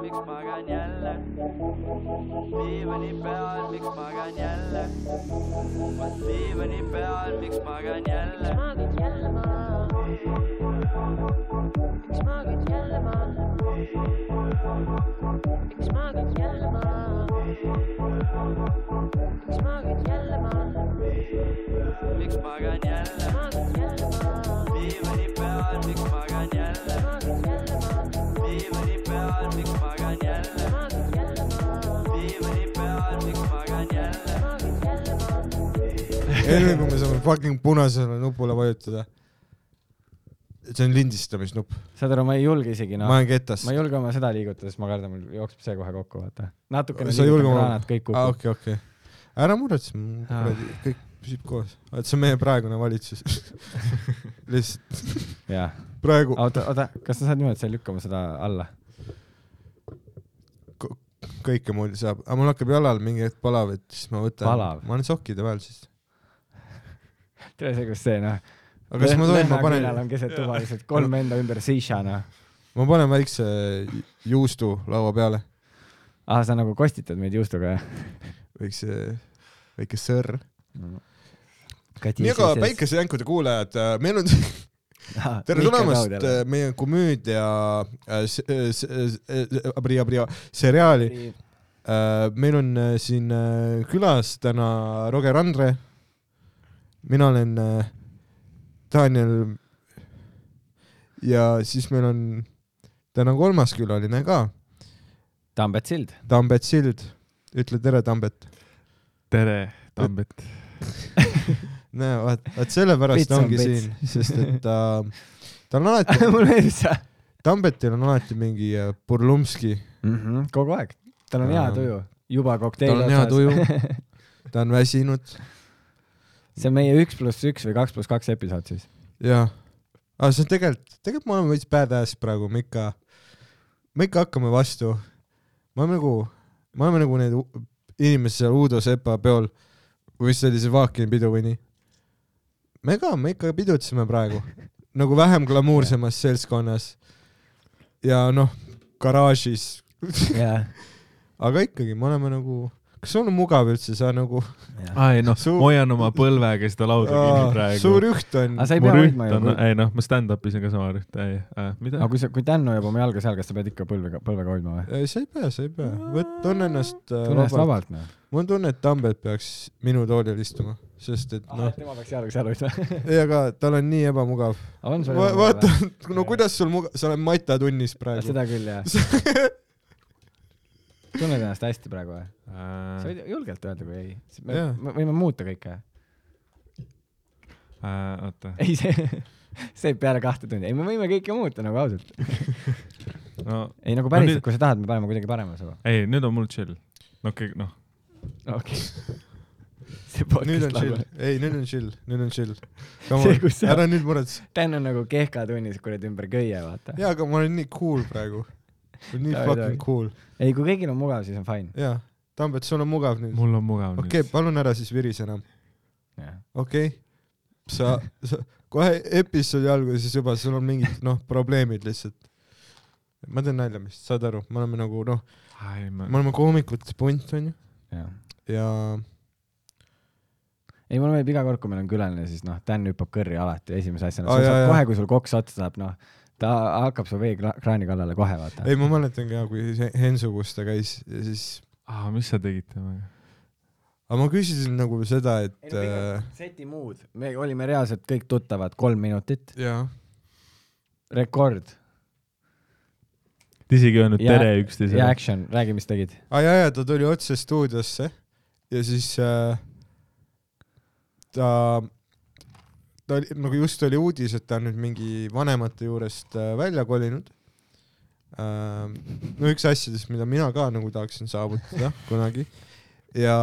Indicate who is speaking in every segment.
Speaker 1: miks magan jälle diivani peal , miks magan jälle vot diivani peal , miks magan jälle
Speaker 2: maagid jälle ma , miks maagid jälle ma , miks maagid jälle ma , miks maagid jälle ma ,
Speaker 1: miks magan jälle
Speaker 2: maagid jälle ma ,
Speaker 1: diivani peal , miks magan jälle diivani peal , miks magan jälle diivani peal , miks magan
Speaker 2: maagid jälle ma , maagid jälle ma ,
Speaker 1: jälle
Speaker 2: maagid jälle ma .
Speaker 3: enne kui me saame fucking punasele nupule vajutada . see on lindistamisnupp
Speaker 4: saad aru , ma ei julge isegi
Speaker 3: no. ,
Speaker 4: noh
Speaker 3: ma , olen ketas
Speaker 4: ma . ei julge oma seda liigutada , sest ma kardan , mul jookseb see kohe kokku , vaata . natukene
Speaker 3: Sa Ah, ei julge
Speaker 4: liigutan
Speaker 3: oma-
Speaker 4: kraanat , kõik Ah.
Speaker 3: aa ,
Speaker 4: kukub .
Speaker 3: okei , okei . ära muretse ,
Speaker 4: Aa.
Speaker 3: kuradi , kõik püsib koos . vaat see on meie praegune valitsus . lihtsalt
Speaker 4: jaa .
Speaker 3: praegu
Speaker 4: oota , oota , kas sa saad niimoodi , et sa ei lükka oma seda alla ?
Speaker 3: kõike mul saab , aga mul hakkab jalal mingi hetk palav , et siis ma võtan .
Speaker 4: Palav?
Speaker 3: ma olen sokkide peal siis .
Speaker 4: tere , see , kus see noh .
Speaker 3: aga kas ma tohin , ma
Speaker 4: küünal
Speaker 3: panen ,
Speaker 4: on keset tuba lihtsalt kolm enda ümber seisha noh .
Speaker 3: ma panen väikse juustu laua peale ,
Speaker 4: aa , sa nagu kostitad meid juustuga jah ?
Speaker 3: väikse , väike sõrm . nii , aga
Speaker 4: tere
Speaker 3: päikesejänkude kuulajad , meil on
Speaker 4: Ah,
Speaker 3: tere tulemast äh, meie komöödia äh, s- äh, s- äh, äh, abria- abria- seriaali . meil on äh, siin äh, külas täna Roger Andre . mina olen äh, Daniel . ja siis meil on täna kolmas külaline ka ,
Speaker 4: Tambet Sild .
Speaker 3: Tambet Sild . ütle tere , Tambet .
Speaker 5: tere , Tambet .
Speaker 3: näe , vaat , vaat sellepärast
Speaker 4: Pits
Speaker 3: ta
Speaker 4: on
Speaker 3: ongi
Speaker 4: pits.
Speaker 3: siin , sest et ta , tal on alati ,
Speaker 4: mul meeldib see .
Speaker 3: Tambetil on alati mingi äh, Burlumski ,
Speaker 4: kogu aeg . tal on hea
Speaker 3: Aa.
Speaker 4: tuju . juba kokteil
Speaker 3: Mhm. Ähm, tal on hea . tuju , ta on väsinud
Speaker 4: see on meie üks pluss üks või kaks pluss kaks episood siis .
Speaker 3: ja , aga see on tegelikult , tegelikult me oleme veits badass praegu , me ikka , me ikka hakkame vastu . me oleme nagu , me oleme nagu need u- inimesed seal Uudo Sepa peol või vist oli see Vaakini pidu või nii . me ka , me ikka pidutseme praegu nagu vähem glamuursemas seltskonnas . ja noh , garaažis ,
Speaker 4: jaa .
Speaker 3: aga ikkagi me oleme nagu , kas sul on mugav üldse , sa nagu
Speaker 5: aa ei noh
Speaker 3: Suur- ,
Speaker 5: ma hoian oma põlvega seda lauda kinni
Speaker 3: Aa,
Speaker 5: praegu .
Speaker 3: suur juht on
Speaker 4: aga . sa ei
Speaker 5: mu
Speaker 4: pea
Speaker 5: rüht
Speaker 4: hoidma ju
Speaker 5: on , ei noh , ma stand-up'is on ka sama rüht , ei äh, , mida
Speaker 4: aga ? kui sa , kui Tänno jääb oma jalga seal , kas sa pead ikka põlvega , põlvega hoidma või ?
Speaker 3: ei , sa ei pea , sa ei pea , võt- , tunne ennast äh,
Speaker 4: tunne ennast
Speaker 3: vabalt.
Speaker 4: vabalt noh .
Speaker 3: mul on tunne , et Tambet peaks minu toolil istuma , sest et noh ,
Speaker 4: Ah, tema peaks jalga seal hoidma .
Speaker 3: ei aga tal on nii ebamugav .
Speaker 4: on sul juba
Speaker 3: vaata
Speaker 4: või? ,
Speaker 3: no kuidas sul mugav , sa oled matatunnis praegu .
Speaker 4: seda küll jah . tunned ennast hästi praegu või ? sa
Speaker 5: Äh,
Speaker 4: võid julgelt öelda , kui ei .
Speaker 3: Jaa.
Speaker 4: me võime muuta kõike .
Speaker 5: äh, oota ,
Speaker 4: ei , see , see peale kahte tundi . ei , me võime kõike muuta nagu ausalt .
Speaker 5: no
Speaker 4: ei , nagu
Speaker 5: No
Speaker 4: päriselt ,
Speaker 5: nüüd-
Speaker 4: kui sa tahad , me paneme kuidagi parema su .
Speaker 5: ei , nüüd on mul chill . no okei , noh ,
Speaker 4: okei . see
Speaker 3: nüüd on
Speaker 4: podcast
Speaker 3: chill
Speaker 4: laulab .,
Speaker 3: ei nüüd on chill , nüüd on chill .
Speaker 4: See, kus sa-
Speaker 3: ära nüüd muretse ,
Speaker 4: Dan on nagu kehka tunnis kuradi ümber köie , vaota .
Speaker 3: jaa , aga ma olen nii cool praegu . nii
Speaker 4: Davai, davai.
Speaker 3: fucking cool ,
Speaker 4: ei , kui kõigil on mugav , siis on fine .
Speaker 3: jaa . Tambet , sul on mugav nüüd ?
Speaker 5: mul on mugav
Speaker 3: okei , palun ära siis virise enam ,
Speaker 4: jah .
Speaker 3: okei okay. ? sa , sa kohe episoodi alguses juba , sul on mingid noh , probleemid lihtsalt . ma teen nalja vist , saad aru , me oleme nagu noh ,
Speaker 5: nüüd . ei , ma
Speaker 3: me , oleme koomikute punt onju
Speaker 4: jah .
Speaker 3: ja
Speaker 4: ei , mulle meeldib iga kord , kui meil on külaline , siis noh , Dan hüppab kõrri alati esimese asjana .
Speaker 3: Aa,
Speaker 4: sa
Speaker 3: jaa,
Speaker 4: saad
Speaker 3: jaa.
Speaker 4: kohe , kui sul koks otsa saab , noh , ta hakkab su veekraani kallale kohe , vaata .
Speaker 3: ei , ma mäletan ka , kui see Hensugus ta käis ja siis ,
Speaker 5: aa , mis sa tegid temaga ?
Speaker 3: aga ma küsisin nagu seda ,
Speaker 4: ei
Speaker 3: et
Speaker 4: no kõik
Speaker 3: äh,
Speaker 4: on seti mood , me olime reaalselt kõik tuttavad kolm minutit ,
Speaker 3: jaa ,
Speaker 4: rekord
Speaker 5: Te isegi ei öelnud
Speaker 4: Ja-
Speaker 5: tere
Speaker 4: ja
Speaker 5: üksteisele .
Speaker 4: action , räägi , mis tegid .
Speaker 3: aa jaa , jaa , ta tuli otse stuudiosse ja siis äh, ta , ta oli nagu just oli uudis , et ta on nüüd mingi vanemate juurest äh, välja kolinud äh, . no üks asjadest , mida mina ka nagu tahaksin saavutada kunagi ja ,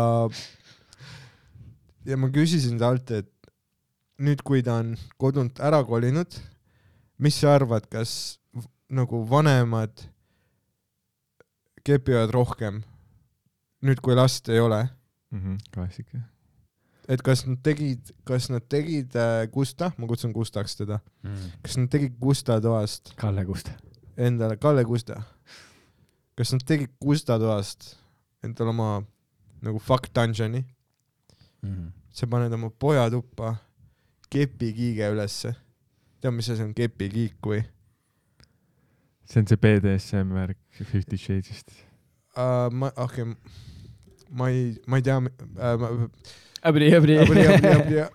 Speaker 3: ja ma küsisin talt , et nüüd , kui ta on kodunt ära kolinud , mis sa arvad , kas v- nagu vanemad kepivad rohkem nüüd , kui last ei ole ,
Speaker 5: Mhm, klassika .
Speaker 3: et kas nad tegid , kas nad tegid äh, Gusta , ma kutsun Gustaks teda , Mm. kas nad tegid Gusta toast
Speaker 4: Kalle Kusta .
Speaker 3: endale , Kalle Gusta , kas nad tegid kustatoast endale oma nagu fuck dungeon'i , sa paned oma poja tuppa kepikiige ülesse . tead , mis asi on kepikiik või
Speaker 5: see on see BDSM värk Fifty Shades'ist .
Speaker 3: uh, ? ma , okei okay, , ma ei , ma ei tea uh, ,
Speaker 4: abri , abri , abri .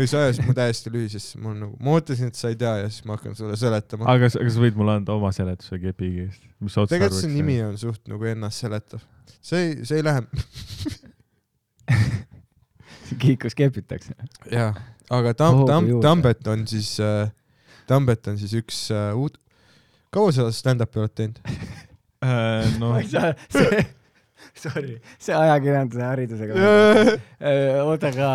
Speaker 3: ei sa ajasid mu täiesti lühi sisse , mul nagu , ma ootasin , et sa ei tea ja siis ma hakkan sulle seletama .
Speaker 5: aga kas , aga sa võid mulle anda oma seletuse kepi keest , mis sa otse
Speaker 3: tegelikult see nimi on suht nagu ennastseletav . see ei , see ei lähe ,
Speaker 4: kiikus kepitakse .
Speaker 3: jaa , aga Tam- ,
Speaker 4: Hoogu
Speaker 3: Tam- ,
Speaker 4: juurde.
Speaker 3: Tambet on siis äh, , Tambet on siis üks äh, uut- , kaua sa stand-up'i oled teinud ?
Speaker 5: äh, . no
Speaker 4: ma ei saa , see , sorry , see ajakirjanduse haridusega . oota , aga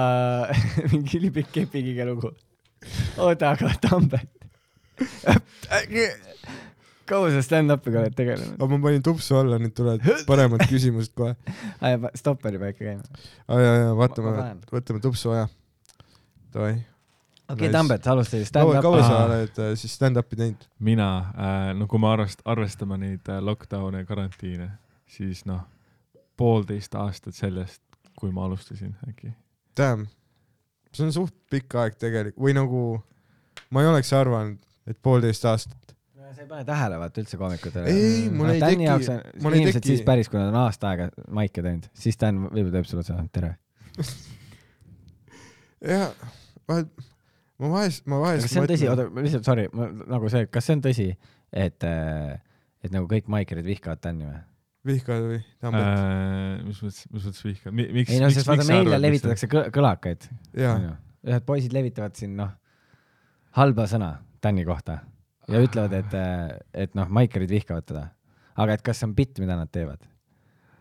Speaker 4: mingi ülipikk kepikiga lugu . oota , aga Tambet . kaua sa stand-up'iga oled tegelenud ?
Speaker 3: aga ma panin tupsu alla , nüüd tulevad paremad küsimused kohe .
Speaker 4: Ah, stopperi peab ikka käima .
Speaker 3: aa jaa , jaa ,
Speaker 4: Ma-
Speaker 3: vaatame
Speaker 4: ma panen. ,
Speaker 3: võtame tupsu aja . Davai .
Speaker 4: okei
Speaker 3: Nice. ,
Speaker 4: Tambet , sa alustasid
Speaker 3: kaua , kaua sa
Speaker 4: stand-up'i .
Speaker 3: oled äh, siis stand-up'i teinud ?
Speaker 5: mina äh, , no kui me arvest- , arvestame neid äh, lockdown'e , karantiine , siis noh , poolteist aastat sellest , kui ma alustasin äkki .
Speaker 3: Damn , see on suht pikk aeg tegelikult või nagu ma ei oleks arvanud , et poolteist aastat .
Speaker 4: Ah. sa ei pane tähele vaata üldse koomikutele .
Speaker 3: Ei, mul ei teki- mul ei
Speaker 4: inimesed
Speaker 3: teki-
Speaker 4: siis päris , kui nad on aasta aega maike teinud , siis Dan võib-olla teeb sulle otsa , tere .
Speaker 3: jah , ma , ma vahest , ma
Speaker 4: kas
Speaker 3: vahest
Speaker 4: see on tõsi , oota , ma lihtsalt sorry , ma nagu see , kas see on tõsi , et , et nagu kõik maikerid vihkavad Tänni või ?
Speaker 3: vihkad või tambad äh, ?
Speaker 5: Äh, mis mõttes , mis mõttes vihka , miks ?
Speaker 4: ei no sest vaata meedia levitatakse kõ- kõlakaid ,
Speaker 3: jaa ,
Speaker 4: ühed poisid levitavad siin noh , halba sõna Tänni kohta ja ütlevad , et , et noh , maikerid vihkavad teda . aga et kas see on bitt , mida nad teevad ?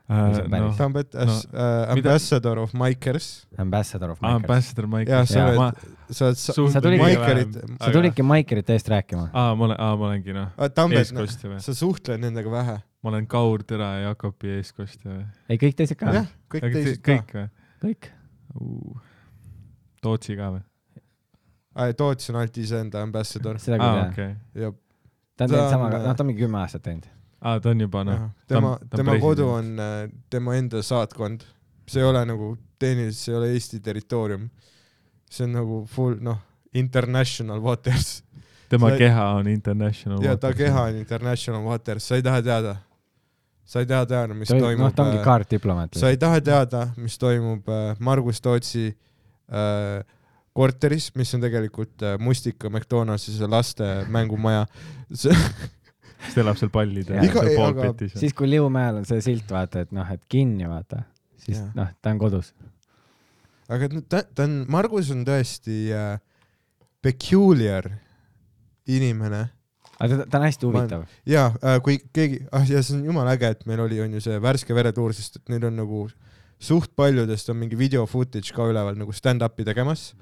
Speaker 4: see on päris-
Speaker 5: Äh, no,
Speaker 3: tambad as no, , äh,
Speaker 5: mida-
Speaker 3: ambassador of Mikers .
Speaker 4: Ambassador
Speaker 3: Ah,
Speaker 4: of Maikers .
Speaker 5: Ambassador Mike .
Speaker 3: jaa , sa
Speaker 4: Jaa,
Speaker 3: oled , sa oled sa,
Speaker 4: Sa tulidki-
Speaker 3: Mikerit ,
Speaker 4: sa tulidki maikerite eest rääkima .
Speaker 3: Ah.
Speaker 5: aa , ma olen , aa , ma olengi noh ,
Speaker 3: tambad ,
Speaker 5: eeskostja või ?
Speaker 3: Ah, sa suhtled nendega vähe .
Speaker 5: ma olen Kaur Tõra ja Jakobi eeskostja või ?
Speaker 4: ei , kõik teised ka ,
Speaker 3: jah , kõik teised ka .
Speaker 5: kõik või ?
Speaker 4: kõik .
Speaker 5: Tootsi ka või ?
Speaker 3: Toots on ainult iseenda ambassador
Speaker 4: seda
Speaker 5: aa
Speaker 4: küll , jah .
Speaker 5: okei .
Speaker 3: ja
Speaker 4: ta on
Speaker 3: Ta
Speaker 4: teinud
Speaker 3: on-
Speaker 4: sama , noh , ta on mingi kümme aastat teinud .
Speaker 5: aa , ta on juba noh
Speaker 3: jah , tema ,
Speaker 5: ta on
Speaker 3: tema kodu on
Speaker 5: president.
Speaker 3: äh, tema enda saatkond , see ei ole nagu tehniliselt , see ei ole Eesti territoorium . see on nagu full noh , international waters
Speaker 5: tema
Speaker 3: sa-
Speaker 5: keha on international .
Speaker 3: ja ta keha . on international waters , sa ei taha teada . sa ei taha teada , mis
Speaker 4: ta oli ,
Speaker 3: toimub
Speaker 4: noh ,
Speaker 3: äh,
Speaker 4: ta ongi , kaardiplomaat .
Speaker 3: sa ei taha teada , mis toimub äh, Margus Tootsi äh, korteris , mis on tegelikult äh, Mustika McDonaldsi see laste mängumaja .
Speaker 5: siis ta elab seal pallide
Speaker 4: Jaa.
Speaker 5: ja
Speaker 3: Iga-
Speaker 5: seal
Speaker 3: ei, aga-
Speaker 5: poolpetis .
Speaker 4: siis , kui Liumäel on see silt , vaata , et noh , et kinni , vaata , siis
Speaker 3: Jaa.
Speaker 4: noh , ta on kodus .
Speaker 3: aga no ta , ta on , Margus on tõesti äh, peculiar inimene
Speaker 4: aga ta, ta on hästi huvitav .
Speaker 3: ja äh, kui keegi , ah ja see on jumala äge , et meil oli , on ju see värske veretuur , sest et neil on nagu suht paljudest on mingi video footage ka üleval nagu stand-up'i tegemas .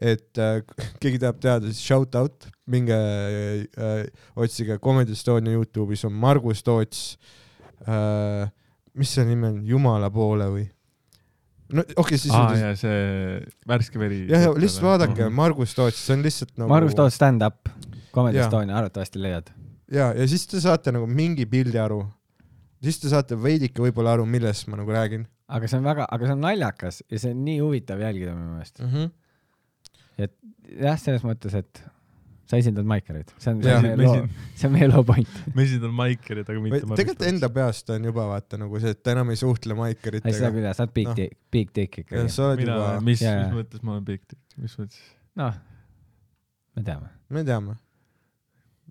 Speaker 3: et äh, keegi tahab teada , siis shout out , minge äh, otsige Comedy Estonia Youtube'is on Margus Toots äh, . mis see nimi on , Jumala poole või ? no okei okay, , siis
Speaker 5: aa
Speaker 3: on
Speaker 5: ja see värske veri .
Speaker 3: jah , ja lihtsalt vaadake ,
Speaker 5: Mhm.
Speaker 3: Margus Toots , see on lihtsalt nagu
Speaker 4: Margus Toots stand-up , Comedy
Speaker 3: Jaa.
Speaker 4: Estonia , arvatavasti leiad .
Speaker 3: ja , ja siis te saate nagu mingi pildi aru . siis te saate veidike võib-olla aru , millest ma nagu räägin
Speaker 4: aga see on väga , aga see on naljakas ja see on nii huvitav jälgida minu meelest .
Speaker 3: mm . -hmm.
Speaker 4: jah , selles mõttes , et sa esindad maikereid , see on , see
Speaker 3: Jaa,
Speaker 4: on meie loo , see on meie loo point .
Speaker 5: mesid on maikerid , aga mitte
Speaker 3: tegelikult enda peast on juba vaata nagu see , et ta enam ei suhtle
Speaker 4: ei , seda
Speaker 3: maikeritega .
Speaker 4: küll jah , sa oled big
Speaker 3: Noh.
Speaker 4: dick , big dick
Speaker 3: ja
Speaker 4: ikkagi .
Speaker 3: sa oled
Speaker 5: mina
Speaker 3: juba ,,
Speaker 5: mis ,
Speaker 4: Jaa, jaa.
Speaker 5: mis mõttes ma olen big dick , mis mõttes ?
Speaker 4: noh , me teame .
Speaker 3: me teame .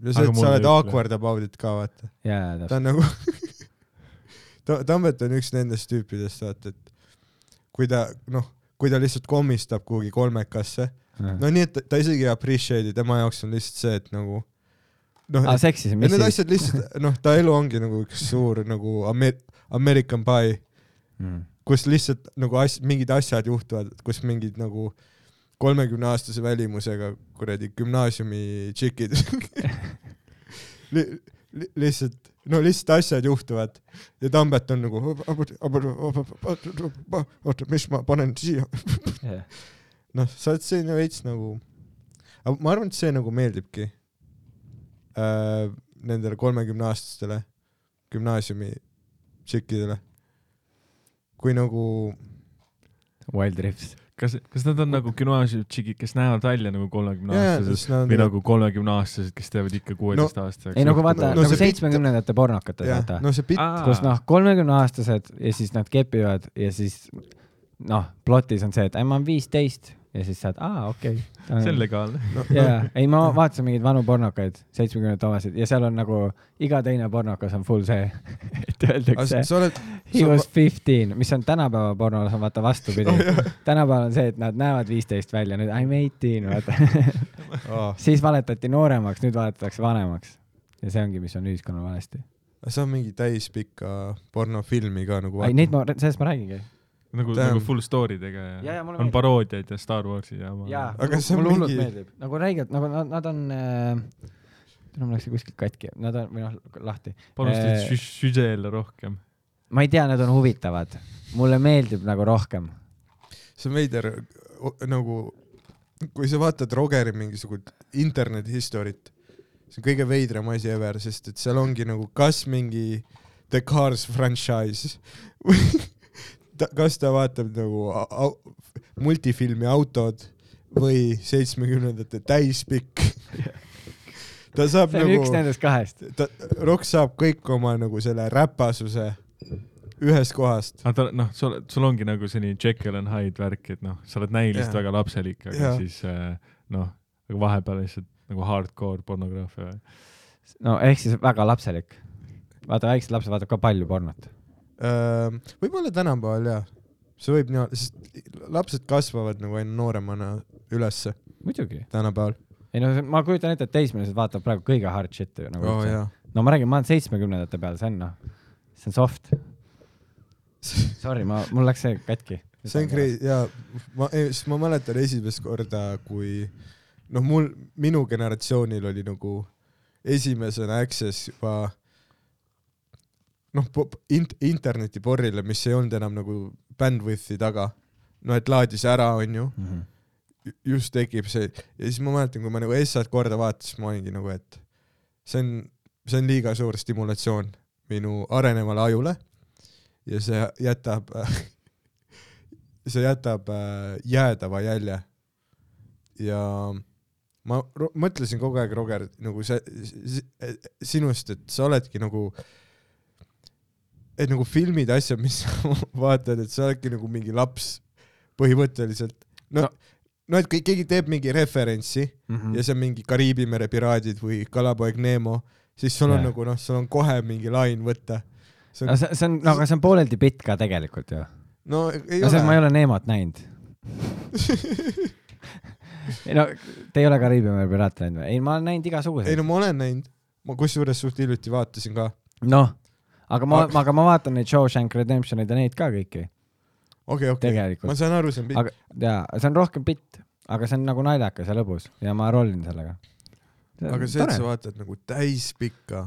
Speaker 3: ja see ,
Speaker 5: Aga
Speaker 3: et
Speaker 5: mulle
Speaker 3: sa
Speaker 5: ei
Speaker 3: oled
Speaker 5: ütle.
Speaker 3: awkward about it ka vaata .
Speaker 4: jaa , jaa ,
Speaker 3: ta
Speaker 4: täpselt .
Speaker 3: on nagu Ta- Tambet on üks nendest tüüpidest vaata , et kui ta noh , kui ta lihtsalt komistab kuhugi kolmekasse , no nii , et ta- ta isegi ei appreciate'i , tema jaoks on lihtsalt see , et nagu noh
Speaker 4: aa ,, seksis ,
Speaker 3: ja
Speaker 4: Ah, mis
Speaker 3: need
Speaker 4: siis ?
Speaker 3: asjad lihtsalt , noh , ta elu ongi nagu üks suur nagu Amer- , American Pie ,
Speaker 4: Mm.
Speaker 3: kus lihtsalt nagu as- , mingid asjad juhtuvad , kus mingid nagu kolmekümneaastase välimusega kuradi gümnaasiumi tšikid li, li, lihtsalt , no lihtsalt asjad juhtuvad ja Tambet on nagu oota , mis ma panen siia , noh , sa oled selline veits nagu , aga ma arvan , et see nagu meeldibki äh, nendele kolmekümneaastastele gümnaasiumi tšikkidele . kui nagu ,
Speaker 4: Wild Rips .
Speaker 5: kas , kas nad on nagu gümnaasiumi tšikid , kes näevad välja nagu kolmekümne
Speaker 3: jaa ,
Speaker 5: aastased
Speaker 3: siis nad
Speaker 5: või . nagu kolmekümne aastased , kes teevad ikka kuueteist no, aastaseks ?
Speaker 4: ei nagu
Speaker 3: No
Speaker 4: vaata no, , nagu
Speaker 3: see bitt-
Speaker 4: seitsmekümnendate pornokates ,
Speaker 3: jah
Speaker 4: vaata , no, ,
Speaker 3: no see
Speaker 5: Ah,
Speaker 3: pitt ,
Speaker 4: kus noh , kolmekümneaastased ja siis nad kepivad ja siis noh , plotis on see , et ei ma olen viisteist ja siis saad , aa okei
Speaker 5: see on
Speaker 4: okay. .
Speaker 5: legaalne .
Speaker 4: jaa , ei ma vaatasin mingeid vanu pornokaid , seitsmekümnendate omasid ja seal on nagu iga teine pornokas on full see , et öeldakse
Speaker 3: sa oled ,
Speaker 4: he was fifteen , mis on tänapäeva pornos on vaata vastupidi oh, . tänapäeval on see , et nad näevad viisteist välja , nüüd I m eighteen , vaata . siis valetati nooremaks , nüüd valetatakse vanemaks . ja see ongi , mis on ühiskonnal valesti .
Speaker 3: sa oled mingi täispika pornofilmi ka nagu
Speaker 4: ei , neid ma , sellest ma räägingi .
Speaker 5: nagu ,
Speaker 3: Damn.
Speaker 5: nagu full story tega
Speaker 4: Jaa,
Speaker 5: ja
Speaker 4: jaa, mulle
Speaker 5: on
Speaker 4: meeldib.
Speaker 5: paroodiaid ja Star Warsi ja oma .
Speaker 4: jaa ,
Speaker 3: Aga see on
Speaker 4: mulle hullult
Speaker 3: mingi-
Speaker 4: meeldib . nagu räigelt , nagu nad , nad on äh... , mul läks see kuskilt katki , nad on , või noh , lahti .
Speaker 5: panustad
Speaker 4: Äh,
Speaker 5: sü- süžeele rohkem .
Speaker 4: ma ei tea , nad on huvitavad . mulle meeldib nagu rohkem .
Speaker 3: see on veider o- nagu , kui sa vaatad Rogeri mingisugust internet history't , see on kõige veidram asi ever , sest et seal ongi nagu kas mingi The Cars franchise või ta, kas ta vaatab nagu au- au- multifilmi autod või seitsmekümnendate täispikk . ta saab
Speaker 4: see on
Speaker 3: nagu
Speaker 4: üks nendest kahest .
Speaker 3: ta , Rock saab kõik oma nagu selle räpasuse ühest kohast .
Speaker 5: aga ta , noh , sul , sul ongi nagu selline Jekyll and Hyde värk , et noh , sa oled näiliselt
Speaker 3: Jaa.
Speaker 5: väga lapselik , aga
Speaker 3: Jaa.
Speaker 5: siis äh, noh , vahepeal lihtsalt nagu hardcore pornograafia .
Speaker 4: no ehk siis väga lapselik . vaata , väiksed lapsed vaatavad ka palju pornot .
Speaker 3: võib-olla Ehm, tänapäeval jaa , see võib nii olla , sest lapsed kasvavad nagu aina nooremana ülesse
Speaker 4: muidugi .
Speaker 3: tänapäeval .
Speaker 4: ei no see- ma kujutan ette , et teismelised vaatavad praegu kõige hard shit'i nagu
Speaker 3: oo
Speaker 4: üldse.
Speaker 3: Oh, jaa .
Speaker 4: no ma räägin , ma olen seitsmekümnendate peal , see on noh , see on soft . Sorry , ma , mul läks see katki .
Speaker 3: see on . crazy jaa , ma , sest ma mäletan esimest korda , kui noh , mul , minu generatsioonil oli nagu esimesena access juba noh , int- , internetiporrile , mis ei olnud enam nagu bandwidth'i taga . no et laadis ära , onju
Speaker 4: Mhm.
Speaker 3: ju- just tekib see ja siis ma mäletan , kui ma nagu Essat korda vaatasin , ma olingi nagu , et see on , see on liiga suur stimulatsioon minu arenevale ajule ja see jätab , see jätab äh, jäädava jälje . ja ma ro- mõtlesin kogu aeg , Roger , nagu see , sinust , et sa oledki nagu , et nagu filmid , asjad , mis sa vaatad , et sa oledki nagu mingi laps põhimõtteliselt . no,
Speaker 4: No.
Speaker 3: no. , no et kui keegi teeb mingi referentsi
Speaker 4: Mm.
Speaker 3: ja see on mingi Kariibi mere piraadid või Kalapoeg Neemo , siis sul on
Speaker 4: Jaa.
Speaker 3: yeah. nagu noh , sul on kohe mingi lain võtta . see
Speaker 4: no
Speaker 3: on ,
Speaker 4: see , see on , no aga see on pooleldi bitt ka tegelikult ju .
Speaker 3: no ei
Speaker 4: no see , ma
Speaker 3: ole
Speaker 4: ei . ole Neemot näinud . ei no , te ei ole Kariibi mere piraate näinud või ? ei , ma olen näinud
Speaker 3: ei
Speaker 4: igasuguseid .
Speaker 3: no ma olen näinud , ma kusjuures suht hiljuti vaatasin ka .
Speaker 4: noh , aga ma ,
Speaker 3: Aga-
Speaker 4: aga ma vaatan neid Shawshank Redemptioneid ja neid ka kõiki
Speaker 3: okei , okei ,
Speaker 4: tegelikult
Speaker 3: ma . saan aru , see on pikk ,
Speaker 4: aga jaa , see on rohkem bitt , aga see on nagu naljakas ja lõbus ja ma rollin sellega .
Speaker 3: aga see , et sa vaatad nagu täispikka ,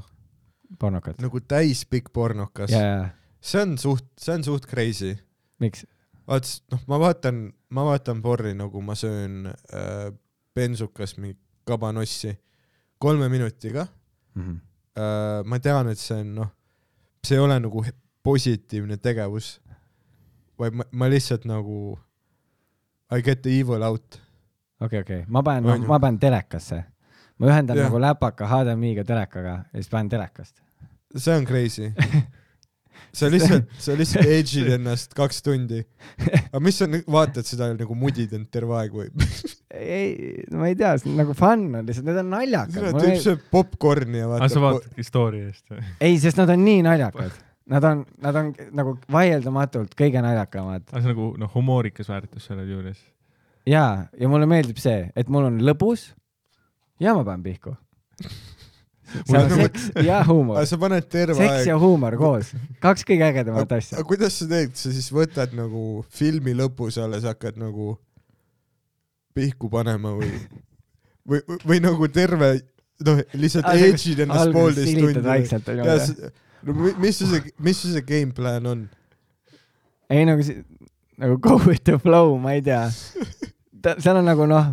Speaker 4: pornokat .
Speaker 3: nagu täispikk pornokas
Speaker 4: ja , ja , ja
Speaker 3: see on suht , see on suht crazy .
Speaker 4: miks ?
Speaker 3: vaat , noh , ma vaatan , ma vaatan porri nagu ma söön äh, bensukas mingi kabanossi kolme minutiga
Speaker 4: Mhm.
Speaker 3: äh, . ma tean , et see on noh , see ei ole nagu he- positiivne tegevus , vaid ma, ma lihtsalt nagu I get the evil out .
Speaker 4: okei , okei , ma panen nagu-
Speaker 3: On , ju.
Speaker 4: ma panen telekasse . ma ühendan
Speaker 3: Jah.
Speaker 4: nagu läpaka HDMI-ga telekaga ja siis panen telekast .
Speaker 3: see on crazy . sa lihtsalt , sa lihtsalt edge'id ennast kaks tundi . aga mis sa nüüd vaatad seda nagu mudid end terve aeg või ?
Speaker 4: ei , ma ei tea , see on nagu fun on lihtsalt , need on naljakad
Speaker 3: tüüp . sööb popkorni ja
Speaker 5: aga sa
Speaker 3: vaatab .
Speaker 5: vaatadki story eest või ?
Speaker 4: ei , sest nad on nii naljakad . Nad on , nad on nagu vaieldamatult kõige naljakamad
Speaker 5: aga see on nagu noh , humoorikas väärtus selle juures .
Speaker 4: jaa , ja mulle meeldib see , et mul on lõbus ja ma panen pihku .
Speaker 3: Mul
Speaker 4: seal on
Speaker 3: on
Speaker 4: seks ja huumor
Speaker 3: aga , sa paned terve
Speaker 4: seks
Speaker 3: aeg
Speaker 4: ja . huumor koos , kaks kõige ägedamat asja
Speaker 3: aga . kuidas sa teed , sa siis võtad nagu filmi lõpus alles hakkad nagu pihku panema või , või , või nagu terve , noh , lihtsalt
Speaker 4: Aa, see-
Speaker 3: edge'id ennast poolteist tundi .
Speaker 4: vaikselt , on ju .
Speaker 3: ja , no mi- mis su see , mis su see game plan on ?
Speaker 4: ei nagu see , nagu go with the flow , ma ei tea . ta , seal on nagu noh ,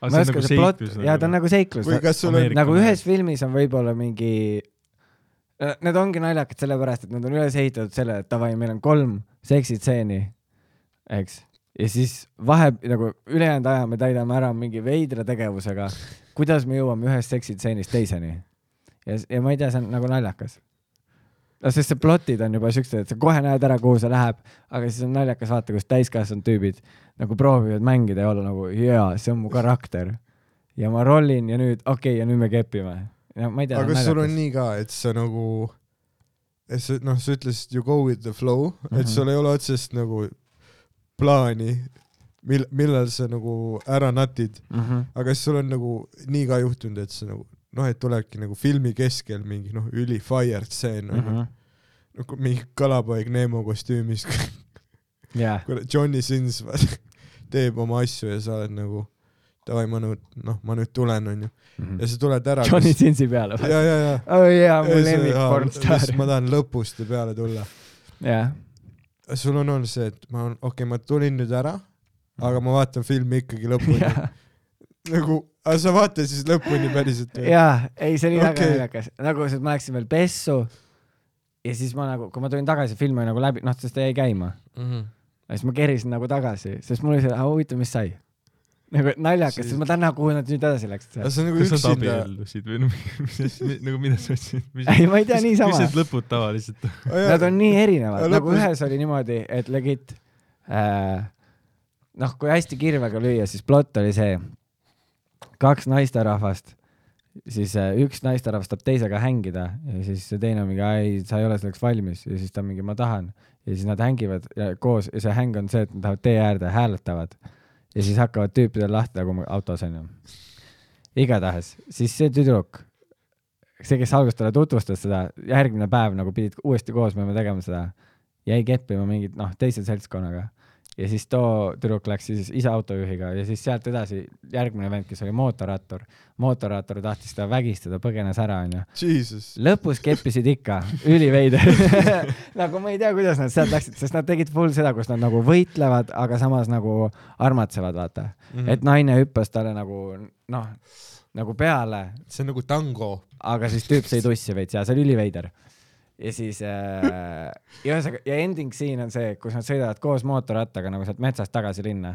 Speaker 5: aga nagu
Speaker 4: ma ei oska , see plott , jaa , ta on nagu seiklus .
Speaker 3: või kas sul on
Speaker 5: Ameerika-
Speaker 4: nagu
Speaker 5: mees.
Speaker 4: ühes filmis on võib-olla mingi äh, Need ongi naljakad sellepärast , et nad on üles ehitatud selle , et davai , meil on kolm seksitseeni , eks , ja siis vahe nagu ülejäänud aja me täidame ära mingi veidra tegevusega , kuidas me jõuame ühest seksitseenist teiseni . ja , ja ma ei tea , see on nagu naljakas . no sest see plotid on juba siuksed , et sa kohe näed ära , kuhu see läheb , aga siis on naljakas vaata , kus täiskasvanud tüübid nagu proovivad mängida ja olla nagu jaa , see on mu karakter ja ma rollin ja nüüd okei okay, ja nüüd me kepime . no ma ei tea .
Speaker 3: aga kas sul on nii ka , et sa nagu , et sa noh , sa ütlesid you go with the flow mm , -hmm.
Speaker 4: Mhm.
Speaker 3: et sul ei ole otsest nagu plaani , mil- , millal sa nagu ära natid ,
Speaker 4: mm ? -hmm.
Speaker 3: aga kas sul on nagu nii ka juhtunud , et sa nagu noh , et tulebki nagu filmi keskel mingi noh , üli fire stseen
Speaker 4: Mm
Speaker 3: on ju
Speaker 4: -hmm. ,
Speaker 3: nagu mingi kalapoeg Neemo kostüümis ,
Speaker 4: yeah.
Speaker 3: kurat , Johnny Sins vaata, teeb oma asju ja sa oled nagu davai , ma nüüd , noh , ma nüüd tulen , onju .
Speaker 4: mm
Speaker 3: ja
Speaker 4: -hmm.
Speaker 3: sa tuled ära .
Speaker 4: Johnny Sinsi peale või ?
Speaker 3: ja , ja , ja .
Speaker 4: oh jaa , mu
Speaker 3: Ei, see-
Speaker 4: lemmik
Speaker 3: jaa,
Speaker 4: pornstaar
Speaker 3: lihtsalt . ma tahan lõpust ju peale tulla .
Speaker 4: jah ,
Speaker 3: sul on olnud see , et ma , okei okay, , ma tulin nüüd ära , aga ma vaatan filmi ikkagi lõpuni . nagu , aga sa vaatad siis lõpuni päriselt või ?
Speaker 4: jaa , ei see oli väga
Speaker 3: Okei.
Speaker 4: okay. naljakas , nagu see , et ma läksin veel pessu ja siis ma nagu , kui ma tulin tagasi , film oli nagu läbi , noh , sest ta jäi käima .
Speaker 3: Mhm.
Speaker 4: ja siis ma kerisin nagu tagasi , sest mul oli see , huvitav , mis sai . nagu et naljakas ,
Speaker 3: Siis-
Speaker 4: sest ma tean nagu , kuhu nad nüüd edasi läksid .
Speaker 3: aga see on nagu
Speaker 5: kas nad
Speaker 3: üksinda ,
Speaker 5: abiellusid või no mi- mis asi , nagu mida sa otsid ?
Speaker 4: ei , ma ei tea , niisama
Speaker 5: mis . need lõpud tavaliselt on ?
Speaker 4: Nad on nii erinevad ,
Speaker 3: Aga
Speaker 4: nagu
Speaker 3: lõpus-
Speaker 4: ühes oli niimoodi , et legit äh, noh , kui hästi kirvega lüüa , siis plott oli see , kaks naisterahvast , siis äh, üks naisterahvas tahab teisega hängida ja siis see teine on mingi , ei , sa ei ole selleks valmis ja siis ta on mingi , ma tahan . ja siis nad hängivad ja koos ja see häng on see , et nad lähevad tee äärde , hääletavad ja siis hakkavad tüüpidel lahti nagu autos onju . igatahes , siis see tüdruk , see , kes alguses talle tutvustas seda , järgmine päev nagu pidid uuesti koos minema tegema seda , jäi keppima mingit noh , teise seltskonnaga . ja siis too tüdruk läks siis ise autojuhiga ja siis sealt edasi järgmine vend , kes oli mootorrattur , mootorrattur tahtis teda vägistada , põgenes ära onju .
Speaker 3: Jesus .
Speaker 4: lõpus keppisid ikka , üliveider . nagu ma ei tea , kuidas nad sealt läksid , sest nad tegid full seda , kus nad nagu võitlevad , aga samas nagu armatsevad , vaata mm .
Speaker 3: Mhm.
Speaker 4: -hmm. et naine hüppas talle nagu noh , nagu peale ,
Speaker 3: see on nagu tango .
Speaker 4: aga siis tüüp sõi tussi veits ja see oli üliveider . ja siis äh, , ja ühesõnaga , ja ending siin on see , kus nad sõidavad koos mootorrattaga nagu sealt metsast tagasi linna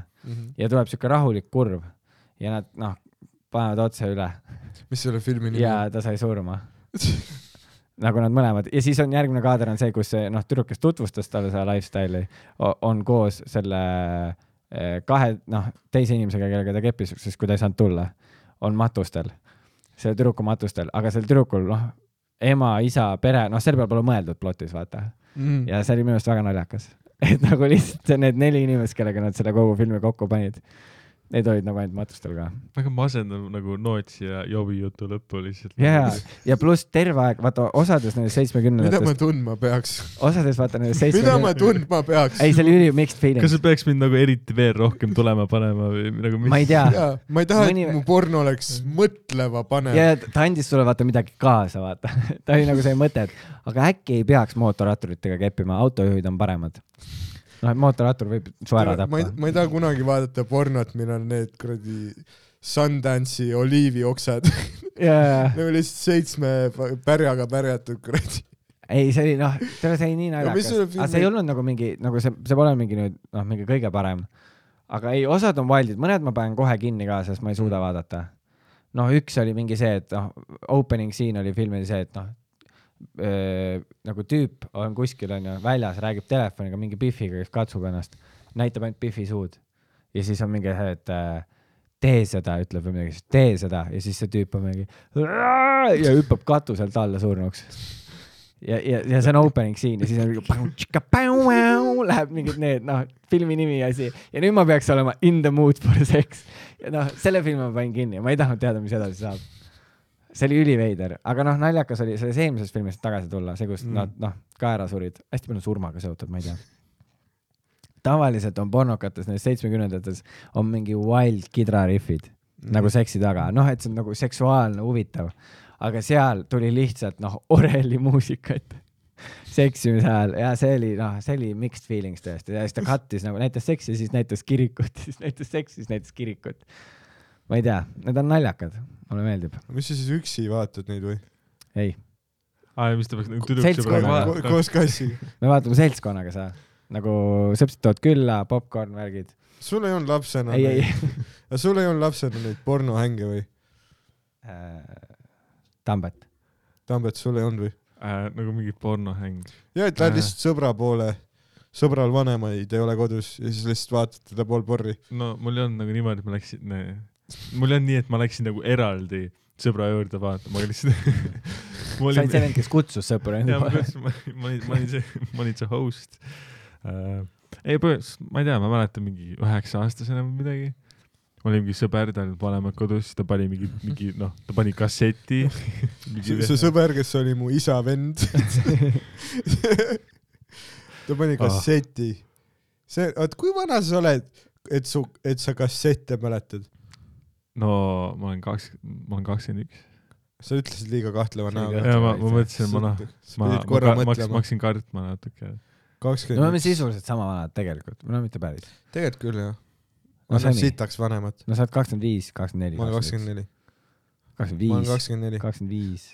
Speaker 4: ja tuleb siuke rahulik kurv ja nad noh , panevad otse üle
Speaker 3: mis selle filmi nimi
Speaker 4: ja
Speaker 3: on ?
Speaker 4: ta sai surma nagu nad mõlemad ja siis on järgmine kaader on see , kus see noh , tüdruk , kes tutvustas talle seda lifestyle'i , on koos selle eh, kahe noh , teise inimesega , kellega ta keppis , sest kui ta ei saanud tulla , on matustel , selle tüdruku matustel , aga sel tüdrukul noh , ema , isa , pere , noh , selle peale pole mõeldud plotis , vaata . ja see oli minu arust väga naljakas , et nagu lihtsalt see- need neli inimest , kellega nad selle kogu filmi kokku panid , need olid nagu ainult matustel ka
Speaker 5: väga masendav nagu Nootsi ja Jovi jutu lõppu lihtsalt . nagu-
Speaker 4: ja , ja pluss terve aeg , vaata osades
Speaker 3: mida ma
Speaker 4: nendest seitsmekümnendatest ,
Speaker 3: tundma peaks ?
Speaker 4: osades vaata nendest
Speaker 3: mida ma
Speaker 4: seitsmekümnendatest ,
Speaker 3: tundma peaks ?
Speaker 4: ei , see oli üli mixed feeling
Speaker 5: kas , see peaks mind nagu eriti veel rohkem tulema panema või nagu mis
Speaker 4: ma ei tea .
Speaker 3: jaa , ma ei taha ,
Speaker 4: Mõni-
Speaker 3: et mu porno oleks
Speaker 4: Mhm.
Speaker 3: mõtlema panev .
Speaker 4: ja ta andis sulle vaata midagi kaasa , vaata . ta oli nagu see mõte , et aga äkki ei peaks mootorratturitega keppima , autojuhid on paremad . noh , et mootorrattur võib su ära
Speaker 3: ma ei ,
Speaker 4: tappa .
Speaker 3: ma ei taha kunagi vaadata pornot , millel on need kuradi Sundance'i oliivioksad
Speaker 4: jaa ,
Speaker 3: nagu lihtsalt seitsme pa- pärjaga pärjatud kuradi .
Speaker 4: ei , see oli noh , see oli nii
Speaker 3: mis
Speaker 4: naljakas ,
Speaker 3: selle
Speaker 4: aga see
Speaker 3: filmi-
Speaker 4: ei olnud nagu mingi , nagu see , see pole mingi nüüd noh , mingi kõige parem . aga ei , osad on valdid , mõned ma panen kohe kinni ka , sest ma ei suuda vaadata . noh , üks oli mingi see , et noh , opening siin oli filmil see , et noh , nagu tüüp on kuskil onju väljas , räägib telefoniga mingi Biffiga , kes katsub ennast , näitab ainult Biffi suud ja siis on mingi see , et äh, tee seda , ütleb või midagi , siis tee seda ja siis see tüüp on mingi ja hüppab katuselt alla surnuks . ja , ja , ja see on opening siin ja siis on mingi läheb mingid need noh , filmi nimi ja asi ja nüüd ma peaks olema in the mood for sex . ja noh , selle filmi ma panin kinni , ma ei tahtnud teada , mis edasi saab . see oli üliveider , aga noh , naljakas oli selles eelmises filmis tagasi tulla , see , kus mm.
Speaker 3: Mm.
Speaker 4: nad noh , ka ära surid , hästi palju on surmaga seotud , ma ei tea . tavaliselt on pornokates nendes seitsmekümnendates on mingi wild kidrariffid mm. nagu seksi taga , noh , et see on nagu seksuaalne huvitav , aga seal tuli lihtsalt noh , oreli muusikat seksimise ajal ja see oli noh , see oli mixed feelings tõesti ja siis ta kattis nagu näitas seksi , siis näitas kirikut , siis näitas seksi , siis näitas kirikut . ma ei tea , need on naljakad , mulle meeldib ,
Speaker 3: mis sa siis üksi vaatad neid või ?
Speaker 4: ei .
Speaker 5: aa ja mis ta peaks nagu
Speaker 4: Seltskonnaga.
Speaker 5: tüdruksõbraga
Speaker 4: Ko-
Speaker 3: koos kassiga .
Speaker 4: me vaatame seltskonnaga seal , nagu sõpsid tulevad külla , popkorn , värgid .
Speaker 3: sul ei olnud lapsena
Speaker 4: ei , ei
Speaker 3: neid- aga sul ei olnud lapsena neid pornohänge või ?
Speaker 4: äh, , Tambet .
Speaker 3: Tambet , sul ei olnud või ?
Speaker 5: äh, nagu mingi pornohäng .
Speaker 3: ja , et lähed
Speaker 5: Äh.
Speaker 3: lihtsalt sõbra poole , sõbral vanemaid ei ole kodus ja siis lihtsalt vaatad teda pool porri .
Speaker 5: no mul ei olnud nagu niimoodi , et ma läksin ne, , mul ei olnud nii , et ma läksin nagu eraldi sõbra juurde vaatama , aga lihtsalt ma
Speaker 4: sa olid see
Speaker 5: olin ,
Speaker 4: vend , kes kutsus sõpru enda
Speaker 5: jaa , ma
Speaker 4: poole .
Speaker 5: kutsun , ma ma olin , ma olin see , ma olin see host äh, . ei , põhimõtteliselt ma ei tea , ma mäletan mingi üheksa-aastasena või midagi . oli mingi sõber , ta oli vanemalt kodus , siis ta pani mingi , mingi noh , ta pani kasseti .
Speaker 3: see sõber , kes oli mu isa vend . ta pani
Speaker 4: Ah.
Speaker 3: kasseti . see , oot , kui vana sa oled , et su , et sa kassette mäletad ?
Speaker 5: no ma olen kaks , ma olen kakskümmend üks .
Speaker 3: sa ütlesid liiga kahtleva näoga .
Speaker 5: ja ma , ma mõtlesin , ma noh ,
Speaker 3: sa
Speaker 5: ma ,
Speaker 3: pidid
Speaker 5: ma
Speaker 3: korra
Speaker 5: ka- ma hakkasin , ma
Speaker 3: mõtlema .
Speaker 5: hakkasin kartma natuke .
Speaker 4: no me
Speaker 3: kakskümmend
Speaker 4: oleme . sisuliselt sama vanad tegelikult , no mitte päris .
Speaker 3: tegelikult küll jah .
Speaker 4: No
Speaker 3: ma
Speaker 4: see
Speaker 3: olen
Speaker 4: nii.
Speaker 3: sitaks vanemad .
Speaker 4: no sa oled kakskümmend viis , kakskümmend neli .
Speaker 3: ma olen kakskümmend neli . ma olen
Speaker 4: kakskümmend viis ,
Speaker 3: kakskümmend neli .
Speaker 4: kakskümmend viis .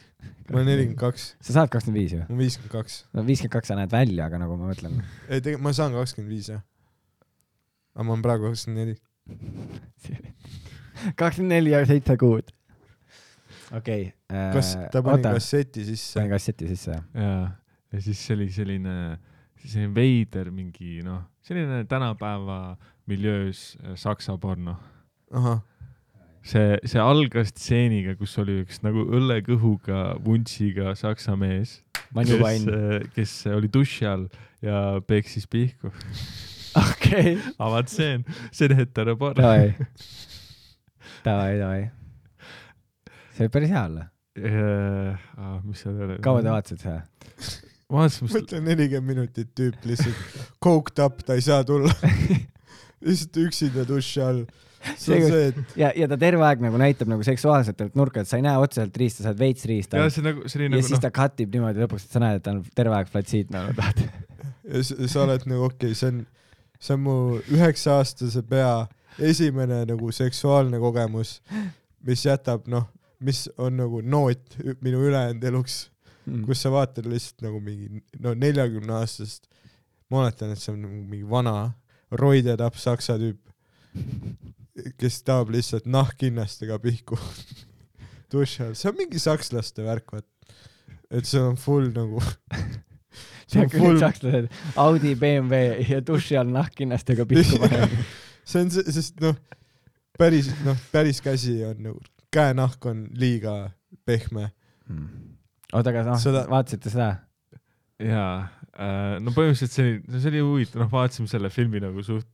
Speaker 3: ma olen nelikümmend . kaks .
Speaker 4: sa saad kakskümmend viis ju ?
Speaker 3: ma olen viiskümmend kaks .
Speaker 4: no viiskümmend kaks sa näed välja , aga nagu ma mõtlen ,
Speaker 3: ei , tegelikult ma saan kakskümmend viis jah . aga ma olen praegu kakskümmend neli .
Speaker 4: kakskümmend neli ja seitse kuud . okei .
Speaker 3: kas ta pani ? kasseti sisse
Speaker 4: panin ? kasseti sisse , jah .
Speaker 5: ja , ja siis see oli selline , selline veider mingi noh , selline tänapäeva miljöös äh, saksa porno .
Speaker 3: ahah ,
Speaker 5: see , see algas stseeniga , kus oli üks nagu õllekõhuga vuntsiga saksa mees ,
Speaker 4: ma olen juba
Speaker 5: kes äh,
Speaker 4: enne .,
Speaker 5: kes oli duši all ja peksis pihku .
Speaker 4: okei .
Speaker 5: aga vaat see on , see on heteroporno .
Speaker 4: Davai . Davai , davai . see võib päris hea olla .
Speaker 5: ah, mis seal oli ?
Speaker 4: kaua te ? vaatasid seda ?
Speaker 5: vaatasin ,
Speaker 3: mõtle nelikümmend minutit tüüp lihtsalt coked up , ta ei saa tulla . lihtsalt üksinda duši all . see on
Speaker 4: See-
Speaker 3: see , et
Speaker 4: ja , ja ta terve aeg nagu näitab nagu seksuaalsetelt nurkadelt , sa ei näe otseselt riista , sa oled veits riista .
Speaker 5: ja
Speaker 4: ja,
Speaker 5: see nagu , see oli
Speaker 4: ja
Speaker 5: nagu
Speaker 4: nagu siis no. ta cut ib niimoodi lõpuks , et sa näed , et ta on terve aeg nagu, flatsiitne olnud .
Speaker 3: ja s- sa oled nagu okei okay, , see on , see on mu üheksa aastase pea esimene nagu seksuaalne kogemus , mis jätab noh , mis on nagu noot ü- minu ülejäänud eluks , kus sa vaatad lihtsalt nagu mingi no neljakümne aastast . ma mäletan , et see on nagu mingi vana roide tapp saksa tüüp , kes tahab lihtsalt nahkhinnastega pihku duši all , see on mingi sakslaste värk , vaat . et see on full nagu see on
Speaker 4: kõik
Speaker 3: full ,
Speaker 4: sakslased Audi , BMW ja duši all nahkhinnastega pihku panevad .
Speaker 3: see on see , sest noh , päris noh , päris käsi on nagu , käenahk on liiga pehme .
Speaker 4: oota , Hmm. aga noh seda...
Speaker 3: Seda- ,
Speaker 4: vaatasite seda ?
Speaker 5: jaa , no põhimõtteliselt see oli , no see oli huvitav , noh , vaatasime selle filmi nagu suht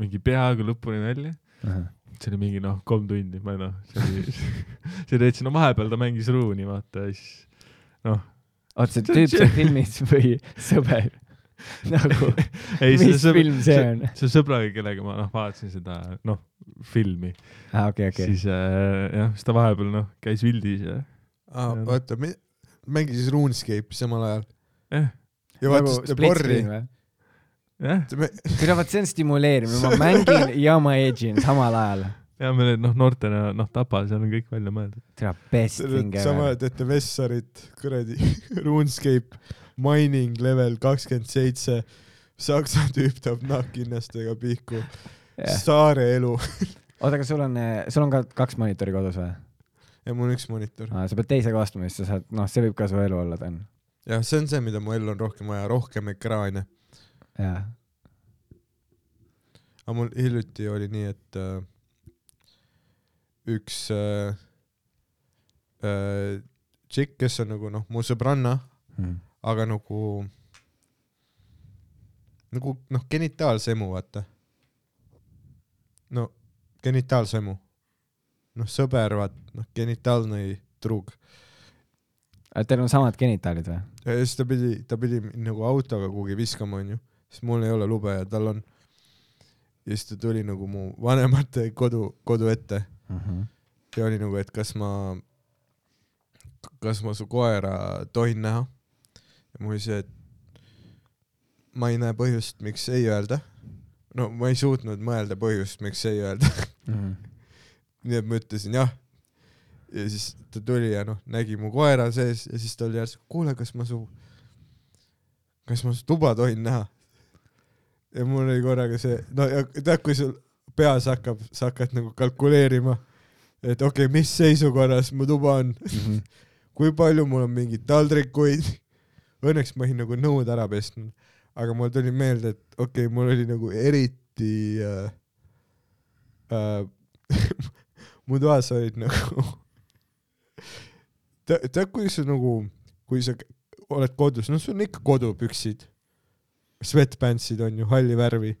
Speaker 5: mingi peaaegu lõpuni välja , see oli mingi noh , kolm tundi , ma ei noh , see oli , see oli täitsa , no vahepeal ta mängis ruuni , vaata ja siis
Speaker 4: oota , see tüüp seal filmis või sõber ? nagu ,
Speaker 5: ei, see
Speaker 4: mis
Speaker 5: sõb-
Speaker 4: film see on ?
Speaker 5: see sõbraga , kellega ma noh , vaatasin seda noh , filmi okay. ,
Speaker 4: aa , okei , okei .
Speaker 5: siis äh, jah , siis ta vahepeal noh , käis vildis ja
Speaker 3: Ah,
Speaker 5: Jah.
Speaker 3: oota , mängi siis RuneScape'i samal ajal
Speaker 5: jah ,
Speaker 3: ja
Speaker 4: nagu
Speaker 3: vaata seda
Speaker 4: split
Speaker 3: porri
Speaker 4: screen . või ?
Speaker 5: jah ,
Speaker 4: kuule , vaat see on stimuleerimine , ma mängin ja ma edžin samal ajal .
Speaker 5: ja me need noh , noortena noh , tapa , seal on kõik välja mõeldud .
Speaker 4: tere , best thing
Speaker 3: sama
Speaker 4: ever .
Speaker 3: teete Vessarit , kuradi RuneScape mining level kakskümmend seitse , saksa tüüp tahab nahkhinnastega pihku , saare elu
Speaker 4: oota , aga sul on , sul on ka kaks monitori kodus või ?
Speaker 3: ja mul on üks monitor .
Speaker 4: sa pead teisega astuma , siis sa saad , noh , see võib ka su elu olla , ta on .
Speaker 3: jah , see on see , mida mu ellu on rohkem vaja , rohkem ekraane .
Speaker 4: jaa .
Speaker 3: aga mul hiljuti oli nii , et äh, üks äh, äh, tšikk , kes on nagu noh , mu sõbranna , aga nagu , nagu noh , genitaalsemu , vaata . no genitaalsemu . noh , sõber , vaat , noh , genitaalne truug .
Speaker 4: Ah, Teil on samad genitaalid või ?
Speaker 3: ja siis ta pidi , ta pidi mind nagu autoga kuhugi viskama , onju , sest mul ei ole lube ja tal on . ja siis ta tuli nagu mu vanemate kodu , kodu ette Mhm. ja oli nagu , et kas ma , kas ma su koera tohin näha . ja mul oli see , et ma ei näe põhjust , miks ei öelda . no ma ei
Speaker 4: Mhm.
Speaker 3: suutnud mõelda põhjust , miks ei öelda , nii et ma ütlesin jah . ja siis ta tuli ja noh , nägi mu koera sees ja siis ta oli järsku , kuule , kas ma su , kas ma su tuba tohin näha ? ja mul oli korraga see , no ja tead , kui sul peas hakkab , sa hakkad nagu kalkuleerima , et okei okay, , mis seisukorras mu tuba on ,
Speaker 4: Mhm.
Speaker 3: kui palju mul on mingeid taldrikuid . Õnneks ma olin nagu nõud ära pestnud , aga mul tuli meelde , et okei okay, , mul oli nagu eriti äh, äh, mu toas olid nagu tead , tead , kui sa nagu , kui sa oled kodus , no sul on ikka kodupüksid , sweatpantsid on ju , halli värvi .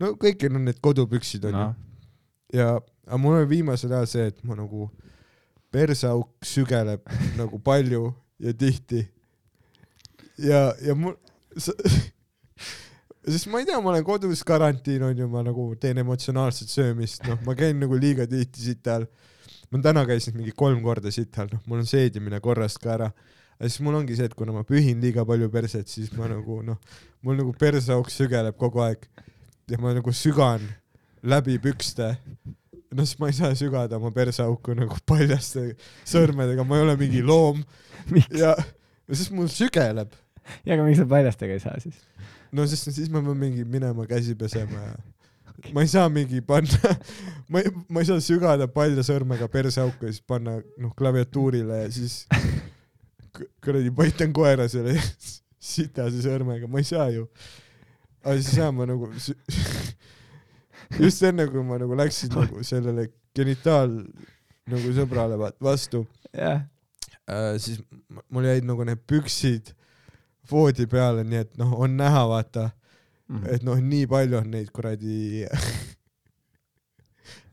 Speaker 3: no kõikil on need kodupüksid on no.
Speaker 5: noh ,
Speaker 3: ju ja , aga mul oli viimasel ajal see , et ma nagu perseauk sügeleb nagu palju ja tihti . ja , ja mul , sest ma ei tea , ma olen kodus karantiin on ju , ma nagu teen emotsionaalset söömist , noh , ma käin nagu liiga tihti sital . ma täna käisin mingi kolm korda sital , noh , mul on seedimine korrast ka ära . aga siis mul ongi see , et kuna ma pühin liiga palju perset , siis ma nagu noh , mul nagu perseauk sügeleb kogu aeg ja ma nagu sügan läbi pükste . no siis ma ei saa sügada oma perseauku nagu paljaste sõrmedega , ma ei ole mingi loom
Speaker 4: miks ?
Speaker 3: ja , sest mul sügeleb .
Speaker 4: ja aga miks sa paljastega ei saa siis ?
Speaker 3: no sest siis ma pean mingi minema käsi pesema ja okay. ma ei saa mingi panna , ma ei , ma ei saa sügada palja sõrmega perseauku ja siis panna noh klaviatuurile ja siis k- kuradi paitan koera selle sitase sõrmega , ma ei saa ju . aga siis jah , ma nagu sü- just enne kui ma nagu läksin nagu sellele genitaal nagu sõbrale va- vastu ,
Speaker 4: jah ,
Speaker 3: Äh, siis m- mul jäid nagu need püksid voodi peale , nii et noh , on näha , vaata ,
Speaker 4: Mm. Mhm.
Speaker 3: et noh , nii palju on neid kuradi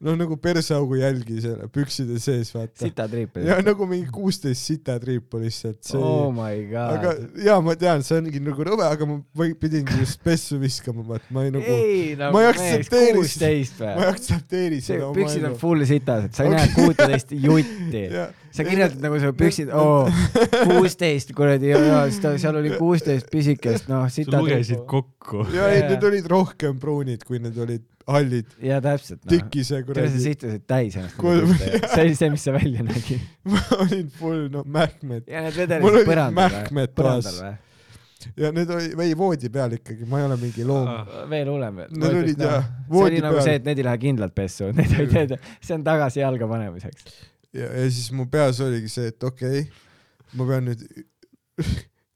Speaker 3: noh , nagu perseaugu jälgi seal pükside sees , vaata .
Speaker 4: sitatriipid
Speaker 3: ja . nagu mingi kuusteist sitatriipu lihtsalt , see
Speaker 4: oh
Speaker 3: oh
Speaker 4: my god .
Speaker 3: aga ja ma tean , see ongi nagu rõve , aga ma või- pidingi just pessu viskama , vaat ma ei nagu ,
Speaker 4: ei , nagu
Speaker 3: ma ei
Speaker 4: mees ,
Speaker 3: aktsepteeri
Speaker 4: kuusteist
Speaker 3: ma ei
Speaker 4: või ?
Speaker 3: aktsepteeri
Speaker 4: see
Speaker 3: seda oma
Speaker 4: püksid on
Speaker 3: elu.
Speaker 4: full sitased , sa ei näe
Speaker 3: Okei.
Speaker 4: kuuteist jutti .
Speaker 3: Jaa.
Speaker 4: sa
Speaker 3: Ei,
Speaker 4: kirjeldad
Speaker 3: no-
Speaker 4: nagu su
Speaker 3: no-
Speaker 4: püksid , oo , kuusteist kuradi , jaa , seal oli kuusteist pisikest , noh ,
Speaker 5: sa
Speaker 4: sita .
Speaker 5: lugesid kokku .
Speaker 3: ja ei ,
Speaker 4: Jaa.
Speaker 3: need olid rohkem pruunid , kui need olid hallid ,
Speaker 4: jaa , täpselt , noh .
Speaker 3: tikise
Speaker 4: tere , sa
Speaker 3: kuradi ,
Speaker 4: sihtusid täis ennast .
Speaker 3: Kolm-
Speaker 4: see oli see , mis sa välja nägid .
Speaker 3: ma olin full noh mähkmed .
Speaker 4: ja
Speaker 3: Mul
Speaker 4: need vedelesid
Speaker 3: olid
Speaker 4: põrandal või
Speaker 3: mähkmed ? toas.
Speaker 4: põrandal või ?
Speaker 3: ja need oli , või voodi peal ikkagi , ma ei ole mingi loom
Speaker 5: Ah. .
Speaker 4: veel hullem .
Speaker 3: Need olid, jah,
Speaker 4: see oli
Speaker 3: voodi
Speaker 4: nagu
Speaker 3: peal.
Speaker 4: see , et need ei lähe kindlalt pessu , need ei tee , see on tagasi jalga panemiseks .
Speaker 3: ja , ja siis mu peas oligi see , et okei okay, , ma pean nüüd ,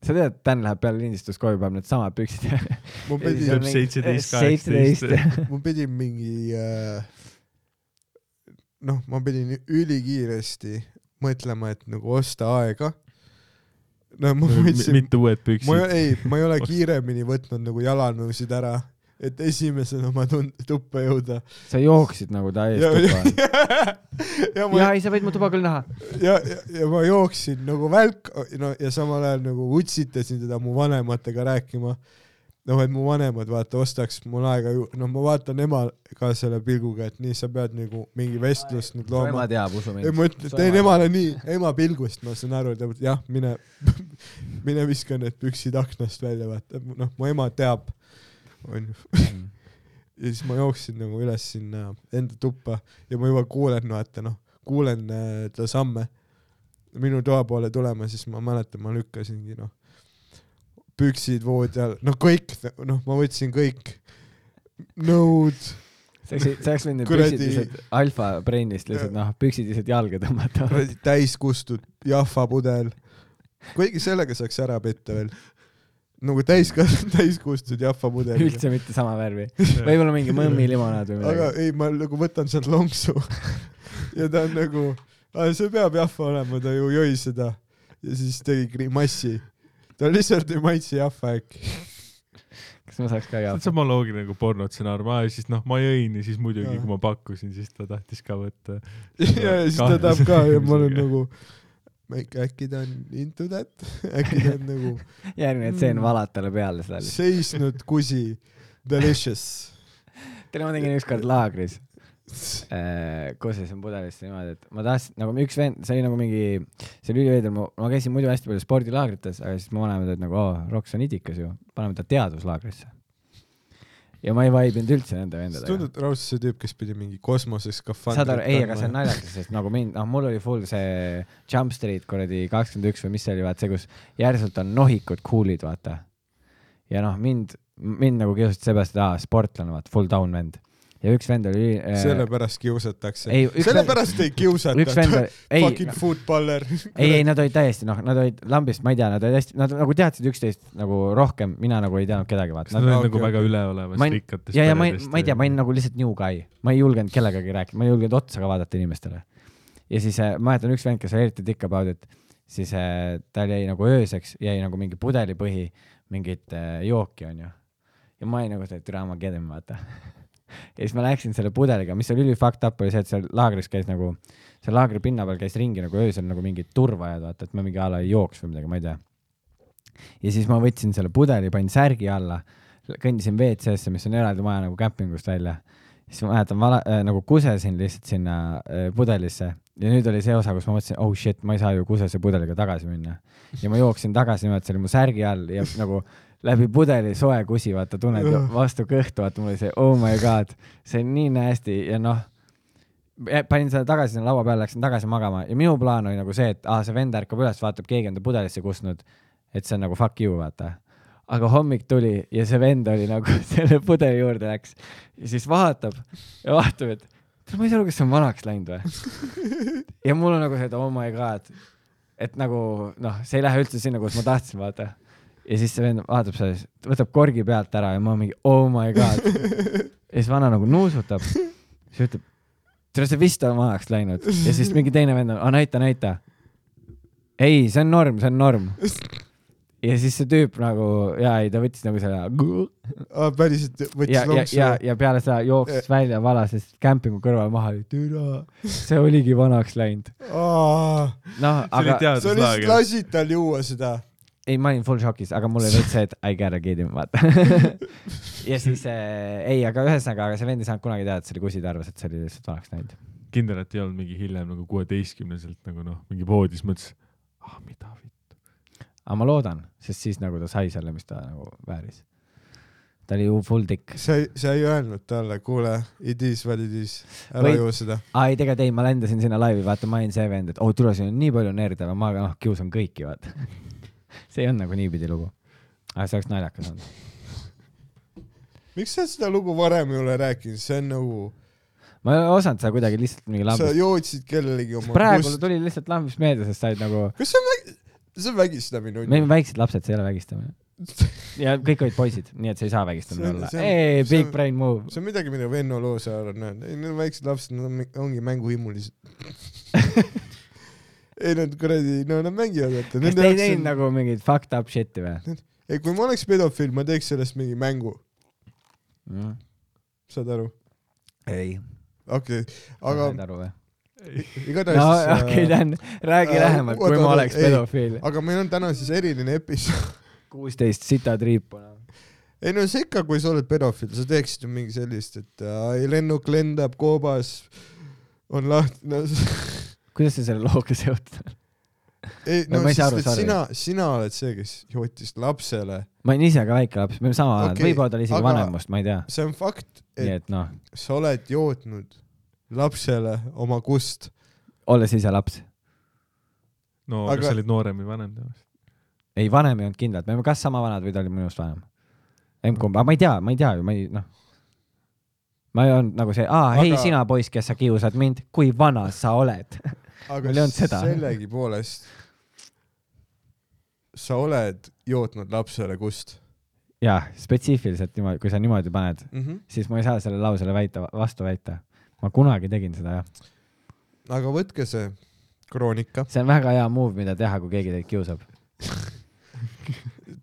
Speaker 4: sa tead , et Dan läheb peale lindistuskoju , paneb needsamad püksid .
Speaker 3: ma
Speaker 5: siis on
Speaker 3: pidin ,
Speaker 5: mingi- 17, 18. .
Speaker 3: ma pidin mingi äh, , noh , ma pidin ülikiiresti mõtlema , et nagu osta aega . no ma võtsin ,
Speaker 5: mitte
Speaker 3: ma
Speaker 5: uued
Speaker 3: ei ,
Speaker 5: püksid .
Speaker 3: ei , ma ei ole kiiremini võtnud nagu jalanõusid ära , et esimesena ma tund- , tuppa jõuda .
Speaker 4: sa jooksid nagu
Speaker 3: ja ,
Speaker 4: täiesti
Speaker 3: ja
Speaker 4: tuppa .,
Speaker 3: ja ma
Speaker 4: jaa , ei , sa võid mu tuba küll näha .
Speaker 3: ja , ja , ja ma jooksin nagu välk , no ja samal ajal nagu utsitasin teda mu vanematega rääkima . noh , et mu vanemad vaata ostaks mul aega ju , no ma vaatan ema ka selle pilguga , et nii sa pead nagu mingi vestlust nüüd
Speaker 4: su ema
Speaker 3: looma .
Speaker 4: teab , usu
Speaker 3: ei
Speaker 4: mind .
Speaker 3: ma ütlen ,
Speaker 4: su
Speaker 3: teen
Speaker 4: ema-
Speaker 3: emale nii , ema pilgust ma saan aru , ta ütleb jah , mine , mine viska need püksid aknast välja , vaata noh , mu ema teab , onju . ja siis ma jooksin nagu üles sinna enda tuppa ja ma juba kuulen , vaata noh , kuulen äh, ta samme minu toa poole tulema , siis ma mäletan , ma lükkasingi noh , püksid voodi all , no kõik , noh , ma võtsin kõik nõud ,
Speaker 4: sa oleks , sa oleks võinud need
Speaker 3: Kuradi-
Speaker 4: püksid lihtsalt alfa brennist lihtsalt noh , püksid lihtsalt jalga tõmmata .
Speaker 3: kuradi täiskustud jahvapudel , kuigi sellega saaks ära petta veel . nagu täis , täiskustud jahvapudel .
Speaker 4: üldse mitte sama värvi . võib-olla mingi mõmmi limonaad või
Speaker 3: aga
Speaker 4: midagi .
Speaker 3: ei , ma nagu võtan sealt lonksu ja ta on nagu , see peab jahva olema , ta ju jõi seda ja siis tegi grimassi . ta lihtsalt ei maitse jahva äkki .
Speaker 4: kas ma saaks ka
Speaker 5: see
Speaker 4: jah
Speaker 5: on ? sama loogiline kui pornotsenaarium , aa ja siis noh , ma jõin ja siis muidugi ,
Speaker 3: Jaa.
Speaker 5: kui ma pakkusin , siis ta tahtis ka võtta .
Speaker 3: ja ja siis ta tahab ka ja ma olen nagu , äkki ta on into that , äkki ta on nagu
Speaker 4: järgmine tseen valad talle peale seda lihtsalt .
Speaker 3: seisnud kusi , delicious .
Speaker 4: tead , ma tegin ükskord laagris . kusesin pudelisse niimoodi , et ma tahtsin nagu üks vend , see oli nagu mingi , see oli üliveider , ma , ma käisin muidu hästi palju spordilaagrites , aga siis mu vanemad olid nagu , oo , Roks on idikas ju , paneme ta teaduslaagrisse . ja ma ei vaibinud üldse nende
Speaker 3: sa
Speaker 4: vendadega .
Speaker 3: tundud raudselt see tüüp , kes pidi mingi kosmoses skafandrit
Speaker 4: saad aru , ei , aga see on naljakas , sest nagu mind , noh , mul oli full see Jump Street kuradi kakskümmend üks või mis see oli , vaat see , kus järsult on nohikud kuulid , vaata . ja noh , mind , mind nagu kiusati seepärast , et aa , sportlane , vaat full down vend . ja üks vend oli üli-
Speaker 3: sellepärast kiusatakse
Speaker 4: Ei, . üks
Speaker 3: sellepärast ei
Speaker 4: üks vend
Speaker 3: kiusata .
Speaker 4: oli , ei noh,
Speaker 3: Fucking , footballer .
Speaker 4: ei , ei nad olid täiesti noh , nad olid lambist , ma ei tea , nad olid hästi , nad nagu teadsid üksteist nagu rohkem , mina nagu ei teadnud kedagi ,
Speaker 5: kas
Speaker 4: vaata .
Speaker 5: nad
Speaker 3: Nad-
Speaker 5: olid nagu
Speaker 3: okei,
Speaker 5: väga
Speaker 3: okei.
Speaker 4: Ma
Speaker 5: üleolevast
Speaker 4: ei-
Speaker 5: rikkatest
Speaker 4: ja , ja ma ei , ma ei tea , ma olin nagu lihtsalt new guy , ma ei julgenud kellegagi rääkida , ma ei julgenud otsa ka vaadata inimestele . ja siis äh, ma mäletan üks vend , kes oli eriti tikk about it , siis äh, tal jäi nagu ööseks , jäi nagu mingi pudelipõhi mingit äh, jooki , onju . ja ma olin nagu see türa , ma kedin , vaata . ja siis ma läksin selle pudeliga , mis oli üli fucked up , oli see , et seal laagris käis nagu , seal laagri pinna peal käis ringi nagu öösel nagu mingid turvajad , vaata , et ma mingi a la ei jooks või midagi , ma ei tea . ja siis ma võtsin selle pudeli , panin särgi alla , kõndisin WC-sse , mis on eraldi maja nagu kämpingust välja , siis ma mäletan , vala- äh, , nagu kusesin lihtsalt sinna äh, pudelisse ja nüüd oli see osa , kus ma mõtlesin , oh shit , ma ei saa ju kusese pudeliga tagasi minna . ja ma jooksin tagasi , nimelt see oli mu särgi all ja nagu läbi pudeli soe kusi , vaata , tunned ju vastu kõhtu , vaata , mul oli see oh my god , see on nii nasty ja noh , panin selle tagasi sinna laua peale , läksin tagasi magama ja minu plaan oli nagu see , et aa , see vend ärkab üles , vaatab , keegi on ta pudelisse kustnud , et see on nagu fuck you , vaata aga hommik tuli ja see vend oli nagu selle pudeli juurde läks ja siis vaatab ja vaatab , et "Tead, ma ei saa aru , kas see on vanaks läinud või . ja mul on nagu see , et oh my god , et nagu noh , see ei lähe üldse sinna , kus ma tahtsin , vaata . ja siis see vend vaatab seda , võtab korgi pealt ära ja ma mingi oh my god . ja siis vana nagu nuusutab , siis ütleb , tead see vist on vanaks läinud ja siis mingi teine vend on , aa näita , näita . ei , see on norm , see on norm ja siis see tüüp nagu ja ei , ta võttis nagu selle
Speaker 3: Ah, päriselt
Speaker 4: ja ,
Speaker 3: võttis
Speaker 4: ja , ja
Speaker 3: lonksu .,
Speaker 4: ja peale seda jooksis välja , valas kämpingu kõrval maha , türa , see oligi vanaks läinud . noh ,
Speaker 5: see oli
Speaker 4: aga
Speaker 3: sa lihtsalt
Speaker 5: teaduslaager .
Speaker 3: lasid tal juua seda .
Speaker 4: ei , ma olin full šokis , aga mul oli veits see , et I gotta get him , vaata . ja siis äh, ei , aga ühesõnaga , aga see vend ei saanud kunagi teada , et see oli kusi , ta arvas , et see oli lihtsalt vanaks läinud .
Speaker 5: kindel , et ei olnud mingi hiljem nagu kuueteistkümneselt nagu noh , mingi voodis mõtles , ah mida vittu .
Speaker 4: aga ma loodan , sest siis nagu ta sai selle , mis ta nagu vääris . ta oli ju full dick .
Speaker 3: sa ei , sa ei öelnud talle , kuule , it is what it is , ära
Speaker 4: Või-
Speaker 3: joo seda .
Speaker 4: aa ei , tegelikult ei , ma lendasin sinna laivi , vaata , ma olin see vend , et oo , tule , siin on nii palju nerde , aga ma noh , kiusan kõiki , vaata . see ei olnud nagu niipidi lugu . aga see oleks naljakas olnud .
Speaker 3: miks sa seda lugu varem ei ole rääkinud , see on nagu ,
Speaker 4: ma ei osanud seda kuidagi lihtsalt mingi
Speaker 3: sa
Speaker 4: lambist ,
Speaker 3: jootsid kellelegi oma
Speaker 4: praegu
Speaker 3: kust-
Speaker 4: tuli lihtsalt lambist meelde , sest sa olid nagu ,
Speaker 3: kas see on vägi- , see on vägistamine
Speaker 4: me
Speaker 3: on ju ?
Speaker 4: olime väiksed lapsed , see ei ole vägistamine . ja kõik olid poisid , nii et see ei saa
Speaker 3: See
Speaker 4: vägistamine
Speaker 3: on-
Speaker 4: olla .
Speaker 3: see on-
Speaker 4: ei ,
Speaker 3: see
Speaker 4: big
Speaker 3: on-
Speaker 4: brain move .
Speaker 3: see on midagi , mida Venno Loosaar on öelnud , ei need on väiksed lapsed , nad on, mi- ongi mänguhimulised . ei nad kuradi , no nad mängivad , vaata .
Speaker 4: kas te ei teinud nagu mingit fucked up shit'i või ?
Speaker 3: ei , kui ma oleks pedofiil , ma teeks sellest mingi mängu , saad aru ?
Speaker 4: ei .
Speaker 3: okei okay. , aga
Speaker 4: saad aru või ?
Speaker 3: igatahes
Speaker 4: no
Speaker 3: äh,
Speaker 4: okei , Dan , räägi
Speaker 3: äh,
Speaker 4: lähemalt , kui
Speaker 3: oota,
Speaker 4: ma
Speaker 3: oota,
Speaker 4: oleks
Speaker 3: ei.
Speaker 4: pedofiil .
Speaker 3: aga meil on täna siis eriline episood .
Speaker 4: kuusteist sita triipu , noh .
Speaker 3: ei no see ikka , kui sa oled pedofiil , sa teeksid ju mingi sellist , et äh, lennuk lendab koobas , on lahti no, .
Speaker 4: kuidas see selle looga seotud on ?
Speaker 3: ei
Speaker 4: No
Speaker 3: no, ,
Speaker 4: ma
Speaker 3: no
Speaker 4: ei saa
Speaker 3: sest
Speaker 4: aru,
Speaker 3: et
Speaker 4: sorry.
Speaker 3: sina , sina oled see , kes jootis lapsele ,
Speaker 4: ma olin ise ka väike laps , me olime sama vanad okay, ,
Speaker 3: Okei,
Speaker 4: võib-olla ta oli isegi aga...
Speaker 3: aga-
Speaker 4: vanem must , ma ei tea .
Speaker 3: see on fakt ,
Speaker 4: nii
Speaker 3: et
Speaker 4: et noh ,
Speaker 3: sa oled jootnud lapsele oma kust .
Speaker 4: olles ise laps .
Speaker 5: no aga...
Speaker 3: Aga-
Speaker 5: kas sa olid noorem või vanem temast ?
Speaker 4: ei , vanem ei olnud kindlalt , me olime kas sama vanad või ta oli minust vanem . M-kumb , aga ma ei tea , ma ei tea ju , ma ei noh . ma ei olnud nagu see , aa ,
Speaker 3: Aga-
Speaker 4: hei sina poiss , kes sa kiusad mind , kui vana sa oled .
Speaker 3: aga
Speaker 4: Mul ei olnud seda.
Speaker 3: sellegipoolest sa oled jootnud lapsele kust
Speaker 4: jah , spetsiifiliselt niimoodi , kui sa niimoodi paned ,
Speaker 3: mm ? -hmm.
Speaker 4: siis ma ei saa sellele lausele väita , vastu väita . ma kunagi tegin seda , jah .
Speaker 3: aga võtke see kroonika ,
Speaker 4: see on väga hea move , mida teha , kui keegi teid kiusab .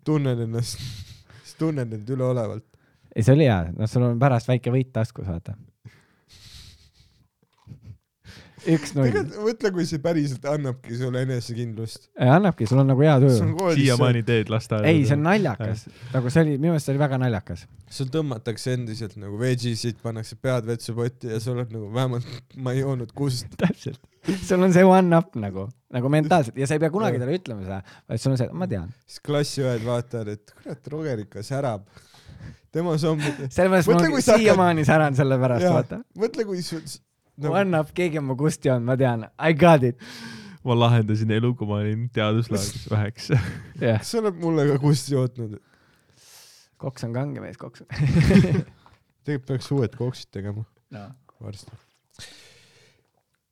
Speaker 3: tunnen ennast , tunnen end üleolevalt .
Speaker 4: ei , see oli hea , noh , sul on pärast väike võit taskus , vaata . üks-null ,
Speaker 3: tegelikult mõtle , kui see päriselt annabki sulle enesekindlust .
Speaker 4: annabki , sul on nagu hea tuju .
Speaker 3: sul
Speaker 5: siiamaani teed lasteaeda .
Speaker 4: ei , see on naljakas , nagu see oli , minu meelest see oli väga naljakas .
Speaker 3: tõmmatakse endiselt nagu vegisid , pannakse pead vetsupotti ja sa oled nagu vähemalt ma ei joonud kust .
Speaker 4: täpselt . sul on see one-up nagu , nagu mentaalselt ja sa ei pea kunagi talle ütlema seda , vaid sul on see , ma tean .
Speaker 3: siis klassiõed vaatavad , et kurat , Roger ikka särab . tema zombid .
Speaker 4: sellepärast
Speaker 3: Mõtle,
Speaker 4: ma
Speaker 3: kui sa hakkad-
Speaker 4: siiamaani säran selle pärast , vaata .
Speaker 3: mõtle , kui su- s-
Speaker 4: No.
Speaker 3: nagu-
Speaker 4: One up , keegi on mu Gusti olnud , ma tean . I got it .
Speaker 5: ma lahendasin elu , kui ma olin teaduslaagris väheks .
Speaker 4: jah ,
Speaker 3: kas sa oled mulle ka kusti jootnud ?
Speaker 4: koks on kange mees , koks .
Speaker 3: tegelikult peaks uued koksid tegema
Speaker 4: No.
Speaker 3: varsti .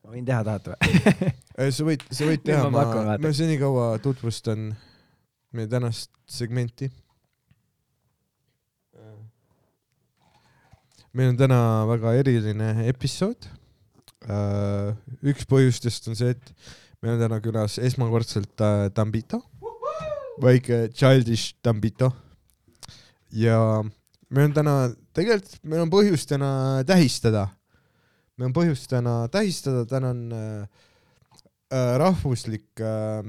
Speaker 4: ma võin teha , tahate või ?
Speaker 3: sa võid , sa võid
Speaker 4: Nüüd
Speaker 3: teha ,
Speaker 4: ma
Speaker 3: ma
Speaker 4: pakun, , vaata.
Speaker 3: ma senikaua tutvustan meie tänast segmenti . meil on täna väga eriline episood . üks põhjustest on see , et meil on täna külas esmakordselt äh, Tambito , väike childish Tambito . ja meil on täna , tegelikult meil on põhjust täna tähistada . meil on põhjust täna tähistada , täna on äh, äh, rahvuslik äh,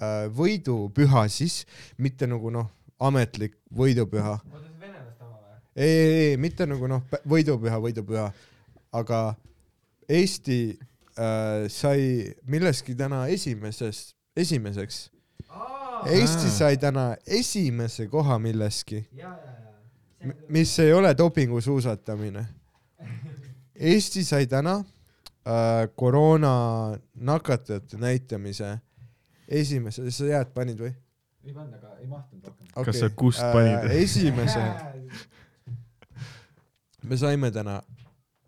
Speaker 3: äh, võidupüha siis , mitte nagu noh , ametlik võidupüha . ei , ei , ei , mitte nagu noh , võidupüha , võidupüha , aga Eesti äh, sai milleski täna esimeses , esimeseks . Eesti sai täna esimese koha milleski , mis ei ole dopingusuusatamine . Eesti sai täna äh, koroona nakatajate näitamise esimese , sa jääd panid või
Speaker 4: ei pannud , aga ei mahtunud rohkem .
Speaker 3: okay. ?
Speaker 5: sa kust panid?
Speaker 3: esimese , me saime täna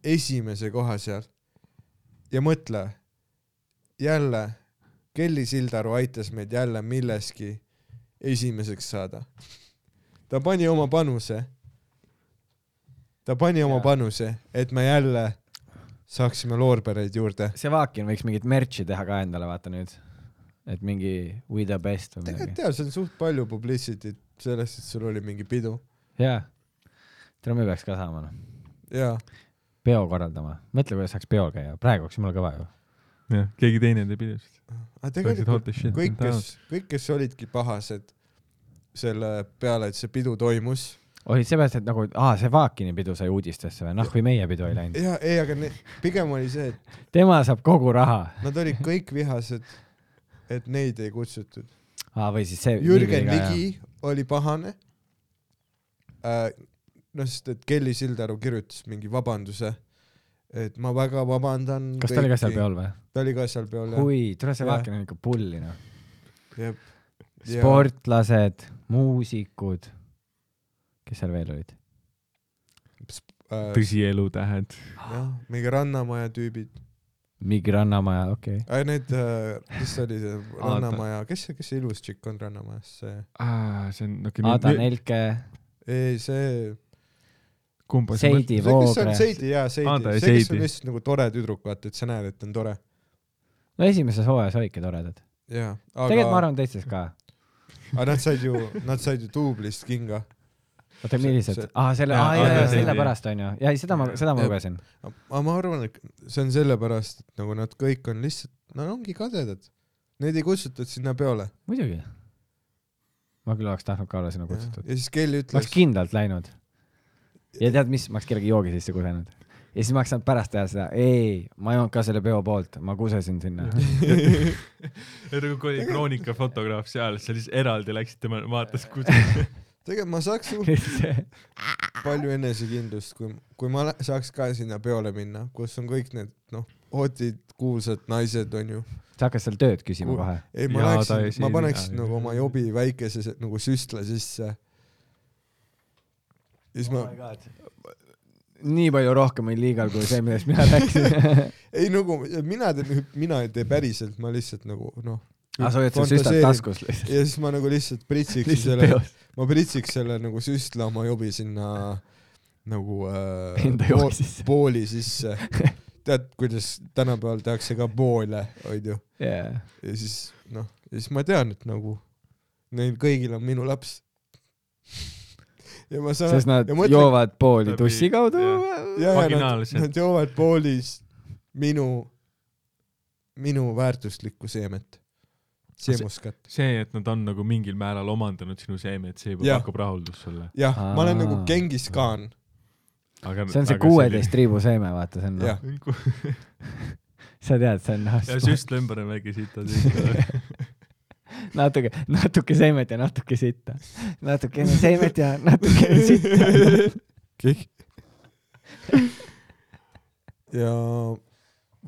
Speaker 3: esimese koha seal . ja mõtle , jälle Kelly Sildaru aitas meid jälle milleski esimeseks saada . ta pani oma panuse . ta pani oma
Speaker 4: Jaa.
Speaker 3: panuse , et me jälle saaksime loorbereid juurde .
Speaker 4: Sevakin võiks mingit merch'i teha ka endale , vaata nüüd . et mingi We the best või
Speaker 3: tegelikult
Speaker 4: midagi .
Speaker 3: jaa , see on suht palju publicity't sellest , et sul oli mingi pidu
Speaker 4: jaa . tead , me peaks ka saama , noh .
Speaker 3: ja
Speaker 4: peo korraldama . mõtle , kuidas saaks peol käia . praegu oleks jumala kõva ju .
Speaker 5: jah , keegi teine teeb ilusti .
Speaker 3: aga tegelikult kõik ,
Speaker 5: kes .
Speaker 3: kes , kõik , kes olidki pahased selle peale , et see pidu toimus
Speaker 4: olid seepärast , et nagu , aa , Sevakini pidu sai uudistesse või ? noh , kui meie pidu ei läinud .
Speaker 3: ja ei , aga ne, pigem oli see , et
Speaker 4: tema saab kogu raha .
Speaker 3: nad olid kõik vihased , et neid ei kutsutud .
Speaker 4: aa , või siis see .
Speaker 3: Jürgen Ligi oli pahane äh, . noh , sest et Kelly Sildaru kirjutas mingi vabanduse , et ma väga vabandan .
Speaker 4: kas ta oli ka seal ? peol või ?
Speaker 3: ta oli ka seal peol jah .
Speaker 4: oi , tule Sevakin on ikka pulli noh .
Speaker 3: jah .
Speaker 4: sportlased , muusikud , kes seal veel olid ?
Speaker 3: Äh,
Speaker 5: tõsielu tähed .
Speaker 3: jah , mingi Rannamaja tüübid .
Speaker 4: mingi rannamaja , okei okay. .
Speaker 3: ei need , mis see oli see
Speaker 5: ta-
Speaker 3: Rannamaja , kes see , kes see ilus tšikk on Rannamajas , see ,
Speaker 5: see on ,
Speaker 4: Ada
Speaker 5: okei .
Speaker 4: Nelke ,
Speaker 3: ei see ,
Speaker 5: kumba sa
Speaker 3: see ,
Speaker 4: Seidi
Speaker 5: mõtled ?
Speaker 3: kes on
Speaker 4: Voogre .
Speaker 3: Seidi , jaa
Speaker 5: Aa,
Speaker 3: Seidi
Speaker 5: ta
Speaker 3: see ,
Speaker 5: oli ,
Speaker 3: kes on
Speaker 5: Seidi.
Speaker 3: lihtsalt nagu tore tüdruk , vaata , et sa näed , et ta on tore .
Speaker 4: no esimeses hooajas olidki toredad .
Speaker 3: jaa ,
Speaker 4: tegelikult ma
Speaker 3: aga ,
Speaker 4: arvan teistes ka .
Speaker 3: aga nad said ju , nad said ju duublist kinga .
Speaker 4: oota ,
Speaker 3: See-
Speaker 4: millised
Speaker 3: see- ?
Speaker 4: aa , selle ,
Speaker 5: Jaa,
Speaker 4: aa jaa
Speaker 5: Ada ,
Speaker 4: jaa ,
Speaker 5: Seidi.
Speaker 4: sellepärast onju . jaa , ei seda ma , seda ma
Speaker 3: Jep.
Speaker 4: lugesin .
Speaker 3: aga ma arvan , et see on sellepärast , et nagu nad kõik on lihtsalt , nad ongi kadedad . Neid ei kutsutud sinna peole .
Speaker 4: muidugi . ma küll oleks tahtnud ka olla sinna
Speaker 3: ja
Speaker 4: kutsutud .
Speaker 3: ja siis Kelly
Speaker 4: ma oleks
Speaker 3: ütles ,
Speaker 4: kindlalt läinud . ja tead mis , ma oleks kellegi joogi sisse kusenud . ja siis ma oleks saanud pärast teha seda , ei , ma ei olnud ka selle peo poolt , ma kusesin sinna .
Speaker 5: nagu kui oli Kroonika fotograaf seal , sa siis eraldi läksid tema , vaatas , kus .
Speaker 3: tegelikult ma saaks suht palju enesekindlust , kui , kui ma lä- saaks ka sinna peole minna , kus on kõik need noh , otid , kuulsad naised onju .
Speaker 4: sa hakkasid seal tööd küsima
Speaker 3: Kuul-
Speaker 4: kohe .
Speaker 3: ei , ma
Speaker 5: Jaa, ta ei
Speaker 3: läheksin , ma
Speaker 5: siin-
Speaker 3: paneks
Speaker 5: jaa,
Speaker 3: nagu oma jobi väikese se- nagu süstla sisse . ja siis ma ,
Speaker 4: nii palju rohkem oli liigal kui see , millest mina rääkisin .
Speaker 3: ei nagu mina teen , mina ei tee päriselt , ma lihtsalt nagu noh .
Speaker 4: aga Ah, sa hoiad seal süstad . taskus lihtsalt .
Speaker 3: ja siis ma nagu lihtsalt pritsiks
Speaker 4: lihtsalt
Speaker 3: selle ,
Speaker 4: peos .
Speaker 3: ma pritsiks selle nagu süstla oma jobi sinna nagu äh,
Speaker 4: Enda
Speaker 3: po-
Speaker 4: joogi sisse.
Speaker 3: pooli sisse . tead , kuidas tänapäeval tehakse ka poole , onju .
Speaker 4: jaa .
Speaker 3: ja siis noh , ja siis ma tean , et nagu neil kõigil on minu laps . ja ma saan
Speaker 4: sest nad
Speaker 3: ja mõtle-
Speaker 4: joovad pooli
Speaker 5: Läbi-
Speaker 4: tussi kaudu .
Speaker 3: ja, ja nad,
Speaker 5: vaginaalselt.
Speaker 3: nad joovad poolis minu , minu väärtuslikku seemet , seemuskat .
Speaker 5: see , et nad on nagu mingil määral omandanud sinu seemed , see juba
Speaker 3: Jah.
Speaker 5: pakub rahuldust sulle .
Speaker 3: jah , ma olen nagu
Speaker 4: Aa.
Speaker 3: Genghis Khan ,
Speaker 4: see on see kuueteist . triibu seeme , vaata , see on
Speaker 3: jah
Speaker 4: noh ,. sa tead , see on
Speaker 5: ja
Speaker 4: noh ,
Speaker 5: süstla ümber on väike sita tüüp .
Speaker 4: natuke , natuke seemet ja natuke sitta . natukene seemet ja natukene sitta .
Speaker 3: kih . ja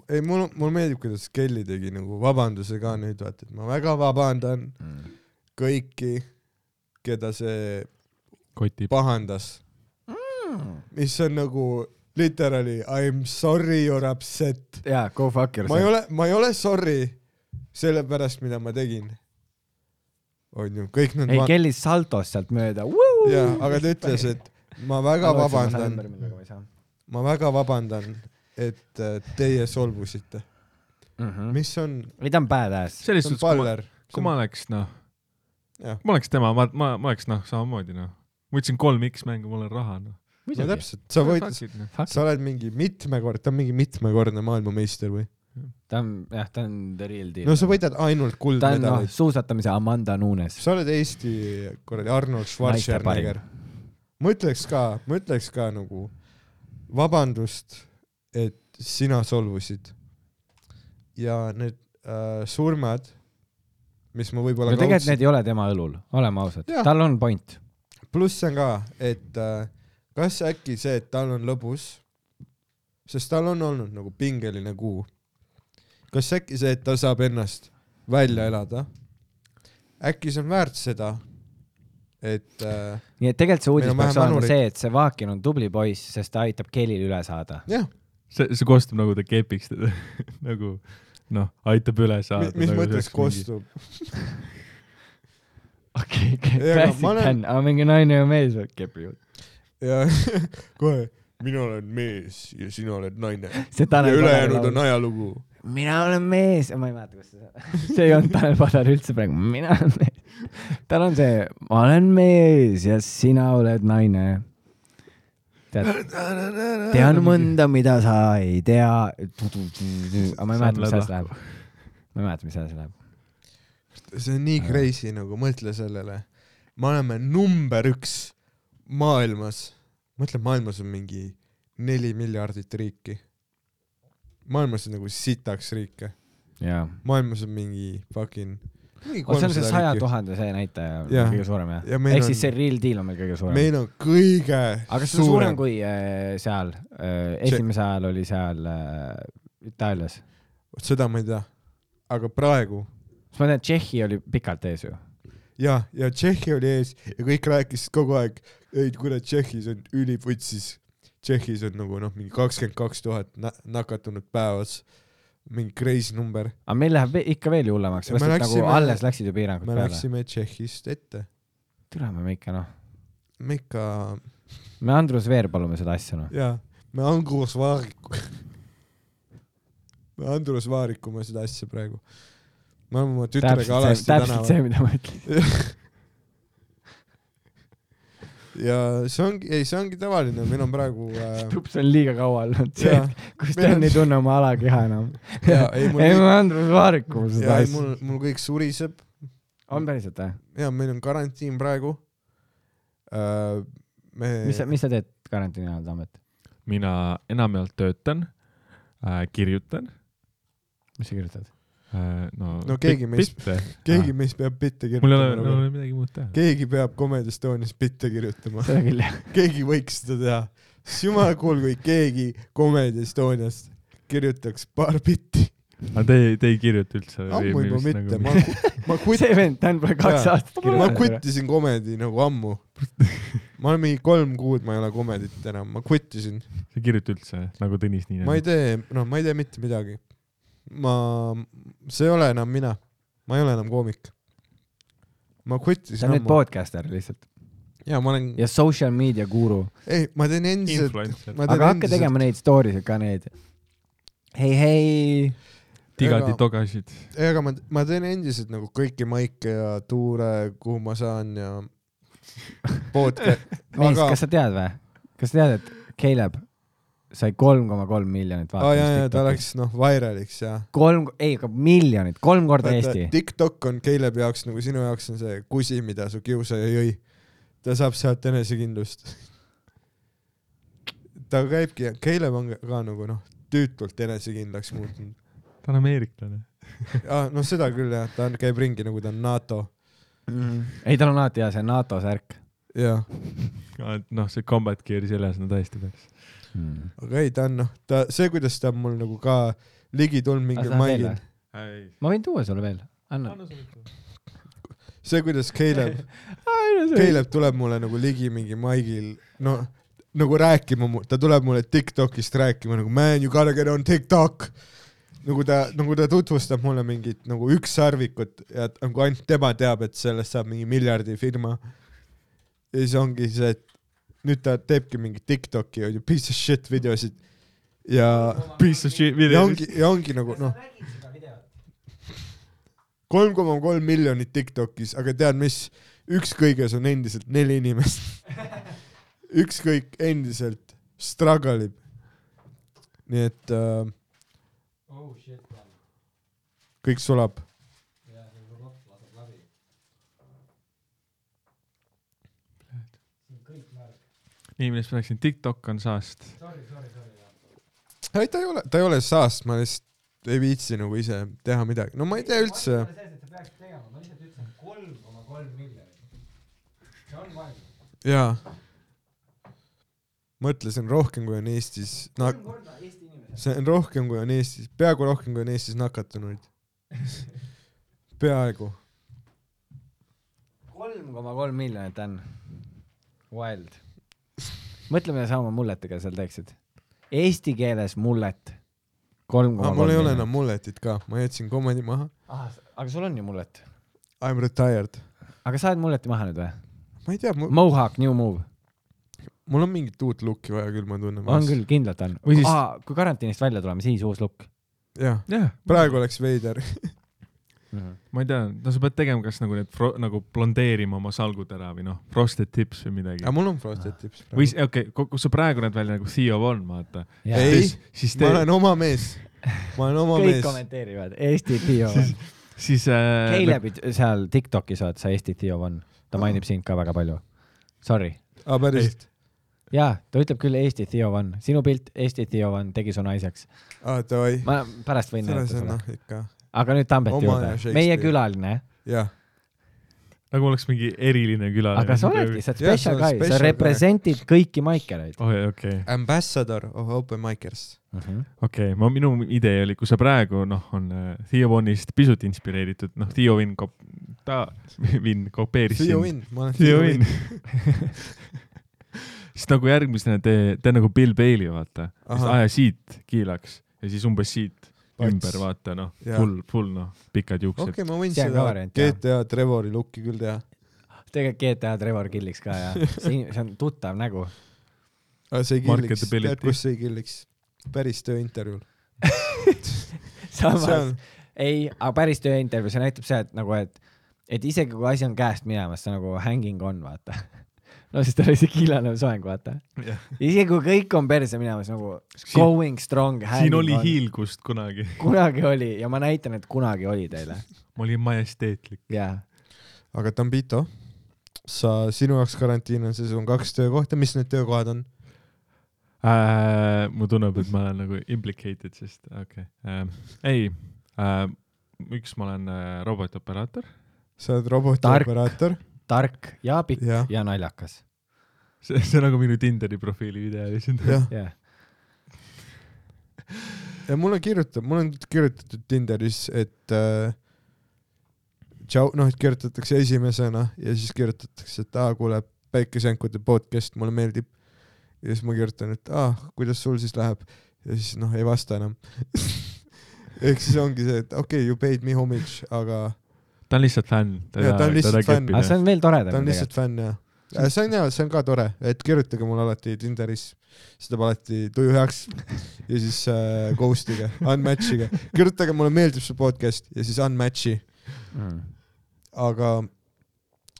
Speaker 3: ei , mul , mulle meeldib , kuidas Kelly tegi nagu vabanduse ka nüüd , vaata , et ma väga vabandan kõiki , keda see
Speaker 5: kotib .
Speaker 3: pahandas . mis on nagu literally I am sorry you are upset .
Speaker 4: jaa , go fuck
Speaker 3: ma ei
Speaker 4: yourself .
Speaker 3: ole , ma ei ole sorry selle pärast , mida ma tegin . onju , kõik need
Speaker 4: ei , Kelly saltos sealt mööda .
Speaker 3: jaa , aga ta ütles , et ma väga vabandan , ma väga vabandan , et äh, teie solvusite . mis on ,
Speaker 4: ei , ta on badass .
Speaker 5: selles
Speaker 3: see on
Speaker 5: suhtes , kui ma ,
Speaker 3: baller .
Speaker 5: kui ma oleks noh ,
Speaker 3: Jah.
Speaker 5: kui ma oleks tema , ma , ma , ma oleks noh , samamoodi noh . ma võtsin kolm X mängu , mul on raha noh . noh.
Speaker 3: no täpselt , sa võid , sa oled mingi mitmekord , ta on mingi mitmekordne maailmameister või ?
Speaker 4: ta on , jah , ta on the real deal .
Speaker 3: no sa võidad ainult
Speaker 4: ta on noh ,
Speaker 3: kuldmedalit .
Speaker 4: suusatamise Amanda Nunes .
Speaker 3: sa oled Eesti kuradi Arnold Schwarzenegger . ma ütleks ka , ma ütleks ka nagu vabandust , et sina solvusid . ja need äh, surmad , mis ma
Speaker 4: no
Speaker 3: võib-olla
Speaker 4: tegelikult
Speaker 3: kaudselt
Speaker 4: need ei ole tema õlul , oleme ausad
Speaker 3: Jah. .
Speaker 4: tal on point .
Speaker 3: pluss on ka , et äh, kas äkki see , et tal on lõbus , sest tal on olnud nagu pingeline kuu . kas äkki see , et ta saab ennast välja elada , äkki see on väärt seda , et äh,
Speaker 4: nii et tegelikult see uudis
Speaker 3: Meil on
Speaker 4: peaks
Speaker 3: vähem
Speaker 4: olema
Speaker 3: vanureid.
Speaker 4: see , et see Vaakin on tubli poiss , sest ta aitab Kellil üle saada .
Speaker 3: jah ,
Speaker 5: see , see kostub nagu ta kepiks teda nagu noh , aitab üle saada . nagu
Speaker 3: mis mõttes ? kostub ,
Speaker 4: okei ,
Speaker 3: Ei, aga ma
Speaker 4: klassik
Speaker 3: olen-
Speaker 4: on , aga mingi naine ja mees võib kepi juurde .
Speaker 3: ja kohe , mina olen mees ja sina oled naine .
Speaker 4: see
Speaker 3: ja
Speaker 4: Tanel
Speaker 3: ülejäänud
Speaker 4: Padar
Speaker 3: on
Speaker 4: laul .
Speaker 3: ajalugu .
Speaker 4: mina olen mees , ma ei mäleta , kas see , see ei olnud Tanel Padar üldse praegu , mina olen mees . tal on see , ma olen mees ja sina oled naine . tead ,
Speaker 3: Äh.
Speaker 4: tean mõnda , mida sa ei tea . aga ma ei mäleta , mis
Speaker 5: Läba.
Speaker 4: selles läheb . ma ei mäleta , mis selles läheb .
Speaker 3: see on nii crazy nagu , mõtle sellele . me oleme number üks maailmas . mõtle , maailmas on mingi neli miljardit riiki . maailmas on nagu sitaks riike .
Speaker 4: jaa .
Speaker 3: maailmas on mingi fucking .
Speaker 4: see on see saja . tuhande see näitaja
Speaker 3: Jah.
Speaker 4: kõige suurem jah
Speaker 3: Ja ? meil
Speaker 4: ehk
Speaker 3: on-
Speaker 4: siis see real deal on meil kõige suurem .
Speaker 3: meil on kõige
Speaker 4: aga see on suurem
Speaker 3: suurem .
Speaker 4: kui äh, seal äh, , esimese ajal oli seal äh, Itaalias .
Speaker 3: seda ma ei tea . aga praegu
Speaker 4: sest ma tean , et Tšehhi oli pikalt ees ju .
Speaker 3: ja , ja Tšehhi oli ees ja kõik rääkisid kogu aeg , ei kurat , Tšehhis on üliputsis . Tšehhis on nagu noh , mingi kakskümmend kaks tuhat nakatunut päevas . mingi crazy number .
Speaker 4: aga meil läheb ve- ikka veel ju hullemaks ,
Speaker 3: Ja me
Speaker 4: sest et nagu
Speaker 3: läksime-
Speaker 4: alles läksid ju piirangud
Speaker 3: me
Speaker 4: peale .
Speaker 3: läksime Tšehhist ette .
Speaker 4: tule me ikka noh ,
Speaker 3: me ikka ,
Speaker 4: me Andrus Veer palume seda asja noh .
Speaker 3: jaa , me Andrus Vaariku , me Andrus Vaarikume seda asja praegu . me oleme oma tütrega
Speaker 4: täpselt
Speaker 3: alasti
Speaker 4: see , täpselt
Speaker 3: tänaval
Speaker 4: see , mida ma ütlesin .
Speaker 3: ja see ongi , ei , see ongi tavaline , meil on praegu äh,
Speaker 4: tups on liiga kaua olnud see
Speaker 3: jaa ,
Speaker 4: kus
Speaker 3: meil
Speaker 4: Dan
Speaker 3: on-
Speaker 4: ei tunne oma alakeha enam .
Speaker 3: jaa , ei mul
Speaker 4: ei ,
Speaker 3: kõik ,
Speaker 4: ma Andrus Vaarik kuulsin seda
Speaker 3: jaa , ei
Speaker 4: asja .
Speaker 3: mul , mul kõik suriseb
Speaker 4: on päriselt või ?
Speaker 3: ja meil on karantiin praegu äh, . me ,
Speaker 4: mis sa , mis sa teed karantiini ajal , Tammet ?
Speaker 5: mina enamjaolt töötan äh, , kirjutan
Speaker 4: mis sa kirjutad ?
Speaker 5: äh, . no,
Speaker 3: No keegi meist- . keegi
Speaker 5: Ah.
Speaker 3: meist nagu peab bitte
Speaker 5: mul ei ole , mul ei
Speaker 3: kirjutama .
Speaker 5: ole midagi muud teha .
Speaker 3: keegi peab Comedy Estonias bitte kirjutama .
Speaker 4: seda küll jah .
Speaker 3: keegi võiks seda teha . siis jumal kuulgu , kui keegi Comedy Estoniast kirjutaks paar bitti .
Speaker 5: aga te , te ei kirjuta üldse ? nagu-
Speaker 3: ammu juba mitte , ma , ma
Speaker 4: see
Speaker 3: kut- ,
Speaker 4: vend , Dan pole kaks
Speaker 3: Jaa.
Speaker 4: aastat
Speaker 3: ma
Speaker 4: kirjutanud .
Speaker 3: kuttisin Comedy nagu ammu . ma olen mingi kolm kuud , ma ei ole Comedyt enam , ma kuttisin .
Speaker 5: sa ei kirjuta üldse nagu Tõnis Niine
Speaker 3: ma ei tee , noh , ma ei tee mitte midagi . ma , see ei ole enam mina . ma ei ole enam koomik . ma
Speaker 4: ta on
Speaker 3: kuttisin
Speaker 4: nüüd
Speaker 3: ammu .
Speaker 4: podcaster lihtsalt
Speaker 3: ja ma olen ,
Speaker 4: ja social media guru ,
Speaker 3: ei , ma teen endiselt ,
Speaker 5: influencer
Speaker 3: ma teen
Speaker 4: aga hakka
Speaker 3: endiselt ,
Speaker 4: tegema neid story sid ka neid . hei , hei .
Speaker 5: tigadi
Speaker 3: ega-
Speaker 5: togasid .
Speaker 3: ega ma , ma teen endiselt nagu kõiki maike ja tuure , kuhu ma saan ja podcast ,
Speaker 4: mees
Speaker 3: aga
Speaker 4: aga... , kas sa tead või ? kas sa tead , et Caleb sai kolm koma kolm miljonit
Speaker 3: aa jaa , jaa , ta
Speaker 4: vaatamist ?
Speaker 3: läks noh , vairaliks ja .
Speaker 4: kolm , ei , aga miljonit , kolm korda Eesti .
Speaker 3: TikTok on Caleb jaoks nagu sinu jaoks on see kusi , mida su kiusaja jõi . ta saab sealt enesekindlust . ta käibki , Caleb on ka nagu noh , tüütult enesekindlaks muutunud .
Speaker 5: ta on ameeriklane .
Speaker 3: aa , no seda küll jah , ta on , käib ringi nagu ta on NATO .
Speaker 4: Mhm. ei , tal on alati hea see NATO särk
Speaker 3: jah ,
Speaker 5: noh , see combat gear seljas , no tõesti peaks .
Speaker 4: mm. .
Speaker 3: aga ei , ta on noh , ta , see , kuidas ta on mul nagu ka ligi tulnud mingil mail ,
Speaker 4: ma võin tuua sulle veel , anna .
Speaker 3: see , kuidas Caleb , Caleb tuleb mulle nagu ligi mingi maigil , no nagu rääkima , ta tuleb mulle Tiktokist rääkima nagu man you gotta get on Tiktok . nagu ta , nagu ta tutvustab mulle mingit nagu ükssarvikut ja et nagu ainult tema teab , et sellest saab mingi miljardi firma . ja siis ongi see , et nüüd ta teebki mingi Tiktoki onju , piece of shit videosid ja ,
Speaker 5: Piece of shit
Speaker 3: ja
Speaker 5: video .
Speaker 3: ongi , ja ongi nagu noh , kolm koma kolm miljonit Tiktokis , aga tead mis , ükskõiges on endiselt neli inimest . ükskõik endiselt struggle ib . nii et äh, kõik sulab .
Speaker 5: nii , millest ma rääkisin , TikTok on saast .
Speaker 3: ei , ta ei ole , ta ei ole saast , ma lihtsalt ei viitsi nagu ise teha midagi , no ma ei tea üldse . jaa . mõtlesin rohkem , kui on Eestis nak- , see on rohkem , kui on Eestis , peaaegu rohkem , kui on Eestis nakatunuid . peaaegu .
Speaker 4: kolm koma kolm miljonit on . Wild . mõtle , mida sa oma mulletega seal teeksid . Eesti keeles mullet . kolm
Speaker 3: aga
Speaker 4: koma
Speaker 3: Ah, mul
Speaker 4: kolm
Speaker 3: ei ole enam . mulletit ka , ma jätsin komedi maha .
Speaker 4: Ah, aga sul on ju mullet .
Speaker 3: I m retired .
Speaker 4: aga sa oled mulleti maha nüüd või ?
Speaker 3: ma ei tea , mul ,
Speaker 4: Mohawk , new move .
Speaker 3: mul on mingit uut looki vaja küll , ma tunnen .
Speaker 4: on . küll , kindlalt on .
Speaker 5: Või siis-
Speaker 4: Aa, kui karantiinist välja tuleme , siis uus look
Speaker 3: jah ,
Speaker 5: jah ,
Speaker 3: praegu oleks veider .
Speaker 4: mm .
Speaker 3: Mhm.
Speaker 4: -hmm.
Speaker 5: ma ei tea , no sa pead tegema kas nagu need fro- , nagu blondeerima oma salgud ära või noh , frosted tips või midagi
Speaker 3: aga . mul on frosted tips
Speaker 5: või
Speaker 3: praegu .
Speaker 5: s- okei okay, , kui sa praegu näed välja nagu Theo Von , vaata .
Speaker 3: Ei,
Speaker 5: siis
Speaker 3: ma
Speaker 5: tee ,
Speaker 3: olen oma mees . ma olen oma
Speaker 4: kõik
Speaker 3: mees .
Speaker 4: kommenteerivad , Eesti Theo .
Speaker 5: siis äh, .
Speaker 4: Caleb seal Tiktokis oled sa Eesti Theo on , ta mainib sind ka väga palju . Sorry .
Speaker 3: aa , päriselt ?
Speaker 4: jaa , ta ütleb küll Eesti Theo on , sinu pilt Eesti Theo on tegi su naiseks .
Speaker 3: aa , Ah, davai .
Speaker 4: ma pärast võin
Speaker 3: selles on
Speaker 4: näidata sulle .
Speaker 3: noh , ikka .
Speaker 4: aga nüüd Tambet
Speaker 3: Oma aja
Speaker 4: juurde ,
Speaker 3: Shakespeare.
Speaker 4: meie külaline ,
Speaker 3: jah ,
Speaker 5: nagu oleks mingi eriline külaline .
Speaker 4: aga sa oledki , sa oled
Speaker 3: Jah,
Speaker 4: special
Speaker 3: sa oled
Speaker 4: guy , sa
Speaker 3: special guy.
Speaker 4: represent'id kõiki maikereid
Speaker 5: oi , okei ,
Speaker 3: ambassador of open micers .
Speaker 4: uh . -huh.
Speaker 5: okei , ma , minu idee oli , kui sa praegu noh , on äh, Theo Vonist pisut inspireeritud , noh , Theo Vinn kop- , ta , Vinn kopeeris
Speaker 3: Theo . Win , ma olen
Speaker 5: Theo Vinn . siis nagu järgmisena tee , tee nagu Bill Bailey , vaata . siis
Speaker 3: Ahah.
Speaker 5: aja siit kiilaks ja siis umbes siit
Speaker 3: Pats.
Speaker 5: Pats. ümber , vaata noh ,
Speaker 3: Jaa.
Speaker 5: full , full noh , pikad juuksed
Speaker 3: okei , ma võin
Speaker 4: See on ka
Speaker 3: seda
Speaker 4: variant, jah.
Speaker 3: GTA Trevori looki küll teha .
Speaker 4: tegelikult GTA Trevor killiks ka ja see, see on tuttav nägu .
Speaker 3: aga see ei killiks ,
Speaker 5: Marketability.
Speaker 3: tead kus see ei killiks ? päris tööintervjuul . see
Speaker 4: samas
Speaker 3: on ,
Speaker 4: ei , aga päris tööintervjuu , see näitab seda , et nagu , et , et isegi kui asi on käest minemas , see on nagu hanging on , vaata . no siis tal oli see kiilanev soeng , vaata .
Speaker 5: Jah.
Speaker 4: isegi kui kõik on perse minemas nagu
Speaker 5: Siin-
Speaker 4: going strong .
Speaker 5: siin oli . hiilgust kunagi ,
Speaker 4: kunagi oli ja ma näitan , et kunagi oli teile .
Speaker 5: ma olin majesteetlik .
Speaker 4: jaa .
Speaker 3: aga Tambito , sa , sinu jaoks karantiin on see , sul on kaks töökohta , mis need töökohad on ?
Speaker 5: äh, . mu tunneb , et ma olen nagu implicated , sest okei okay. äh, , ei äh, , üks ma olen äh, robotioperaator ,
Speaker 3: sa oled
Speaker 4: Tark.
Speaker 3: robotioperaator ,
Speaker 4: tark ja pikk ja,
Speaker 3: Jah.
Speaker 4: ja naljakas .
Speaker 5: see , see on nagu minu Tinderi profiili video lihtsalt .
Speaker 3: jah ,
Speaker 4: jah .
Speaker 3: ja mulle kirjutab , mulle on kirjutatud Tinderis , et äh, tšau , noh , et kirjutatakse esimesena ja siis kirjutatakse , et aa , kuule , päikeseänkude podcast mulle meeldib . ja siis ma kirjutan , et aa , kuidas sul siis läheb ja siis noh , ei vasta enam . ehk siis ongi see , et okei okay, , you paid me homage , aga
Speaker 5: ta on lihtsalt fänn .
Speaker 3: Jaa, ta on lihtsalt fänn. Ah,
Speaker 4: aga see on veel
Speaker 3: ta on
Speaker 4: toredam
Speaker 3: lihtsalt fänn
Speaker 4: tegelikult .
Speaker 3: ja , see on hea , see on ka tore , et kirjutage mulle alati Tinderis , see teeb alati tuju heaks ja siis äh, ghost iga , unmatch iga , kirjutage mulle meeldib su podcast ja siis unmatch'i ,
Speaker 4: Mm,
Speaker 3: aga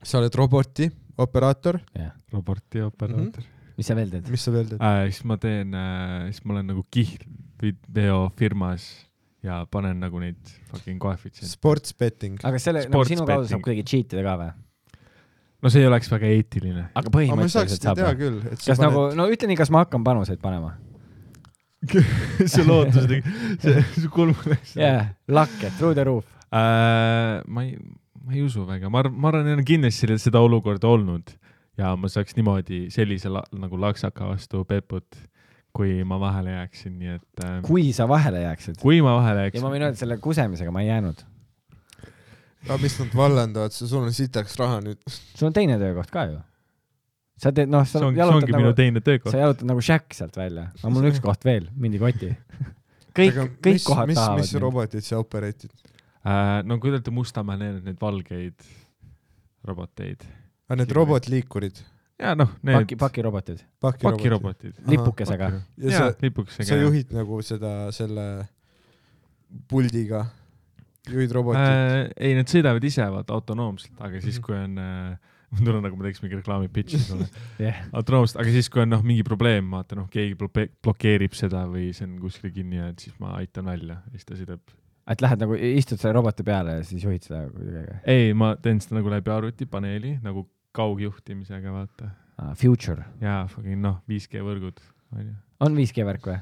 Speaker 3: sa oled roboti operaator ,
Speaker 4: jah.
Speaker 5: robotioperaator
Speaker 3: Mhm.
Speaker 5: mm .
Speaker 4: mis sa veel teed ?
Speaker 3: mis sa veel teed ?
Speaker 5: -hmm. Äh, siis ma teen äh, , siis ma olen nagu kihlveofirmas ja panen nagu neid fucking koefitsiente .
Speaker 3: sports betting ,
Speaker 4: aga selle , nagu
Speaker 5: Sports
Speaker 4: sinu kaudu saab
Speaker 5: betting.
Speaker 4: kuidagi cheat ida ka või ?
Speaker 5: no see ei oleks väga eetiline .
Speaker 3: aga ma
Speaker 4: aga
Speaker 3: saaks
Speaker 4: põhimõtteliselt
Speaker 3: seda
Speaker 4: saab
Speaker 3: teha
Speaker 4: või ?
Speaker 3: küll , et sa
Speaker 4: kas nagu
Speaker 3: paned ,,
Speaker 4: no ütle nii , kas ma hakkan panuseid panema ?
Speaker 5: see lootusega , see , see kulm läks
Speaker 4: jah , lakke , through the roof .
Speaker 5: äh, . ma ei , ma ei usu väga , ma arvan , ma arvan , neil on kindlasti selle- seda olukorda olnud ja ma saaks niimoodi sellise la, nagu laksaka vastu peput , kui ma vahele jääksin , nii et äh,
Speaker 4: kui sa vahele jääksid .
Speaker 5: kui ma
Speaker 4: ja
Speaker 5: vahele
Speaker 4: ma
Speaker 5: jääksin ,
Speaker 4: võin öelda , selle kusemisega ma ei jäänud . noh-
Speaker 3: aga mis nad vallandavad , sul on sitaks raha nüüd .
Speaker 4: sul on teine töökoht ka ju . sa teed , noh , sa
Speaker 5: see ongi , see
Speaker 4: jalutad
Speaker 5: ongi minu
Speaker 4: nagu ,
Speaker 5: teine töökoht
Speaker 4: sa . jalutad nagu Shack sealt välja . aga mul on üks koht veel , mindi kotti . kõik , kõik
Speaker 3: mis,
Speaker 4: kohad
Speaker 3: mis,
Speaker 4: tahavad
Speaker 3: mis . robotit sa operate'id ?
Speaker 5: äh, . no kui te olete Mustamäe näinud neid valgeid roboteid
Speaker 3: aga need
Speaker 5: Sihuke-
Speaker 3: robotliikurid ,
Speaker 5: ja noh , need
Speaker 4: paki , pakirobotid ,
Speaker 3: pakirobotid .
Speaker 5: pakirobotid .
Speaker 4: lipukesega .
Speaker 3: ja
Speaker 5: ja
Speaker 3: sa ,
Speaker 5: lipukesega .
Speaker 3: sa juhid nagu seda , selle puldiga , juhid robotit äh, .
Speaker 5: äh, . ei , need sõidavad ise vaata autonoomselt , aga siis ,
Speaker 4: Mhm.
Speaker 5: kui on äh, , mul tuleb nagu ma teeks mingi reklaami pitch'i sulle
Speaker 4: Jah. .
Speaker 5: autonoomselt , aga siis , kui on noh , mingi probleem , vaata noh , keegi bloke- blokeerib seda või see on kuskil kinni ja siis ma aitan välja ja siis ta sõidab .
Speaker 4: et lähed nagu , istud selle roboti peale ja siis juhid seda kuidagi .
Speaker 5: ei , ma teen seda nagu läbi arvutipaneeli nagu kaugjuhtimisega , vaata .
Speaker 4: Ah, Future ,
Speaker 5: jaa , fucking noh , 5G võrgud , onju .
Speaker 4: on 5G värk või ?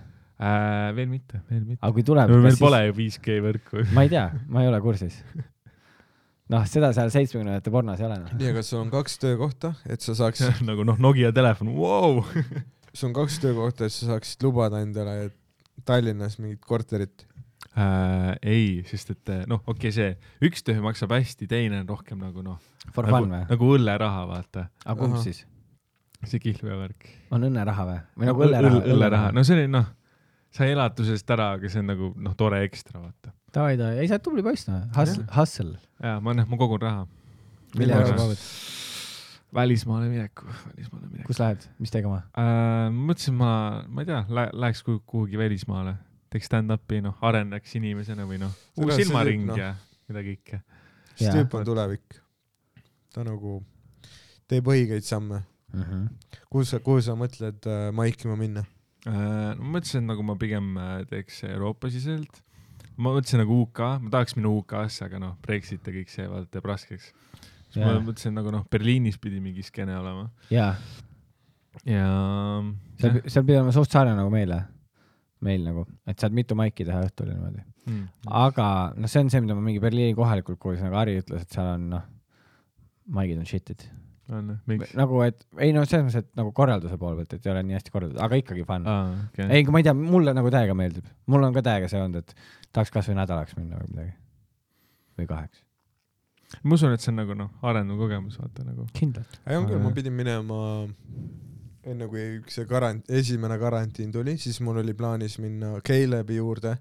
Speaker 5: veel mitte , veel mitte .
Speaker 4: aga kui tuleb ,
Speaker 5: meil
Speaker 4: kas siis
Speaker 5: pole ju 5G võrku .
Speaker 4: ma ei tea , ma ei ole kursis . noh , seda seal seitsmekümnendate pornos ei ole noh .
Speaker 3: nii , aga sul on kaks töökohta , et sa saaks ,
Speaker 5: nagu noh , Nokia telefon , vau .
Speaker 3: sul on kaks töökohta , et sa saaksid lubada endale Tallinnas mingit korterit .
Speaker 5: äh, ? ei , sest et eh, noh , okei okay, , see üks töö maksab hästi , teine on rohkem nagu noh ,
Speaker 4: For
Speaker 5: nagu,
Speaker 4: fun või ?
Speaker 5: nagu õlleraha , valte .
Speaker 4: aga kumb
Speaker 3: ahah.
Speaker 4: siis ?
Speaker 5: see kihlveovärk .
Speaker 4: on õnneraha või ? või nagu õlleraha ?
Speaker 5: õlleraha ,. no see oli noh , sa ei elatu sellest ära , aga see on nagu noh , tore ekstra , vaata .
Speaker 4: davai , davai , ei sa oled tubli poiss noh , hustle , hustle .
Speaker 5: ja ma noh , ma kogun raha .
Speaker 4: mille jaoks
Speaker 5: Milleks?
Speaker 4: koogud ?
Speaker 5: välismaale mineku , välismaale mineku .
Speaker 4: kus lähed , mis tegema ?
Speaker 5: Äh, mõtlesin , ma , ma ei tea lä , läheks kuhu- kuhugi välismaale , teeks stand-up'i , noh , areneks inimesena või noh ,
Speaker 3: Seda
Speaker 5: uus
Speaker 3: see
Speaker 5: silmaring
Speaker 3: tüüp, noh.
Speaker 5: ja midagi ikka .
Speaker 3: see
Speaker 4: Jaa.
Speaker 3: tüüp on tulevik . ta nagu teeb õigeid samme . kuhu sa , kuhu sa mõtled äh, maikima minna ?
Speaker 5: Äh, ma mõtlesin , et nagu ma pigem äh, teeks Euroopa-siseselt . ma mõtlesin nagu UK , ma tahaks minna UK-sse , aga noh , Brexit ja kõik see vaata teeb raskeks . siis yeah.
Speaker 4: Jaa.
Speaker 5: ma mõtlesin nagu noh , Berliinis pidi mingi skeene olema
Speaker 4: jaa ,
Speaker 5: ja .
Speaker 4: seal , seal pidi olema suht sarnane nagu meile , meil nagu , et saad mitu maiki teha õhtul ja niimoodi .
Speaker 5: Hmm.
Speaker 4: aga noh , see on see , mida ma mingi Berliini kohalikult kuulsin , aga Harri ütles , et seal on noh , maigid on shit'id .
Speaker 5: on jah , miks ?
Speaker 4: nagu , et ei no selles mõttes , et nagu korralduse poole pealt , et ei ole nii hästi korraldatud , aga ikkagi fun .
Speaker 5: aa , okei .
Speaker 4: ei , ma ei tea , mulle nagu täiega meeldib , mul on ka täiega see olnud , et tahaks kasvõi nädalaks minna või midagi või kaheks .
Speaker 5: ma usun , et see on nagu noh , arendav kogemus , vaata nagu .
Speaker 4: kindlalt .
Speaker 3: ei on küll , ma
Speaker 5: Aga-
Speaker 3: pidin minema enne kui see karant- , esimene karantiin tuli , siis mul oli plaanis minna Caleb'i juurde .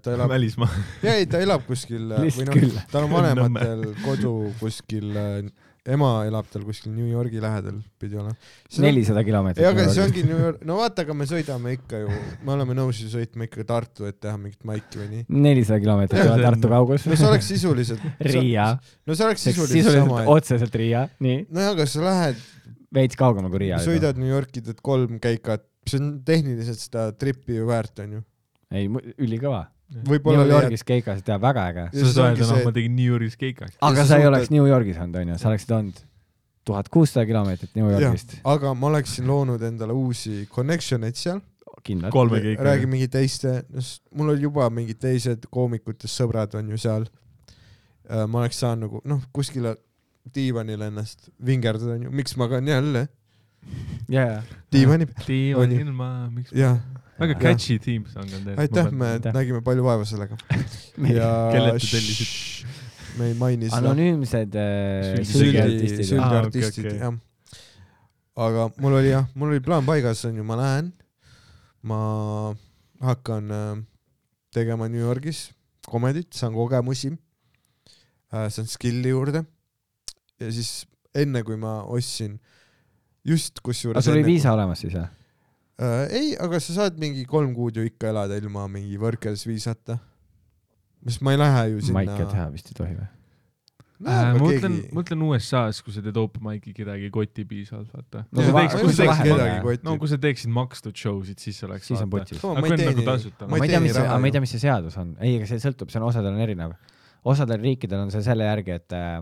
Speaker 3: ta elab ,
Speaker 5: välismaa .
Speaker 3: ja ei , ta elab kuskil äh, või
Speaker 4: Lihtsalt
Speaker 3: noh
Speaker 4: küll. ,
Speaker 3: tal on vanematel kodu kuskil , ema elab tal kuskil New Yorgi lähedal pidi olema .
Speaker 4: nelisada
Speaker 3: ei , aga see
Speaker 4: kilomeetrit .
Speaker 3: ongi New York , no vaata , aga me sõidame ikka ju , me oleme nõus ju sõitma ikka Tartu , et teha mingit maiki või nii .
Speaker 4: nelisada kilomeetrit ei
Speaker 5: Jah,
Speaker 4: ole
Speaker 5: see on-
Speaker 4: Tartu kaugus
Speaker 3: no . see oleks sisuliselt .
Speaker 4: Riia ,
Speaker 3: no see oleks sisuliselt sama
Speaker 4: sisuliselt .
Speaker 3: et-
Speaker 4: otseselt Riia , nii ,
Speaker 3: nojah , aga sa lähed
Speaker 4: veits kaugemal kui Riia .
Speaker 3: sõidad New Yorki , teed kolm käikat , see on tehniliselt seda tripi ju väärt , onju .
Speaker 4: ei , ülikõva .
Speaker 3: võib-olla
Speaker 4: New
Speaker 3: leiad ,
Speaker 4: Yorgis keikas teab väga äge .
Speaker 3: Ja
Speaker 5: sa
Speaker 3: see
Speaker 5: saad
Speaker 3: ongi
Speaker 5: öelda , noh
Speaker 3: see- ,
Speaker 5: ma tegin New Yorgis keika .
Speaker 3: sa
Speaker 4: aga sa ei
Speaker 3: suudad-
Speaker 4: oleks New Yorgis olnud , onju , sa oleksid olnud tuhat kuussada kilomeetrit New
Speaker 3: Jah.
Speaker 4: Yorgist ,
Speaker 3: aga ma oleksin loonud endale uusi connection eid seal ,
Speaker 4: kindlalt .
Speaker 5: kolme keika .
Speaker 3: räägi mingi teiste , mul oli juba mingid teised koomikutest sõbrad on ju seal . ma oleks saanud nagu noh , kuskile diivanile ennast vingerdada , onju , miks ma kan jälle
Speaker 4: ja , ja ,
Speaker 3: diivani peal ,
Speaker 5: diivan
Speaker 3: Oli.
Speaker 5: ilma , miks .
Speaker 3: jah ,
Speaker 5: väga
Speaker 4: Jah.
Speaker 5: catchy theme song on teil .
Speaker 3: aitäh , me
Speaker 4: Aitäh.
Speaker 3: nägime palju vaeva sellega .
Speaker 5: kellelt te tellisite? ?
Speaker 3: me ei maini seda .
Speaker 4: anonüümsed äh,
Speaker 5: Süldi-
Speaker 3: süldi ,
Speaker 4: süldiartistid .
Speaker 5: Aa,
Speaker 3: süldiartistid
Speaker 5: okei, okei.
Speaker 3: jah . aga mul oli jah , mul oli plaan paigas , onju , ma lähen , ma hakkan äh, tegema New Yorgis komedit , saan kogemusi , saan skill'i juurde ja siis enne kui ma ostsin , just
Speaker 4: aga
Speaker 3: kusjuures .
Speaker 4: sul oli viisa olemas siis või ?
Speaker 3: ei , aga sa saad mingi kolm kuud ju ikka elada ilma mingi workers viisata . sest ma ei lähe ju
Speaker 4: maike
Speaker 3: sinna .
Speaker 4: teha vist ei tohi või ?
Speaker 5: Äh, ma mõtlen , mõtlen USA-s , kui sa teed open mic'i kedagi koti piisavalt , vaata .
Speaker 4: No
Speaker 5: no kui
Speaker 4: va-
Speaker 5: sa
Speaker 4: ma ei
Speaker 5: teeks- kui sa
Speaker 4: usu
Speaker 5: teeks-
Speaker 4: kedagi
Speaker 5: kedagi-
Speaker 3: kotti.
Speaker 5: no kui sa teeksid makstud show sid , siis oleks .
Speaker 4: siis on putsis .
Speaker 3: Sama,
Speaker 5: aga
Speaker 3: ma
Speaker 5: kui
Speaker 3: ei
Speaker 5: on nagu
Speaker 3: teeni-
Speaker 5: tasuta .
Speaker 3: ma
Speaker 4: ma ei tea ,
Speaker 3: teeni
Speaker 4: mis see ,
Speaker 3: raha
Speaker 4: aga ma ei
Speaker 3: ju.
Speaker 4: tea , mis see seadus on , ei , aga see sõltub , see on osadel on erinev . osadel riikidel on see selle järgi , et äh,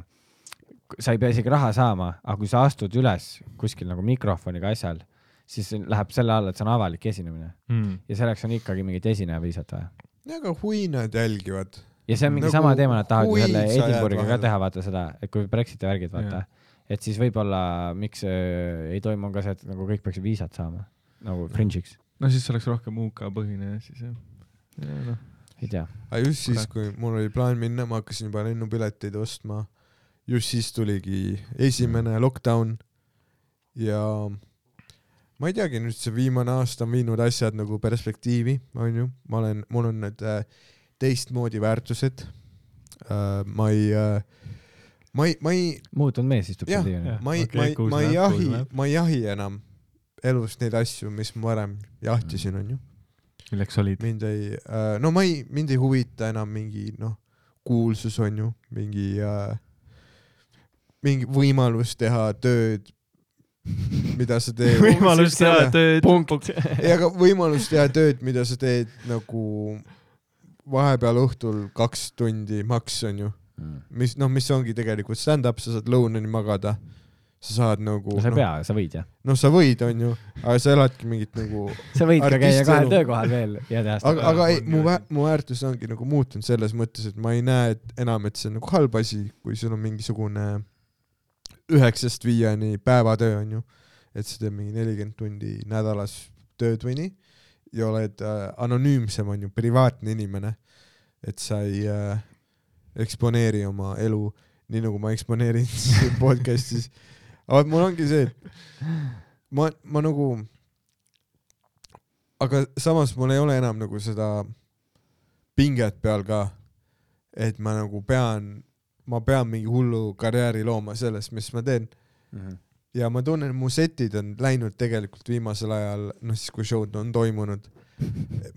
Speaker 4: sa ei pea isegi raha saama , aga kui sa astud üles kuskil nagu mikrofoniga asjal , siis läheb selle alla , et see on avalik esinemine
Speaker 5: mm. .
Speaker 4: ja selleks on ikkagi mingit esineja viisat vaja .
Speaker 3: aga hui nad jälgivad .
Speaker 4: ja see on mingi
Speaker 3: Nagu
Speaker 4: nagu sama teema , nad tahavad
Speaker 3: hui
Speaker 4: ju selle
Speaker 3: sa jääd
Speaker 4: Edinburgh'iga ka
Speaker 3: vahele.
Speaker 4: teha , vaata seda , et kui Brexiti värgid , vaata . et siis võib-olla , miks äh, ei toimu ka see , et nagu kõik peaksid viisat saama nagu fringe'iks ,
Speaker 5: no siis oleks rohkem UK põhine ja siis jah ja, . noh. No.
Speaker 4: ei tea .
Speaker 3: aga just siis
Speaker 5: Kurat. ,
Speaker 3: kui mul oli plaan minna , ma hakkasin juba lennupileteid ostma . just siis tuligi esimene lockdown ja ma ei teagi , nüüd see viimane aasta on viinud asjad nagu perspektiivi , onju . ma olen , mul on need äh, teistmoodi väärtused . ma ei , ma ei , ma ei ,
Speaker 4: muutunud mees istub
Speaker 3: Jah.
Speaker 4: seal diivanil .
Speaker 3: ma ei
Speaker 5: Okei,
Speaker 3: okay, ,
Speaker 5: kuus
Speaker 3: ma ei , ma ei
Speaker 5: läheb, kuus
Speaker 3: jahi
Speaker 5: läheb. ,
Speaker 3: ma ei jahi enam elus neid asju , mis ma varem jahtisin , onju .
Speaker 5: milleks olid ?
Speaker 3: mind ei , no ma ei , mind ei huvita enam mingi noh , kuulsus on ju , mingi , mingi võimalus teha tööd , mida sa teed .
Speaker 5: võimalus teha tööd .
Speaker 4: punkt .
Speaker 3: ei , aga võimalus teha tööd , mida sa teed nagu vahepeal õhtul kaks tundi maks on ju ,
Speaker 4: Mm.
Speaker 3: mis noh , mis ongi tegelikult stand-up , sa saad lõunani magada , sa saad nagu ,
Speaker 4: sa ei
Speaker 3: noh
Speaker 4: pea , sa võid jah .
Speaker 3: no, sa võid , onju , aga sa eladki mingit nagu
Speaker 4: sa võid ka käia
Speaker 3: Artistielu.
Speaker 4: kahel töökohal veel ja teha
Speaker 3: aga ,
Speaker 4: seda .
Speaker 3: aga ei ,
Speaker 5: on
Speaker 3: mu
Speaker 5: ju
Speaker 3: vä-
Speaker 5: asi. ,
Speaker 3: mu väärtus ongi nagu muutunud selles mõttes , et ma ei näe et enam , et see on nagu halb asi , kui sul on mingisugune üheksast viieni päevatöö onju , et sa teed mingi nelikümmend tundi nädalas tööd või nii ja oled äh, anonüümsem onju , privaatne inimene , et sa ei äh, eksponeeri oma elu nii nagu ma eksponeerin siin podcast'is . aga mul ongi see , et ma , ma nagu , aga samas mul ei ole enam nagu seda pinget peal ka , et ma nagu pean , ma pean mingi hullu karjääri looma selles , mis ma teen
Speaker 4: Mhm.
Speaker 3: ja ma tunnen , mu setid on läinud tegelikult viimasel ajal , noh siis kui show'd on toimunud ,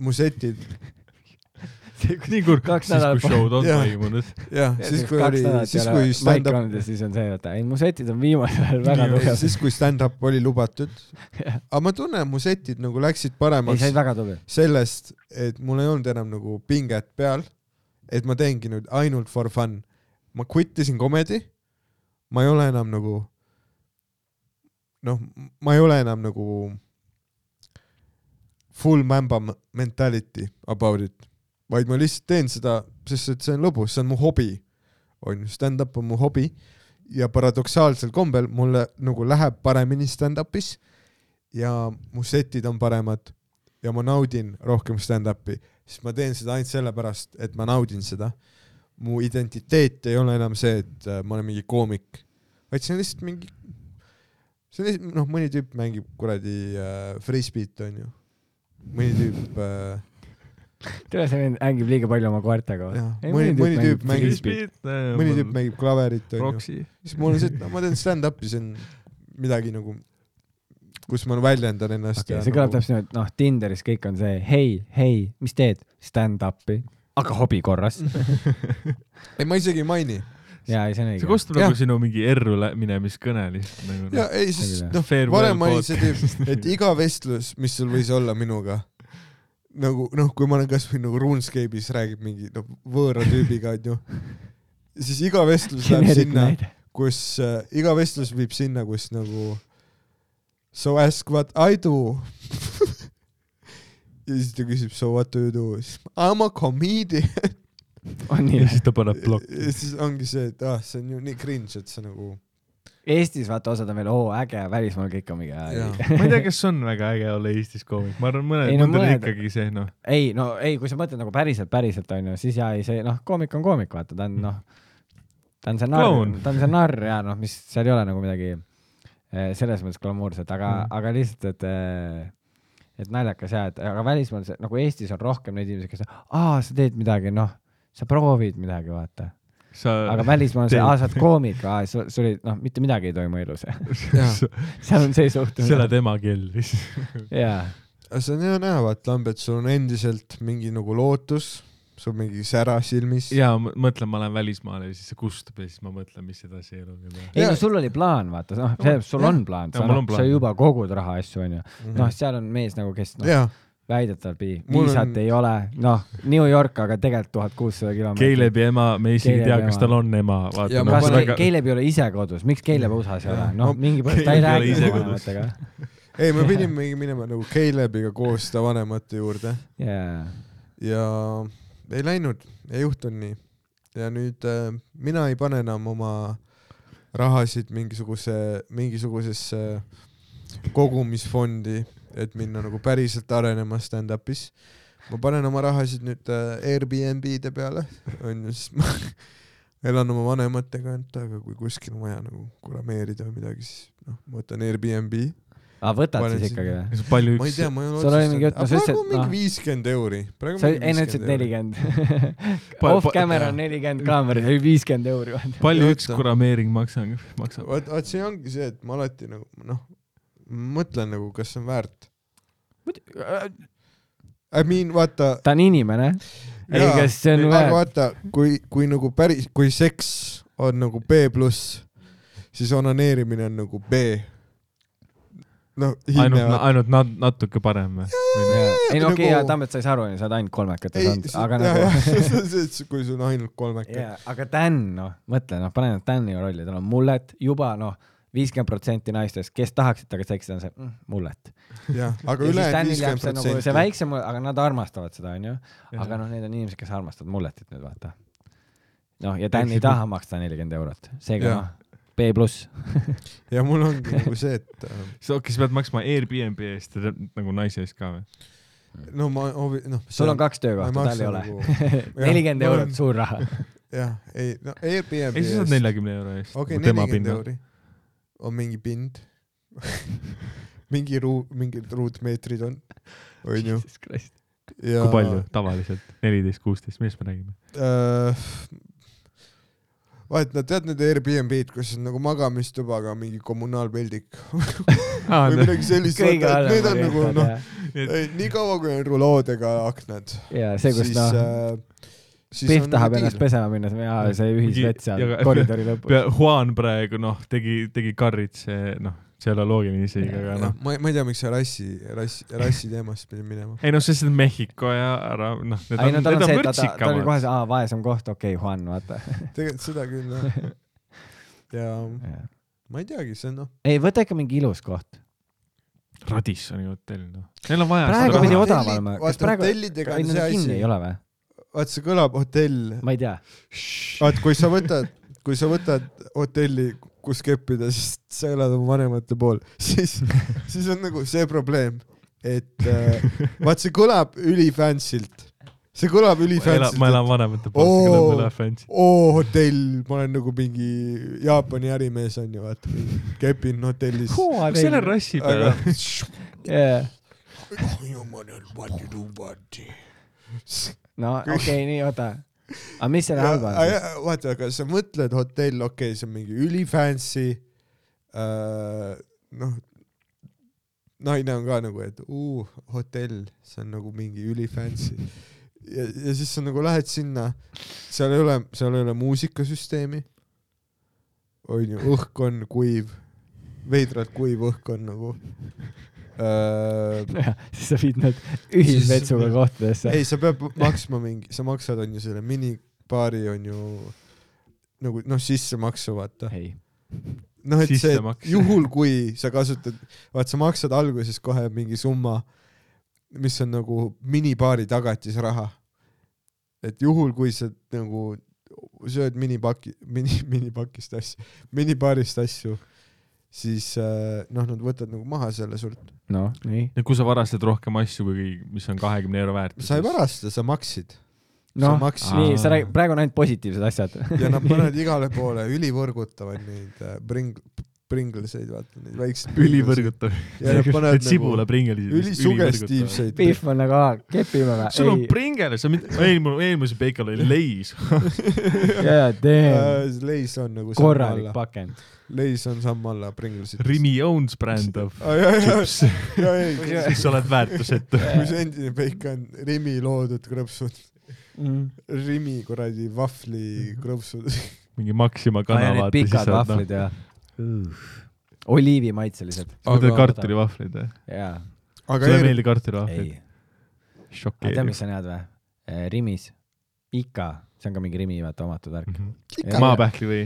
Speaker 3: mu setid ,
Speaker 5: nii kurb ,
Speaker 4: Kaks
Speaker 5: siis kui
Speaker 4: nädalat-
Speaker 5: show'd on
Speaker 3: Jah.
Speaker 5: toimunud .
Speaker 3: jah , siis kui oli , siis kui stand-up
Speaker 4: stand-up . siis on see , et ei mu setid on viimasel ajal väga
Speaker 5: Nii,
Speaker 4: tugevad .
Speaker 3: siis , kui stand-up oli lubatud .
Speaker 4: Jah.
Speaker 3: aga ma tunnen , mu setid nagu läksid
Speaker 4: ei ,
Speaker 3: paremaks
Speaker 4: sa olid väga tubli .
Speaker 3: sellest , et mul ei olnud enam nagu pinget peal . et ma teengi nüüd ainult for fun . ma quit isin comedy . ma ei ole enam nagu , noh , ma ei ole enam nagu full mämba m- mentality about it , vaid ma lihtsalt teen seda , sest et see on lõbus , see on mu hobi . on ju , stand-up on mu hobi ja paradoksaalsel kombel mulle nagu läheb paremini stand-up'is ja mu setid on paremad ja ma naudin rohkem stand-up'i , siis ma teen seda ainult sellepärast , et ma naudin seda . mu identiteet ei ole enam see , et äh, ma olen mingi koomik , vaid see on lihtsalt mingi , see on lihtsalt , noh , mõni tüüp mängib kuradi äh, frisbee't onju , mõni tüüp äh, ,
Speaker 4: tere , sa hängib liiga palju oma koertega
Speaker 3: Jah, mõni- mõni tüüp mängib-
Speaker 4: frisbeed.
Speaker 3: mõni tüüp mängib klaverit onju ,
Speaker 5: Roksi .
Speaker 3: siis mul on see , et no ma teen stand-up'i , see on midagi nagu , kus ma väljendan ennast
Speaker 4: okei , see kõlab
Speaker 3: nagu,
Speaker 4: täpselt nii , et noh , Tinderis kõik on see hei , hei , mis teed , stand-up'i , aga hobi korras .
Speaker 3: ei ma isegi ei maini
Speaker 4: ja , ei see on
Speaker 5: see
Speaker 4: õige .
Speaker 5: kostab nagu sinu mingi erru lä- minemiskõne lihtsalt nagu
Speaker 3: ja . ei , sest
Speaker 4: Selge.
Speaker 3: noh ,
Speaker 5: Farewell
Speaker 3: varem oli see tüüp , et iga vestlus , mis sul võis olla minuga , nagu noh , kui ma olen kasvõi nagu RuneScape'is räägib mingi noh , võõra tüübiga onju , siis iga vestlus läheb sinna , kus äh, iga vestlus viib sinna , kus nagu so ask what I do . ja siis ta küsib so what do you do , siis I m a comedian .
Speaker 4: on
Speaker 5: ja
Speaker 4: nii
Speaker 5: siis . ta paneb plokki
Speaker 3: ja . siis ongi see , et ah , see on ju nii cringe , et sa nagu
Speaker 4: Eestis vaata , osad on veel oo äge , välismaal kõik on
Speaker 3: Jaa.
Speaker 4: mingi .
Speaker 5: ma ei tea , kas on väga äge olla Eestis koomik , ma arvan , mõned ,
Speaker 4: Ei no
Speaker 5: mõndel on
Speaker 4: mõned-
Speaker 5: ikkagi see noh ,
Speaker 4: ei no ei , kui sa mõtled nagu päriselt , päriselt onju , siis ja ei see noh , koomik on koomik , vaata ta on noh , ta on see narr
Speaker 5: Kloun. ,
Speaker 4: ta on see narr ja noh , mis seal ei ole nagu midagi eh, selles mõttes glamuurset , aga mm. , aga lihtsalt , et eh, et naljakas ja , et aga välismaal see nagu Eestis on rohkem neid inimesi , kes aa , sa teed midagi , noh , sa proovid midagi , vaata .
Speaker 5: sa .
Speaker 4: aga välismaal on see ,
Speaker 5: Teed.
Speaker 4: aa , sa oled koomik , aa , sul sul ei , noh , mitte midagi ei toimu elus .
Speaker 3: jaa.
Speaker 4: seal on see
Speaker 5: sa
Speaker 4: suhtumine .
Speaker 5: elad emakell lihtsalt .
Speaker 4: jaa ,
Speaker 3: aga see on hea näha , vaata Lambi , et sul on endiselt mingi nagu lootus , sul on mingi sära silmis .
Speaker 5: ja ma mõtlen , ma lähen välismaale ja siis see kustub ja siis ma mõtlen , mis edasi eluga peab .
Speaker 4: ei
Speaker 3: Jaa.
Speaker 4: no sul oli plaan , vaata , noh , see , sul on plaan ,
Speaker 5: Jaa,
Speaker 4: sa,
Speaker 5: mul on
Speaker 4: noh, sa
Speaker 5: plaan.
Speaker 4: juba kogud rahaasju , onju . noh , seal on mees nagu , kes noh ,
Speaker 3: jah ,
Speaker 4: väidetav pidi ,
Speaker 3: Mul
Speaker 4: viisat
Speaker 3: on-
Speaker 4: on... ei ole , noh , New York , aga tegelikult tuhat kuussada kilomeetrit .
Speaker 5: Keilebi ema , me isegi ei tea
Speaker 4: Keilebi ,
Speaker 5: kas
Speaker 4: ema.
Speaker 5: tal on ema ,
Speaker 3: Ja
Speaker 5: vaata .
Speaker 3: ma
Speaker 4: kas
Speaker 3: panen-
Speaker 4: Keileb ei ole ise kodus , miks Keileb USA-s ei ole
Speaker 3: Jaa. ,
Speaker 4: noh ,
Speaker 3: Ma-
Speaker 4: mingi põhjus , ta ei
Speaker 5: Caleb ei ole
Speaker 4: räägi
Speaker 5: ise
Speaker 4: oma
Speaker 5: kodus.
Speaker 4: vanematega .
Speaker 3: ei , me pidime minema nagu Calebiga koos ta vanemate juurde
Speaker 4: jaa .
Speaker 3: ja ei läinud , ei juhtunud nii . ja nüüd äh, mina ei pane enam oma rahasid mingisuguse , mingisugusesse kogumisfondi , et minna nagu päriselt arenema stand-up'is . ma panen oma rahasid nüüd äh, Airbnb-de peale , onju , siis ma elan oma vanematega , et aga kui kuskil on vaja nagu kurameerida või midagi , siis noh , ma võtan Airbnb .
Speaker 4: aa , Ah, võtad
Speaker 3: Panen
Speaker 4: siis
Speaker 3: sinna.
Speaker 4: ikkagi või ?
Speaker 5: palju
Speaker 3: ma ei
Speaker 5: üks
Speaker 3: tea , ma ei ole
Speaker 4: Sul oli mingi jutt, no sa
Speaker 3: aga praegu
Speaker 4: ütlesid,
Speaker 3: on mingi
Speaker 4: noh.
Speaker 3: viiskümmend euri .
Speaker 4: sa , ei no ütlesid . nelikümmend .
Speaker 5: Pa-
Speaker 4: off
Speaker 5: pa-
Speaker 4: camera
Speaker 3: jaa.
Speaker 4: on nelikümmend , kaameras oli viiskümmend euri .
Speaker 5: palju
Speaker 3: Ei
Speaker 5: üks
Speaker 3: võta.
Speaker 5: kurameering maksab , maksab ?
Speaker 3: vot , vot see ongi see , et ma alati nagu noh , mõtlen nagu , kas see on väärt . I mean , vaata .
Speaker 4: äh, ta on inimene . ei , kas see on
Speaker 3: aga
Speaker 4: väärt ?
Speaker 3: vaata , kui , kui nagu päris , kui seks on nagu B pluss , siis onaneerimine on nagu B . no
Speaker 5: ainult ,
Speaker 3: hinne .
Speaker 5: ainult nat- , natuke parem või ?
Speaker 4: ei no okei
Speaker 3: nagu- ,
Speaker 4: Tammet , sa ei saa aru , sa oled ainult kolmekat ei
Speaker 3: ei ,
Speaker 4: saanud ,
Speaker 3: see ,
Speaker 4: aga
Speaker 3: jah , jah
Speaker 4: nagu ,,
Speaker 3: see , et kui sul on ainult kolmekesi
Speaker 4: jaa , aga Dan , noh , mõtle , noh , pane nüüd Dani rolli , tal on mullet juba , noh , viiskümmend protsenti naistest , kes tahaksid temaga seksida , on see mm, mullet .
Speaker 3: yeah. , jah , aga
Speaker 4: ja siis
Speaker 3: ülejäänud
Speaker 4: Danil jääb
Speaker 3: viiskümmend
Speaker 4: see nagu see
Speaker 3: protsenti .
Speaker 4: väiksem , aga nad armastavad seda , onju .
Speaker 5: Jah.
Speaker 4: aga noh , need on inimesed , kes armastavad mulletit nüüd vaata . noh , ja Dan ei taha maksta nelikümmend eurot , seega
Speaker 3: Jah.
Speaker 4: noh , B pluss .
Speaker 3: ja mul ongi nagu see , et äh,
Speaker 5: sa okei , sa pead maksma Airbnb eest ja täp- nagu naise eest ka või ?
Speaker 3: no ma , noh .
Speaker 4: sul on kaks töökohta , tal ei ole .
Speaker 3: nagu- ma
Speaker 4: nelikümmend
Speaker 3: olen-
Speaker 4: eurot , suur raha .
Speaker 3: jah , ei , no Airbnb
Speaker 5: ei , sa saad neljakümne euro eest . nagu
Speaker 3: okei , nelikümmend . euri on mingi pind , mingi ruu- , mingid ruutmeetrid on , onju . ja
Speaker 5: kui palju ? tavaliselt ? neliteist , kuusteist , millest me räägime ?
Speaker 3: äh, ? vahet , no tead need Airbnb-d , kus on nagu magamistubaga mingi kommunaalpeldik
Speaker 5: Ah,
Speaker 3: või midagi sellist ,
Speaker 4: kõige
Speaker 3: vaata , et need on
Speaker 4: halvem
Speaker 3: nagu
Speaker 4: on
Speaker 3: noh ,
Speaker 4: jah .
Speaker 3: nii kaua kui on ruloodega aknad ,
Speaker 4: ja see , kus
Speaker 3: siis
Speaker 4: noh
Speaker 3: äh, siis
Speaker 4: Pihv
Speaker 3: on
Speaker 4: tahab
Speaker 3: nagu
Speaker 4: ennast
Speaker 3: deal.
Speaker 4: pesema minna , siis me jaa , see ühisvett seal
Speaker 5: Ja-
Speaker 4: koridori lõpus .
Speaker 5: Juan praegu noh , tegi , tegi karrit , see noh , see ei ole loogiline isegi , aga noh .
Speaker 3: ma , ma ei tea , miks see rassi , rassi , rassi teemast pidi minema .
Speaker 5: ei noh , sest Mehhiko ja ära , noh , need
Speaker 4: ei
Speaker 5: on ,
Speaker 4: no tal on
Speaker 5: need on
Speaker 4: see , et ta , ta oli kohe
Speaker 5: võrtsikamad .
Speaker 4: see , aa , vaesem koht , okei , Juan , vaata .
Speaker 3: tegelikult seda küll jah . ja ma ei teagi , see on noh ,
Speaker 4: ei , võta ikka mingi ilus koht .
Speaker 5: Radissoni hotell , noh . Neil on vaja
Speaker 4: praegu
Speaker 3: aga
Speaker 4: pidi
Speaker 3: hotellid-
Speaker 4: odav olema . kas
Speaker 3: vaata,
Speaker 4: praegu ,
Speaker 3: hotellidega
Speaker 4: ei
Speaker 3: on
Speaker 4: no
Speaker 3: see
Speaker 4: nad kinni
Speaker 3: asi-
Speaker 4: ei ole või ?
Speaker 3: vaat see kõlab hotell ,
Speaker 4: ma ei tea .
Speaker 3: vaat kui sa võtad , kui sa võtad hotelli , kus keppida , siis sa elad oma vanemate pool , siis , siis on nagu see probleem , et äh, vaat see kõlab ülifansilt , see kõlab
Speaker 5: ma
Speaker 3: ülifansilt .
Speaker 5: elan vanemate poolt , see
Speaker 3: Oo.
Speaker 5: kõlab üle fancy .
Speaker 3: oo hotell , ma olen nagu mingi Jaapani ärimees onju , vaata , kepin hotellis .
Speaker 5: kas seal on rassi
Speaker 3: aga oh,
Speaker 5: peal ?
Speaker 4: Yeah.
Speaker 3: jumalal , what you do , what ?
Speaker 4: no okei okay, , nii , oota . aga mis selle halb on siis ?
Speaker 3: Ja- vaata , aga sa mõtled hotell , okei okay, , see on mingi ülifancy äh, , noh , naine on ka nagu , et uu , hotell , see on nagu mingi ülifancy . ja , ja siis sa nagu lähed sinna , seal ei ole , seal ei ole muusikasüsteemi , onju , õhk on kuiv , veidralt kuiv õhk on nagu äh,
Speaker 4: siis sa viid nad ühisvetsuga
Speaker 3: Siis-
Speaker 4: kohtadesse .
Speaker 3: ei , sa pead maksma mingi , sa maksad , onju , selle minibaari onju nagu noh , sissemaksu vaata .
Speaker 4: ei ,
Speaker 3: noh , et see
Speaker 5: Sissemaks. ,
Speaker 3: juhul kui sa kasutad , vaat sa maksad alguses kohe mingi summa , mis on nagu minibaari tagatisraha . et juhul , kui sa nagu sööd minipaki , mini , minipakist asju , minibaarist asju , siis äh, noh , nad võtavad nagu maha selle sult .
Speaker 4: noh , nii .
Speaker 5: ja kui sa varastad rohkem asju kui , mis on kahekümne euro väärtus .
Speaker 3: sa ei varasta , sa maksid . Sa
Speaker 4: noh ,
Speaker 3: maksid.
Speaker 4: nii , sa räägid , praegu on ainult positiivsed asjad .
Speaker 3: ja nad panevad igale poole , ülivõrgutavad neid äh, pring- , pringleseid , vaata neid väikseid .
Speaker 5: ülivõrgutav .
Speaker 3: ja nad
Speaker 5: Need
Speaker 3: panevad
Speaker 5: sibula
Speaker 3: nagu
Speaker 5: pringelised .
Speaker 3: ülisugestiivseid .
Speaker 4: Pihv on nagu , aa , kepime või ?
Speaker 5: sul on pringel , sa mind , eelmine , eelmise peikal oli leis .
Speaker 4: jaa , damn .
Speaker 3: Äh,
Speaker 5: eh.
Speaker 3: Leis on nagu samm
Speaker 4: korralik
Speaker 3: alla ,
Speaker 4: pakend .
Speaker 3: Leis on samm alla pringlesid .
Speaker 5: Rimi owns brand of
Speaker 3: ah, . ja , ja ,
Speaker 5: chips ,
Speaker 3: ja ei , kui
Speaker 5: siis sa oled väärtusetu .
Speaker 3: see endine peik on Rimi loodud krõpsud ,
Speaker 5: Mm.
Speaker 3: Rimi kuradi vahvli krõpsud .
Speaker 5: mingi Maxima kana
Speaker 4: need
Speaker 5: vaata , siis
Speaker 4: pikad
Speaker 5: saad noh
Speaker 4: vahvlid . ja . oliivimaitselised .
Speaker 5: sa mõtled kartulivahvleid või ?
Speaker 4: jaa .
Speaker 3: aga
Speaker 5: sulle ei
Speaker 3: Air ,
Speaker 5: meeldi kartulivahvlid
Speaker 4: ei ,? tead ,
Speaker 5: šokeeriv
Speaker 4: mis . on head Äh, või ?
Speaker 5: Mhm.
Speaker 3: Mhm.
Speaker 4: Rimis . Ika , see on ka mingi Rimi , vaata , omatud värk .
Speaker 5: maapähkli või ?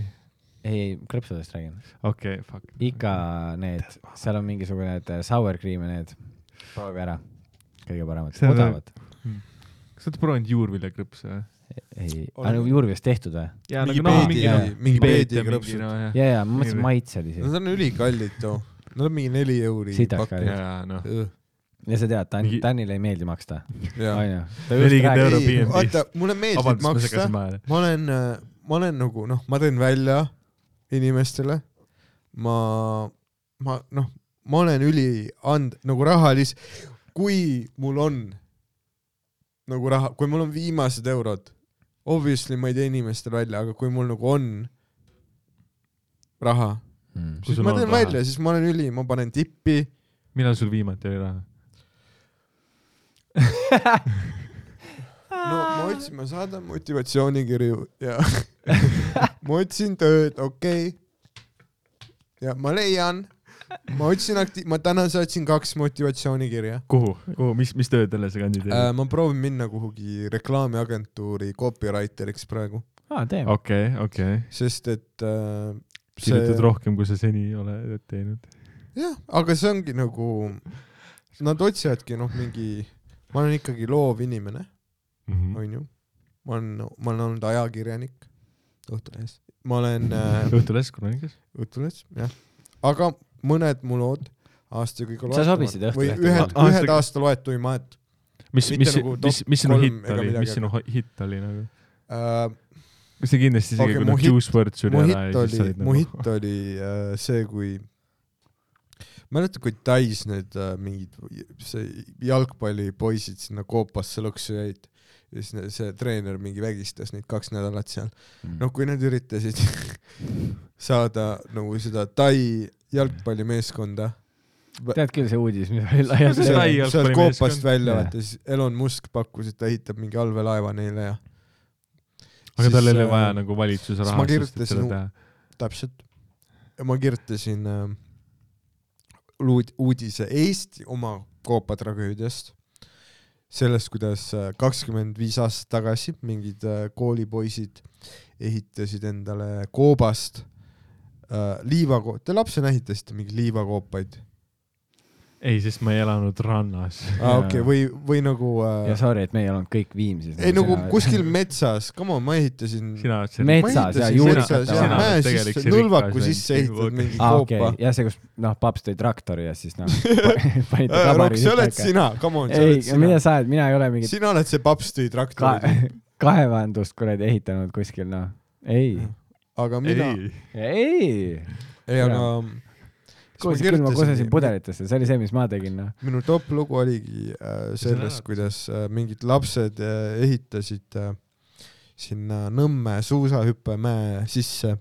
Speaker 4: ei , ei , krõpsudest räägin .
Speaker 5: okei , fuck .
Speaker 4: ikka need , seal on mingisugune et äh, sour cream ja need , proovi ära . kõige paremad ,
Speaker 5: See on-
Speaker 4: odavad .
Speaker 5: kas te olete proovinud juurviljakrõpse või ?
Speaker 4: ei ,
Speaker 3: Olen-
Speaker 4: aga nagu juurviljast tehtud või ?
Speaker 5: jaa ,
Speaker 3: Mingi
Speaker 5: nagu noh ,
Speaker 3: peedi-
Speaker 5: mingi
Speaker 4: jaa,
Speaker 5: noh ,
Speaker 3: mingi peedi krõpsud.
Speaker 5: krõpsud .
Speaker 4: ja , ja ma mõtlesin
Speaker 5: Ei,
Speaker 4: maitselisi
Speaker 3: Nad on ülikallid too , nad on mingi neli euri
Speaker 4: Sitaks kallid.
Speaker 5: jaa , noh .
Speaker 4: ja sa tead , Tän-
Speaker 5: Mingi- ,
Speaker 4: Tänile ei meeldi maksta .
Speaker 3: jaa .
Speaker 4: onju .
Speaker 5: 40 euro
Speaker 3: ei ,
Speaker 5: B&B-st.
Speaker 3: vaata , mulle meeldib
Speaker 5: vabandust , ma
Speaker 3: maksta
Speaker 5: segasin , vahele .
Speaker 3: ma olen , ma olen nagu noh , ma teen välja inimestele , ma , ma noh , ma olen üli and- , nagu rahalis- , kui mul on nagu raha , kui mul on viimased eurod , obviously ma ei tee inimestele välja , aga kui mul nagu on raha ,
Speaker 4: Mm.
Speaker 5: Kui
Speaker 3: siis
Speaker 5: sul
Speaker 3: ma
Speaker 5: on
Speaker 3: teen
Speaker 5: raha.
Speaker 3: välja , siis ma olen üli , ma panen tippi ,
Speaker 5: millal sul viimati oli raha ?
Speaker 3: no ma otsin , ma saadan motivatsioonikirju ja ma otsin tööd , okei okay. . ja ma leian , ma otsin akti- , ma täna saatsin kaks motivatsioonikirja
Speaker 5: kuhu , kuhu , mis , mis töödele sa
Speaker 3: äh,
Speaker 5: kandideerid ?.
Speaker 3: ma proovin minna kuhugi reklaamiagentuuri copywriter'iks praegu ,
Speaker 4: aa , teeme .
Speaker 5: okei , okei .
Speaker 3: sest et äh,
Speaker 5: kirjutad
Speaker 3: see ,
Speaker 5: rohkem , kui sa seni oled teinud .
Speaker 3: jah , aga see ongi nagu , nad otsivadki noh , mingi , ma olen ikkagi loov inimene ,
Speaker 5: Mhm.
Speaker 3: onju , ma olen , ma olen olnud ajakirjanik Õhtulehes , ma olen äh,
Speaker 5: Õhtulehes Kronikas .
Speaker 3: Õhtulehes , jah . aga mõned mu lood aasta kõige
Speaker 4: Sa sobisid
Speaker 3: või
Speaker 4: Õhtulehte
Speaker 3: ühed ,
Speaker 5: ka?
Speaker 3: ühed
Speaker 5: Aasta-
Speaker 3: aasta loetuimad
Speaker 5: mis ,
Speaker 3: Mitte
Speaker 5: mis
Speaker 3: nagu , top
Speaker 5: mis , mis sinu
Speaker 3: kolm
Speaker 5: hitt
Speaker 3: ega
Speaker 5: oli ,
Speaker 3: midagi,
Speaker 5: mis sinu ho- hitt oli nagu ?
Speaker 3: uh, .
Speaker 5: kas see kindlasti isegi
Speaker 3: Okei,
Speaker 5: okay, , kui
Speaker 3: mu
Speaker 5: noh ,
Speaker 3: hitt-
Speaker 5: Juice WRLD suri
Speaker 3: mu
Speaker 5: ära
Speaker 3: hitt
Speaker 5: ja siis
Speaker 3: oli
Speaker 5: olid ,
Speaker 3: mu
Speaker 5: nagu
Speaker 3: hitt oli uh, see , kui mäletad , kui Tais need uh, mingid , see jalgpallipoisid sinna koopasse lõksu jäid ja siis ne- see treener mingi vägistas neid kaks nädalat seal . no kui nad üritasid saada nagu seda Tai jalgpallimeeskonda
Speaker 4: tead küll see uudis , mis oli laialt
Speaker 5: See-
Speaker 4: levinud .
Speaker 5: sai
Speaker 3: sa oled koopast
Speaker 5: jalgpallimeeskond.
Speaker 3: välja ,
Speaker 4: Jaa.
Speaker 3: vaata siis Elon Musk pakkus , et ta ehitab mingi allveelaeva neile ja .
Speaker 5: aga tal ei ole vaja
Speaker 3: nagu .
Speaker 5: nagu valitsuse
Speaker 3: siis ma
Speaker 5: rahastust , et
Speaker 3: kirjutasin
Speaker 5: seda
Speaker 3: u-
Speaker 5: teha .
Speaker 3: täpselt . ma kirjutasin äh, luud- , uudise Eesti oma koopatragöödiast , sellest , kuidas äh, kakskümmend viis aastat tagasi mingid äh, koolipoisid ehitasid endale koobast äh, liivako- , te lapsena ehitasite mingeid liivakoopaid
Speaker 5: ei , sest ma ei elanud rannas .
Speaker 3: ah,
Speaker 4: Jaa. ,
Speaker 3: okei okay, , või , või nagu äh,
Speaker 4: ja sorry , et me ei olnud kõik Viimsis .
Speaker 3: ei nagu kuskil . metsas , come on , ma ehitasin .
Speaker 5: sina oled see
Speaker 4: Me-
Speaker 5: rikas .
Speaker 4: metsas ja juurikate vahel. Sina
Speaker 3: mäe
Speaker 5: oled
Speaker 3: sisse
Speaker 5: tegelikult , see
Speaker 3: nõlvaku
Speaker 5: rikas
Speaker 3: sisse
Speaker 5: vend.
Speaker 3: ehitad mingi
Speaker 4: aa , Ah, okei
Speaker 3: koopa ,
Speaker 4: ja see , kus noh , paps tõi traktori ja siis noh panid ta
Speaker 3: Rock ,
Speaker 4: kabari
Speaker 3: sa oled . sina , come on , sa
Speaker 4: ei
Speaker 3: oled ,
Speaker 4: mida
Speaker 3: sina .
Speaker 4: sa oled , mina ei ole mingi
Speaker 3: sina oled see paps tõi
Speaker 4: ka-
Speaker 3: traktori ,
Speaker 4: kaevandust kuradi ehitanud kuskil , noh . ei ,
Speaker 3: aga mina ,
Speaker 5: ei ,
Speaker 4: ei .
Speaker 3: ei aga .
Speaker 4: kuulsin küll , ma kusesin . pudelitesse , see oli see , mis ma tegin , noh .
Speaker 3: minu top lugu oligi äh, sellest , kuidas äh, mingid lapsed äh, ehitasid äh, sinna Nõmme suusahüppemäe sisse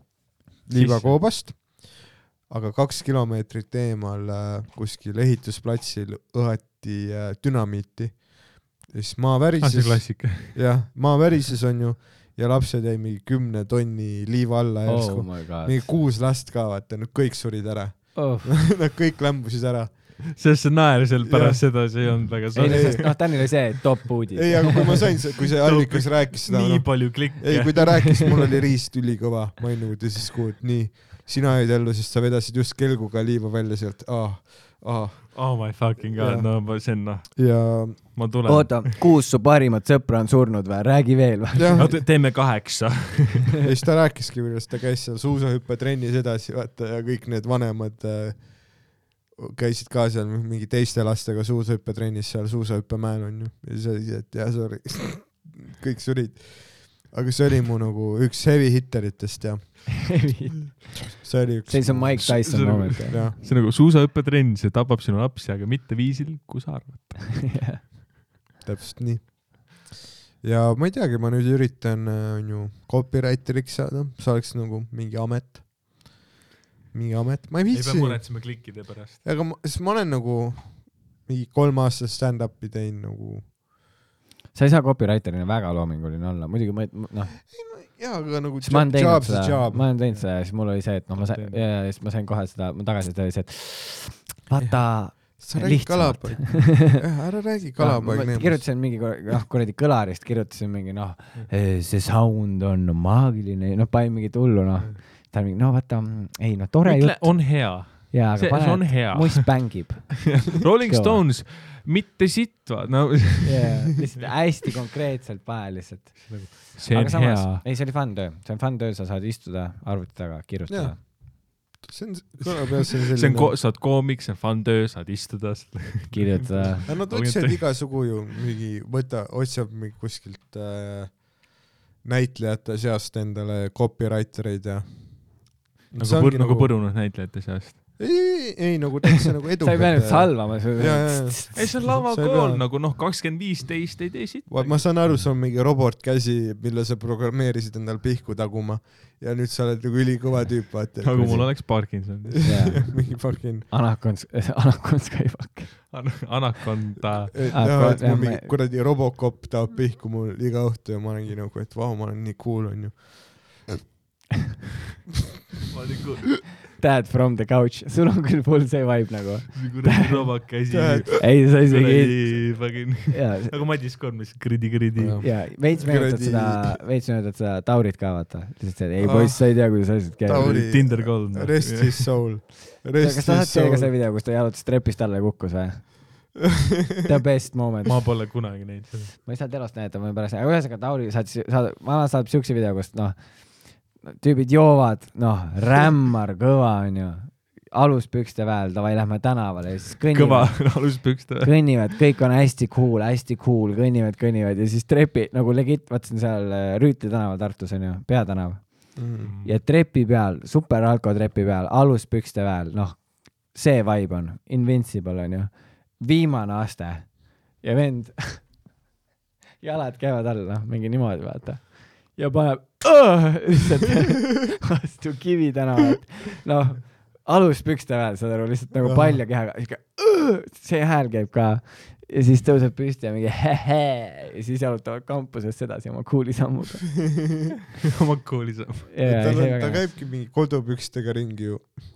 Speaker 3: liivakoobast , aga kaks kilomeetrit eemal äh, kuskil ehitusplatsil õhati äh, dünamiiti . ja siis maa
Speaker 4: Ah,
Speaker 5: aa , Ah, see
Speaker 3: värises ,
Speaker 5: klassika .
Speaker 3: jah , maa värises onju ja lapsed jäid mingi kümne tonni liiva alla
Speaker 4: oh
Speaker 3: järsku .
Speaker 4: my god .
Speaker 3: mingi kuus last ka vaata , nad kõik surid ära ,
Speaker 4: oh. .
Speaker 3: nad kõik lämbusid ära .
Speaker 5: sest see naer seal pärast
Speaker 3: Jah.
Speaker 5: seda , see ei olnud väga
Speaker 4: ei no
Speaker 5: soe .
Speaker 4: sest noh , Tänil oli see top uudis .
Speaker 3: ei , aga kui ma sain , kui see allikas rääkis seda ,
Speaker 5: nii
Speaker 3: noh ,
Speaker 5: palju
Speaker 3: ei , kui
Speaker 5: klikke .
Speaker 3: ta rääkis , mul oli riist ülikõva , ma ei nõudnud ja siis kuulnud , nii , sina jäid ellu , sest sa vedasid just kelguga liiva välja sealt , ah , ah ,
Speaker 5: Oh my fucking god ,
Speaker 3: Jah.
Speaker 5: no ma , see on noh ,
Speaker 3: ja
Speaker 5: ma tulen .
Speaker 4: oota , kuus su parimat sõpra on surnud või ? räägi veel või ?
Speaker 3: jah
Speaker 5: no , te- teeme kaheksa .
Speaker 3: ja siis ta rääkiski , kuidas ta käis seal suusahüppetrennis edasi , vaata , ja kõik need vanemad äh, käisid ka seal mingi teiste lastega suusahüppetrennis seal suusahüppemäel onju , ja siis oli see , et jah , sorry , kõik surid . aga see oli mu nagu üks heavy hitteritest ja
Speaker 4: see
Speaker 3: see oli üks .
Speaker 4: siis on Mike Tyson
Speaker 5: See-
Speaker 4: moment .
Speaker 3: jah ,
Speaker 5: see on nagu suusahüppetrenn , see tapab sinu lapsi , aga mitte viisil , kui sa arvad .
Speaker 3: täpselt nii . ja ma ei teagi , ma nüüd üritan , onju , copywriter'iks saada , see oleks nagu mingi amet . mingi amet , ma ei
Speaker 5: ei pea
Speaker 3: viitsi ,
Speaker 5: muretsema klikkide pärast .
Speaker 3: aga ma , sest ma olen nagu mingi kolm aastat stand-up'i teinud nagu .
Speaker 4: sa ei saa copywriter'ina väga loominguline olla , muidugi ma , noh ,
Speaker 3: jaa , aga nagu
Speaker 4: siis ma olen teinud
Speaker 3: job's a
Speaker 4: seda ,
Speaker 3: job .
Speaker 4: ma olen teinud seda ja siis mul oli see , et noh , ma sain ,
Speaker 5: Teinud.
Speaker 4: ja siis ma sain kohe seda , mu tagasiside oli see , et vaata , noh,
Speaker 3: sa räägid
Speaker 4: lihtsamalt.
Speaker 3: kalapoeg , jah , ära räägi kalapoeg neemast .
Speaker 4: kirjutasin mingi , noh ,
Speaker 3: Mm.
Speaker 4: kuradi
Speaker 3: Mm.
Speaker 4: kõlarist kirjutasin mingi , noh , see sound on maagiline , noh , panin mingit hullu , noh , ta on mingi , no vaata , ei no tore
Speaker 5: ütle ,
Speaker 4: jutt
Speaker 5: on hea .
Speaker 4: ja ,
Speaker 5: see-
Speaker 4: aga
Speaker 5: see on
Speaker 4: pane ,
Speaker 5: hea.
Speaker 4: et must mängib
Speaker 5: Rolling
Speaker 4: Kõva.
Speaker 5: Stones , mitte sitt , vaata , no
Speaker 4: yeah. . lihtsalt hästi konkreetselt pähe lihtsalt .
Speaker 5: see on hea .
Speaker 4: ei , see oli fun töö , see on fun töö , sa saad istuda arvuti taga , kirjutada
Speaker 3: Jaa. see on , kõlab jah , see on
Speaker 5: see on
Speaker 3: selline .
Speaker 5: ko- , sa oled koomik , see on fun töö , saad istuda .
Speaker 4: yeah. , kirjutada .
Speaker 3: aga nad
Speaker 5: Olgem
Speaker 3: otsivad
Speaker 5: tõi-
Speaker 3: igasugu ju mingi , võta , otsib mingi kuskilt äh, näitlejate seast endale copywriter eid ja .
Speaker 5: nagu põr- , nagu . põrunud näitlejate seast .
Speaker 3: ei , ei nagu täitsa nagu
Speaker 4: sa ei pea nüüd
Speaker 3: edukad .
Speaker 4: salvama .
Speaker 3: Jaa, jaa,
Speaker 5: ei , see on
Speaker 3: Sa ei pea-
Speaker 5: lavakool nagu noh , kakskümmend viisteist ei tee sitt .
Speaker 3: ma saan aru , see on mingi robotkäsi , mille sa programmeerisid endal pihku taguma ja nüüd sa oled nagu ülikõva tüüp , vaata .
Speaker 5: nagu mul oleks Parkinson .
Speaker 3: mingi fucking .
Speaker 4: Anakons , Anakons käib hakka .
Speaker 5: Anaconda .
Speaker 3: et
Speaker 4: Ah,
Speaker 3: jah ,
Speaker 4: pro-
Speaker 3: et mul
Speaker 4: jah,
Speaker 3: mingi
Speaker 4: ma-
Speaker 3: kuradi Robocop tahab pihku mul iga õhtu ja ma olengi nagu , et vau , ma olen nii cool onju .
Speaker 5: ma nagu ,
Speaker 4: Dad from the couch , sul on küll full see vibe nagu .
Speaker 5: kuradi robak käsi .
Speaker 3: Tead.
Speaker 4: ei , sa isegi ,
Speaker 5: kuradi fucking ,
Speaker 4: jaa ,
Speaker 5: nagu Madis Korm , mis kridi , kridi .
Speaker 3: Jah.
Speaker 4: jaa , veits meenutad
Speaker 3: Kuradi-
Speaker 4: seda , veits meenutad seda Taurit ka vaata . lihtsalt see , ei
Speaker 3: Ah.
Speaker 4: poiss , sa ei tea , kuidas asjad käivad .
Speaker 3: Tauri-
Speaker 5: Tinder Gold . noh.
Speaker 3: Rest his soul .
Speaker 4: kas
Speaker 3: Rest
Speaker 4: sa tahad
Speaker 3: his
Speaker 4: teha ka see
Speaker 3: soul .
Speaker 4: video , kus ta jalutas trepist alla ja kukkus või ? The best moment .
Speaker 5: ma pole kunagi näinud seda .
Speaker 4: ma ei saanud elost näidata , ma olin pärast , aga ühesõnaga Tauri saatis , saad , vana saadab siukse video , kus noh , tüübid joovad , noh , rämmar kõva onju , aluspükste väel , davai , lähme tänavale ja siis
Speaker 5: kõva
Speaker 4: kõnnivad ,
Speaker 5: aluspükste .
Speaker 4: kõnnivad , kõik on hästi cool , hästi cool , kõnnivad , kõnnivad ja siis trepi nagu legit , vaatasin seal äh, Rüütli tänaval Tartus onju , peatänav
Speaker 3: Mm.
Speaker 4: ja trepi peal , superalko trepi peal , aluspükste peal , noh , see vibe on , invincible on ju , viimane aste ja vend , jalad käivad all , noh , mingi niimoodi , vaata , ja paneb lihtsalt vastu kivi tänavat , noh , aluspükste peal , saad aru , lihtsalt nagu palja kehaga , sihuke , see hääl käib ka ja siis tõuseb püsti ja mingi hehe ja siis jalutavad kampusest edasi oma kuuli sammuga .
Speaker 5: oma koolis .
Speaker 3: tal on , ta käibki mingi kodupükstega ringi ju .
Speaker 4: ei ,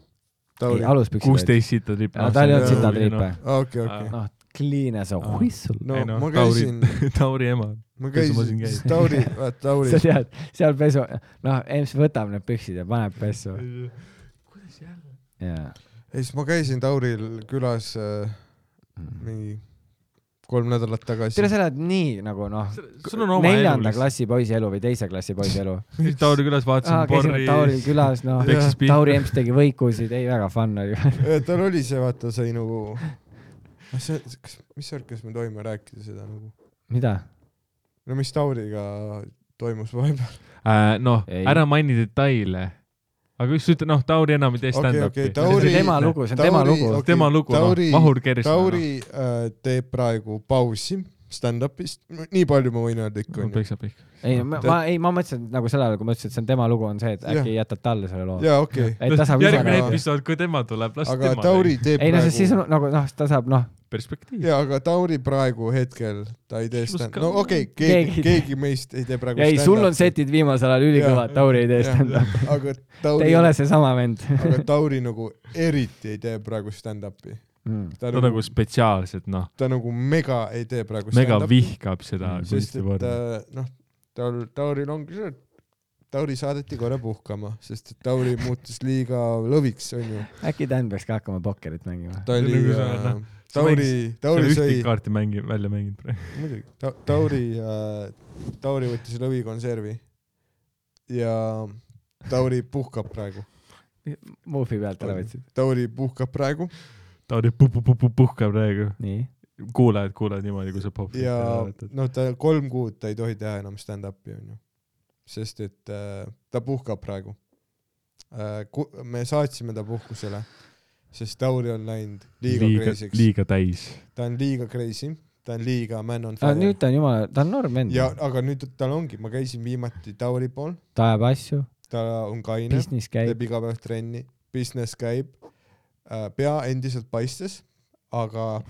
Speaker 3: Tauri .
Speaker 4: aluspüksid .
Speaker 5: kuusteist sita trippe .
Speaker 4: aga tal ei olnud
Speaker 3: see-
Speaker 4: sita
Speaker 5: noh.
Speaker 4: triipe .
Speaker 3: okei , okei .
Speaker 4: noh , clean as a
Speaker 5: Ah.
Speaker 4: whistle .
Speaker 3: no
Speaker 5: ei noh,
Speaker 3: ma
Speaker 5: Tauri-
Speaker 3: käisin ,
Speaker 5: Tauri ema .
Speaker 3: ma
Speaker 5: Kes sul siin
Speaker 3: käisin
Speaker 5: käis? ,
Speaker 3: Tauri , vaata Tauri
Speaker 4: sa , tead , seal pesu , noh , Ems võtab need püksid ja paneb pesu .
Speaker 5: kuidas jälle ?
Speaker 4: jaa .
Speaker 3: ja siis ma käisin Tauril külas äh, mingi kolm nädalat tagasi
Speaker 4: selle , Mm. sa elad nii nagu noh ,
Speaker 5: sul on oma elu
Speaker 4: neljanda . klassi poisi elu või teise klassi poisi elu .
Speaker 5: Tauri külas vaatasin
Speaker 4: käisime Tauril
Speaker 5: porri .
Speaker 4: külas , noh ,
Speaker 5: peksis
Speaker 4: Tauri
Speaker 5: pihku .
Speaker 4: Ems tegi võikusid , ei väga fun oli .
Speaker 3: Äh, tal oli see , vaata sai nagu , see , kas , mis värk , kas me tohime rääkida seda nagu ,
Speaker 4: mida ?
Speaker 3: no mis Tauriga toimus vahepeal ?
Speaker 5: noh ,
Speaker 4: Ei.
Speaker 5: ära maini detaile . aga üks ütleb , noh , Tauri enam ei tee
Speaker 3: Okei, okei,
Speaker 5: stand-up'i .
Speaker 4: see on
Speaker 3: Tauri-
Speaker 4: tema lugu , see on tema
Speaker 3: Tauri-
Speaker 4: lugu .
Speaker 3: okei,
Speaker 5: tema lugu , noh
Speaker 3: Tauri- ,
Speaker 5: Vahur Kersna .
Speaker 3: Tauri
Speaker 5: noh.
Speaker 3: äh, teeb praegu pausi stand-up'ist , nii palju ma võin öelda ikka onju .
Speaker 5: peksab ikka .
Speaker 4: ei , ma , ma , ei , ma mõtlesin nagu sel ajal , kui ma ütlesin , et see on tema lugu , on see , et äkki jätad talle selle loo .
Speaker 3: jaa , okei okay. ,
Speaker 4: et ta saab ise
Speaker 5: Noh, järgmine
Speaker 3: lisada-
Speaker 4: nagu ,
Speaker 5: episood , kui tema tuleb , las
Speaker 3: aga
Speaker 5: tema .
Speaker 3: Tauri teeb
Speaker 4: ei noh , sest siis
Speaker 3: praegu ,
Speaker 4: on nagu noh , ta saab noh ,
Speaker 5: perspektiiv .
Speaker 3: jaa , aga Tauri praegu hetkel , ta ei tee stand-up'i , no okei okay, ,
Speaker 4: Keegi
Speaker 3: keegi ,
Speaker 4: ei tee.
Speaker 3: keegi meist ei tee
Speaker 5: Nagu
Speaker 3: praegu
Speaker 4: ei , sul on setid viimasel ajal ülikõvad , Tauri ei tee stand-up'i .
Speaker 3: stand-up'i . aga
Speaker 4: ta
Speaker 3: Tauri
Speaker 4: ei ole , seesama vend .
Speaker 3: aga Tauri nagu eriti ei tee praegu stand-up'i .
Speaker 5: ta on nagu spetsiaalselt , noh ,
Speaker 3: ta nagu mega ei tee praegu
Speaker 5: mega
Speaker 3: stand-up'i ,
Speaker 5: vihkab seda
Speaker 3: Mm, sest et
Speaker 5: kunstivormi .
Speaker 3: äh, noh , tal , Tauril ongi see , et Tauri saadeti korra puhkama , sest et Tauri muutus liiga lõviks , onju .
Speaker 4: äkki Dan peaks ka hakkama pokkerit mängima ?
Speaker 3: ta oli
Speaker 5: Nagu sa oled, ,
Speaker 3: äh,
Speaker 5: noh, sa
Speaker 3: Tauri ,
Speaker 5: ta oli
Speaker 3: Tauri sai
Speaker 5: ühtegi , kaarti mängi- , välja mänginud praegu .
Speaker 3: muidugi , Tauri , Tauri võttis lõvikonservi ja Tauri puhkab praegu .
Speaker 4: Moofi pealt ära võtsid ?
Speaker 3: Tauri puhkab praegu
Speaker 5: ta oli puhkab praegu .
Speaker 4: nii .
Speaker 5: kuulajad kuulevad niimoodi , kui sa popid .
Speaker 3: ja noh , ta kolm kuud ta ei tohi teha enam stand-up'i onju , sest et äh, ta puhkab praegu äh, . me saatsime ta puhkusele , sest Tauri on läinud liiga
Speaker 5: liiga ,
Speaker 3: crazy'ks ,
Speaker 5: liiga täis .
Speaker 3: ta on liiga crazy , ta on liiga man on
Speaker 4: aga
Speaker 3: fire .
Speaker 4: nüüd ta on jumala , ta on noorm vend .
Speaker 3: ja aga nüüd tal ongi , ma käisin viimati Tauri pool ,
Speaker 4: ta ajab asju ,
Speaker 3: ta on kaine ,
Speaker 4: business käib .
Speaker 3: teeb iga päev trenni , business käib äh, , pea endiselt paistes , aga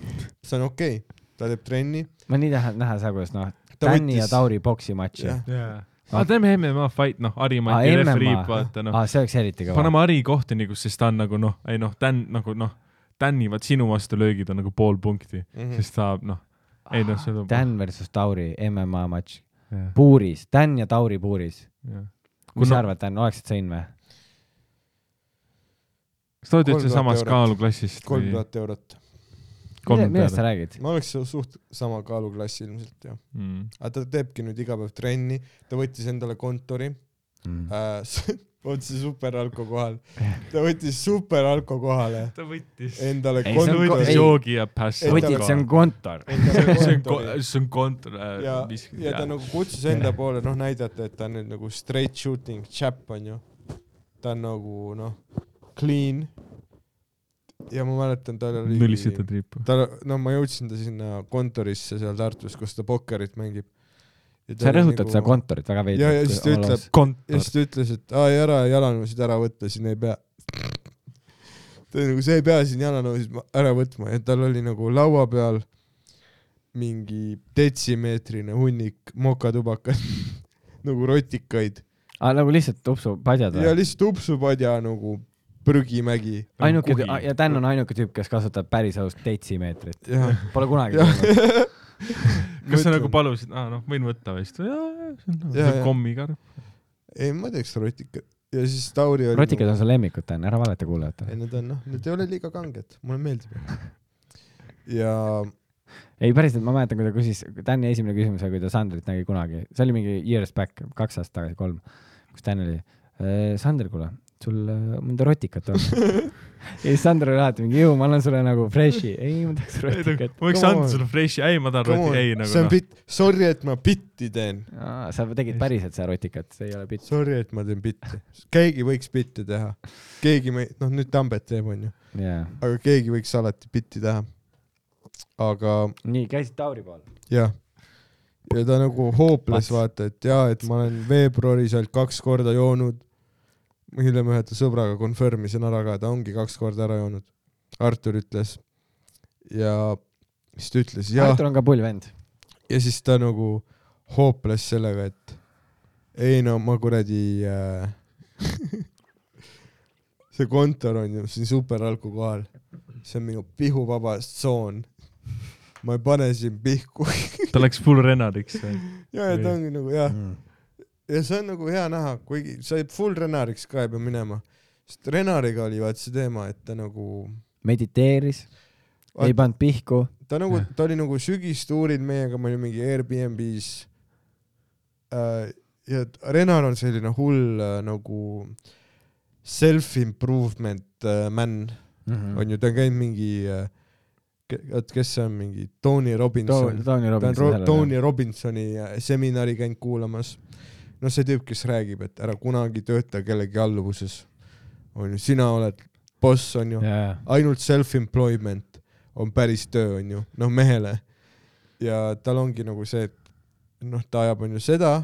Speaker 3: see on okei okay. , ta teeb trenni .
Speaker 4: ma nii tahan näha seda , kuidas noh , Tänni ja Tauri boksi matši .
Speaker 3: Jah.
Speaker 5: aga Ah, teeme MMA fight , noh ,
Speaker 4: Ah,
Speaker 5: Ari Mati referiib , vaata noh .
Speaker 4: aa , Ah, see oleks eriti kõva .
Speaker 5: paneme Ari kohtunikuks , sest ta on nagu noh , ei noh , Dan nagu noh , Dani , vaat sinu vastu löögid on nagu pool punkti ,
Speaker 4: Mhm.
Speaker 3: Mm
Speaker 5: sest ta noh , ei noh , see on .
Speaker 4: Dan versus Tauri MMA matš . puuris , Dan ja Tauri puuris .
Speaker 5: jah .
Speaker 4: mis
Speaker 5: Kuna-
Speaker 4: sa arvad , Dan , oleksid sõin või ?
Speaker 5: kas te olete üldse
Speaker 3: 3000
Speaker 5: samas
Speaker 3: eurot.
Speaker 5: kaaluklassist
Speaker 3: kolm
Speaker 5: või
Speaker 3: tuhat eurot .
Speaker 5: kolm
Speaker 4: millest sa
Speaker 5: tuhat?
Speaker 4: räägid ?
Speaker 3: ma oleks su- suht sama kaaluklassi ilmselt jah .
Speaker 5: Mm.
Speaker 3: aga ta teebki nüüd iga päev trenni , ta võttis endale kontori
Speaker 4: Mm.
Speaker 3: äh, , otse superalko kohal , ta võttis superalko kohale
Speaker 5: ta võttis .
Speaker 3: endale
Speaker 4: Ei, see on
Speaker 5: ta
Speaker 4: ko-
Speaker 5: võttis
Speaker 4: ei.
Speaker 3: kontori .
Speaker 5: joogi ja pässi .
Speaker 3: Võttis,
Speaker 4: võtid , see on kontor .
Speaker 5: see on ,
Speaker 4: äh,
Speaker 5: see on kontor .
Speaker 3: ja , ja ta nagu kutsus enda poole , noh , näidata , et ta on nüüd nagu straight shooting chap onju . ta on nagu noh , clean . ja ma mäletan , tal oli .
Speaker 5: nullisite triipu .
Speaker 3: ta , no ma jõudsin ta sinna kontorisse seal Tartus , kus ta pokkerit mängib .
Speaker 4: sa rõhutad seda . kontorit väga
Speaker 3: nagu- ja , ja siis ta
Speaker 4: veidralt
Speaker 3: ütleb ., ja
Speaker 5: kontor .
Speaker 3: siis ta ütles , et aa ei ära , jalanõusid ära võtta , siin ei pea . ta oli nagu , sa ei pea siin jalanõusid ma- ära võtma ja tal oli nagu laua peal mingi detsimeetrine hunnik mokatubakat , nagu rotikaid
Speaker 4: aa , nagu lihtsalt tupsu padjad
Speaker 3: ja
Speaker 4: või ?
Speaker 3: lihtsalt upsupadja nagu prügimägi .
Speaker 4: ainuke
Speaker 5: kuhi. ,
Speaker 4: ja Dan on ainuke tüüp , kes kasutab päris aus detsimeetrit .
Speaker 3: jah ,
Speaker 4: Pole kunagi kuulnud .
Speaker 5: kas sa nagu palusid , aa noh , võin võtta vist ? see
Speaker 3: Jaa,
Speaker 5: on
Speaker 3: jaa.
Speaker 5: kommikarp .
Speaker 3: ei ma teeks rotikat ja siis Tauri oli . nagu-
Speaker 4: rotikad on su lemmikud , Dan , ära valeta kuulajatele
Speaker 3: ei . nad on noh , need ei ole liiga kanged , mulle meeldib . ja
Speaker 4: ei , päriselt , ma mäletan , kui ta küsis , Tänni esimene küsimus oli , kui ta Sandrit nägi kunagi , see oli mingi years back , kaks aastat tagasi , kolm , kus Tän oli , Sander , kuule , sul äh, mõnda rotikat on ? ja siis Sander oli alati mingi , ju , ma annan sulle nagu fresh'i , ei , ma tahaks rotikat .
Speaker 5: ma võiks
Speaker 3: Come
Speaker 5: anda
Speaker 3: on.
Speaker 5: sulle fresh'i , ei ma tahan
Speaker 3: come
Speaker 5: roti , ei
Speaker 3: on ,
Speaker 5: nagu
Speaker 3: see on
Speaker 5: noh .
Speaker 3: bitt , sorry , et ma bitti teen .
Speaker 4: sa tegid päriselt seda rotikat , see ei ole pits .
Speaker 3: Sorry , et ma teen bitti . keegi võiks bitti teha . keegi me- , noh nüüd Tambet teeb , onju ,
Speaker 4: jaa .
Speaker 3: aga keegi võiks alati bitti teha . aga
Speaker 4: nii , käisid Tauri pool ?
Speaker 3: jah , ja ta nagu hooples
Speaker 4: Vats.
Speaker 3: vaata , et jaa , et ma olen veebruaris ainult kaks korda joonud . hiljem ühe ta sõbraga confirm isin ära ka , ta ongi kaks korda ära joonud . Artur ütles ja siis ta ütles jah .
Speaker 4: Artur on ka pull vend .
Speaker 3: ja siis ta nagu hooples sellega , et ei no ma kuradi äh, see kontor on ju siin superalku kohal , see on minu pihuvaba tsoon . ma ei pane siin pihku
Speaker 5: ta läks full Renariks .
Speaker 3: ja , ja ta ongi nagu jah ,
Speaker 4: ma
Speaker 3: ja see on nagu hea näha , kuigi sa ei- full Renariks ka ei pea minema , sest Renariga oli vaat see teema , et ta nagu
Speaker 4: mediteeris , ei pannud pihku ,
Speaker 3: ta nagu , ta oli nagu sügistuuril meiega , me olime mingi Airbnb-s äh, . ja t- Renar on selline hull äh, nagu self-improvement äh, man mm. ,
Speaker 4: Mhm.
Speaker 3: on ju , ta on käinud mingi äh, , oot , kes see on , mingi Tony Robinson .
Speaker 4: Tony
Speaker 3: ta on Ro
Speaker 4: Robbins .
Speaker 3: Tony Robinsoni äh, seminari käinud kuulamas . noh , see tüüp , kes räägib , et ära kunagi tööta kellegi alluvuses . on ju , sina oled boss , on ju .
Speaker 4: jaa ,
Speaker 3: ainult self-employment on päris töö , onju , noh mehele . ja tal ongi nagu see , et noh , ta ajab onju seda .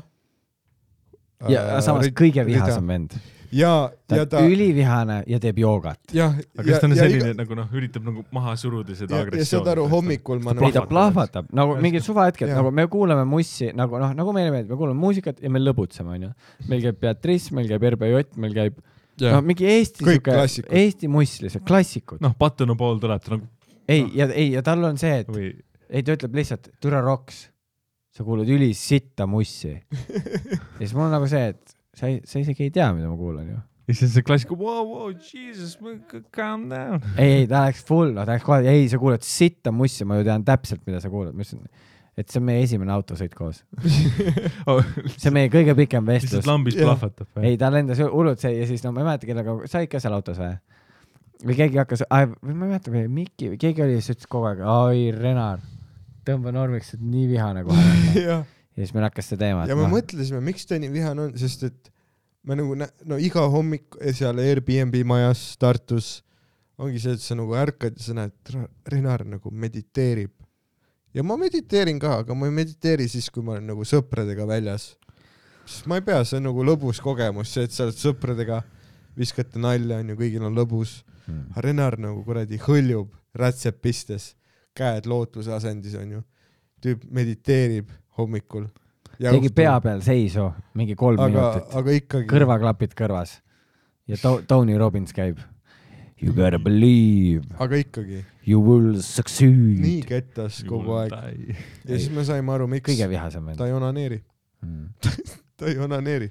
Speaker 4: ja samas kõige vihasem . vend .
Speaker 3: ja ,
Speaker 4: ta
Speaker 3: Äh, ja
Speaker 4: on
Speaker 3: ta ,
Speaker 4: ülivihane ja teeb joogat .
Speaker 3: jah .
Speaker 5: aga kas ta on selline iga... nagu noh , üritab nagu maha suruda seda
Speaker 3: ja, ja saad
Speaker 5: agressiooni ?
Speaker 3: aru , hommikul ma
Speaker 4: ei , ta
Speaker 3: nagu ,
Speaker 4: plahvatab nagu mingid suvahetked ,
Speaker 3: Jaa.
Speaker 4: nagu me kuulame mussi nagu noh , nagu meile meeldib , me kuulame muusikat ja me lõbutseme , onju . meil käib Beatrice , meil käib RBJ , meil käib
Speaker 3: Jah.
Speaker 4: no mingi Eesti
Speaker 3: Kõik
Speaker 4: siuke ,
Speaker 3: klassikud.
Speaker 4: Eesti muss lihtsalt , klassikud .
Speaker 5: noh , Patunu pool tuleb ta nagu
Speaker 4: ei , ja ei , ja tal on see , et
Speaker 5: või
Speaker 4: ei , ta ütleb lihtsalt , türa roks , sa kuulad ülisitta mussi . ja siis mul on nagu see , et sa ei , sa isegi ei tea , mida ma kuulan ju .
Speaker 5: ja siis on see klassika wow, , wow, jesus , calm down .
Speaker 4: ei , ei ta läks full , no ta läks kohe , ei , sa kuulad sitta mussi , ma ju tean täpselt , mida sa kuulad , ma ütlesin , et see on meie esimene autosõit koos . see on meie kõige pikem vestlus
Speaker 5: lihtsalt . lambis
Speaker 3: Jah.
Speaker 5: Oh, plahvatab .
Speaker 4: ei , ta lendas hullult see ja siis no ma ei mäleta , kellega , sa olid ka seal autos või ? või keegi hakkas , või ma ei mäleta , või Mikki või keegi oli , siis ütles kogu aeg , oi Renar , tõmba normiks , sa oled nii vihane kohe .
Speaker 3: ja ,
Speaker 4: ja siis meil hakkas see teema . noh,
Speaker 3: ja me mõtlesime , miks ta nii vihane on , sest et me nagu , no iga hommik seal Airbnb majas Tartus ongi see , et sa nagu ärkad ja sa näed , Renar nagu mediteerib . ja ma mediteerin ka , aga ma ei mediteeri siis , kui ma olen nagu sõpradega väljas . sest ma ei pea , see on nagu lõbus kogemus , see , et sa oled sõpradega , viskate nalja , onju , kõigil on lõbus .
Speaker 4: mõtlesime .
Speaker 3: aga Renar nagu kuradi hõljub rätsepistes , käed lootuse asendis , onju . tüüp mediteerib hommikul .
Speaker 4: tegi pea peal seisu , mingi kolm aga,
Speaker 3: aga ,
Speaker 4: minutit ,
Speaker 3: aga ikkagi .
Speaker 4: kõrvaklapid kõrvas . ja to- , Tony Robbins käib . You gotta believe ,
Speaker 3: aga ikkagi ,
Speaker 4: you will succeed .
Speaker 3: nii kettas kogu aeg . ja siis me saime aru , miks
Speaker 4: kõige vihasem vend Mm.
Speaker 3: ta . ei onaneeri , ta ei onaneeri .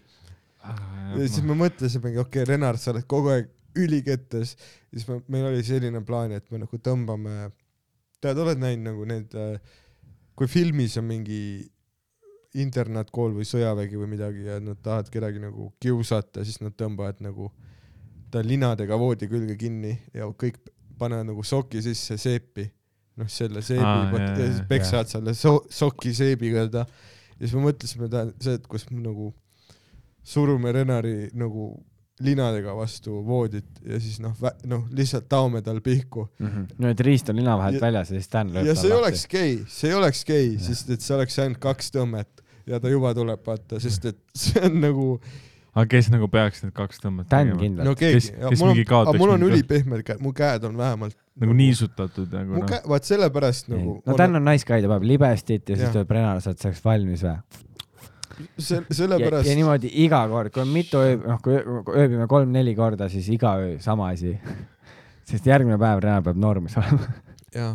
Speaker 3: ja siis me mõtlesimegi , okei okay, , Renar , sa oled kogu aeg ülikettas siis me, meil oli selline plaan , et me nagu tõmbame , tead , oled näinud nagu need , kui filmis on mingi internaatkool või sõjavägi või midagi ja nad tahavad kedagi nagu kiusata , siis nad tõmbavad nagu ta linadega voodi külge kinni ja kõik panevad nagu soki sisse seepi , noh selle seebi
Speaker 5: Aa,
Speaker 3: ah, ,
Speaker 5: jaa,
Speaker 3: ja
Speaker 5: jaa,
Speaker 3: siis peksavad selle so- , soki seebiga ta ja siis me mõtlesime ta , see , et kus me nagu surume Renari nagu linadega vastu voodit ja siis noh , noh lihtsalt taome tal pihku .
Speaker 4: no , et riist on lina vahelt
Speaker 3: Ja-
Speaker 4: väljas ja siis Dan lööb
Speaker 3: ja see ei oleks . gei , see ei oleks gei , sest et see oleks ainult kaks tõmmet ja ta juba tuleb vaata , sest et see on nagu
Speaker 5: aga kes nagu peaks need kaks tõmmet
Speaker 4: Dan
Speaker 5: tegema ?
Speaker 4: kindlalt
Speaker 3: no
Speaker 4: no, .
Speaker 3: keegi
Speaker 5: Kes- , kes
Speaker 3: mul on
Speaker 5: mingi , kaotaks
Speaker 3: aga mul on
Speaker 5: mingi-
Speaker 3: ülipehmed käed , mu käed on vähemalt
Speaker 5: nagu niisutatud nagu
Speaker 3: mu
Speaker 5: noh
Speaker 3: käe , vaat sellepärast nagu
Speaker 4: no Dan on nice guy , ta paneb libestit ja siis
Speaker 3: Jah.
Speaker 4: tuleb Renar , sa oled selleks valmis või ?
Speaker 3: se- ,
Speaker 4: ja, ja
Speaker 3: sellepärast ,
Speaker 4: niimoodi iga kord , kui on mitu ööb , noh , kui öö- kui ööbime kolm-neli korda , siis iga öö sama asi . sest järgmine päev Renar peab normis olema .
Speaker 3: jaa .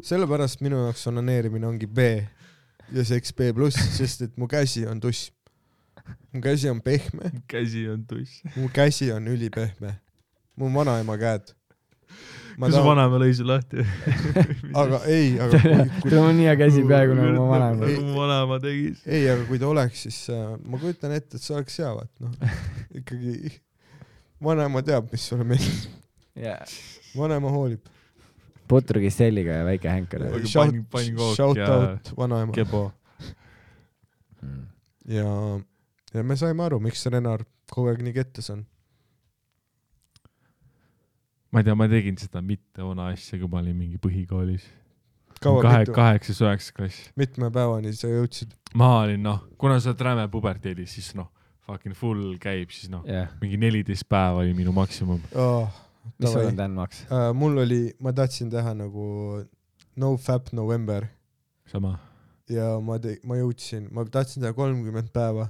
Speaker 3: sellepärast minu jaoks onaneerimine ongi B ja see eks B pluss , sest et mu käsi on tuss . mu käsi on pehme ,
Speaker 5: käsi on tuss .
Speaker 3: mu käsi on ülipehme . mu vanaema käed .
Speaker 5: kas su vanaema lõi su lahti ?
Speaker 3: aga ei , aga kui ,
Speaker 4: tal on nii hea käsi peaaegu nagu mu vanaema .
Speaker 5: nagu mu vanaema tegi .
Speaker 3: ei , aga kui ta oleks , siis äh, ma kujutan ette , et see oleks hea , vaat noh , ikkagi vanaema teab , mis sulle meeldib , vanaema hoolib .
Speaker 4: putrugi selliga ja väike hänkel .
Speaker 5: Aga
Speaker 3: Shout
Speaker 5: panin- panin kook
Speaker 3: shout
Speaker 5: ja-
Speaker 3: out vanaema Hmm.
Speaker 5: kebo .
Speaker 3: ja , ja me saime aru , miks Renar kogu aeg nii kettes on .
Speaker 5: ma ei tea , ma tegin seda mitte vana asja , kui ma olin mingi põhikoolis .
Speaker 3: kaua
Speaker 5: kahe ,
Speaker 3: mitu ,
Speaker 5: kaheksas , üheksas klass .
Speaker 3: mitme päevani sa jõudsid ?
Speaker 5: ma olin noh , kuna sa oled räme puberteedis , siis noh , fucking full käib , siis noh ,
Speaker 4: jah ,
Speaker 5: mingi neliteist päeva oli minu maksimum . Ah.
Speaker 4: mis sul on
Speaker 3: Äh, mul
Speaker 4: Dan Max ?
Speaker 3: oli , ma tahtsin teha nagu no fap november
Speaker 5: sama .
Speaker 3: ja ma te- , ma jõudsin , ma tahtsin teha kolmkümmend päeva ,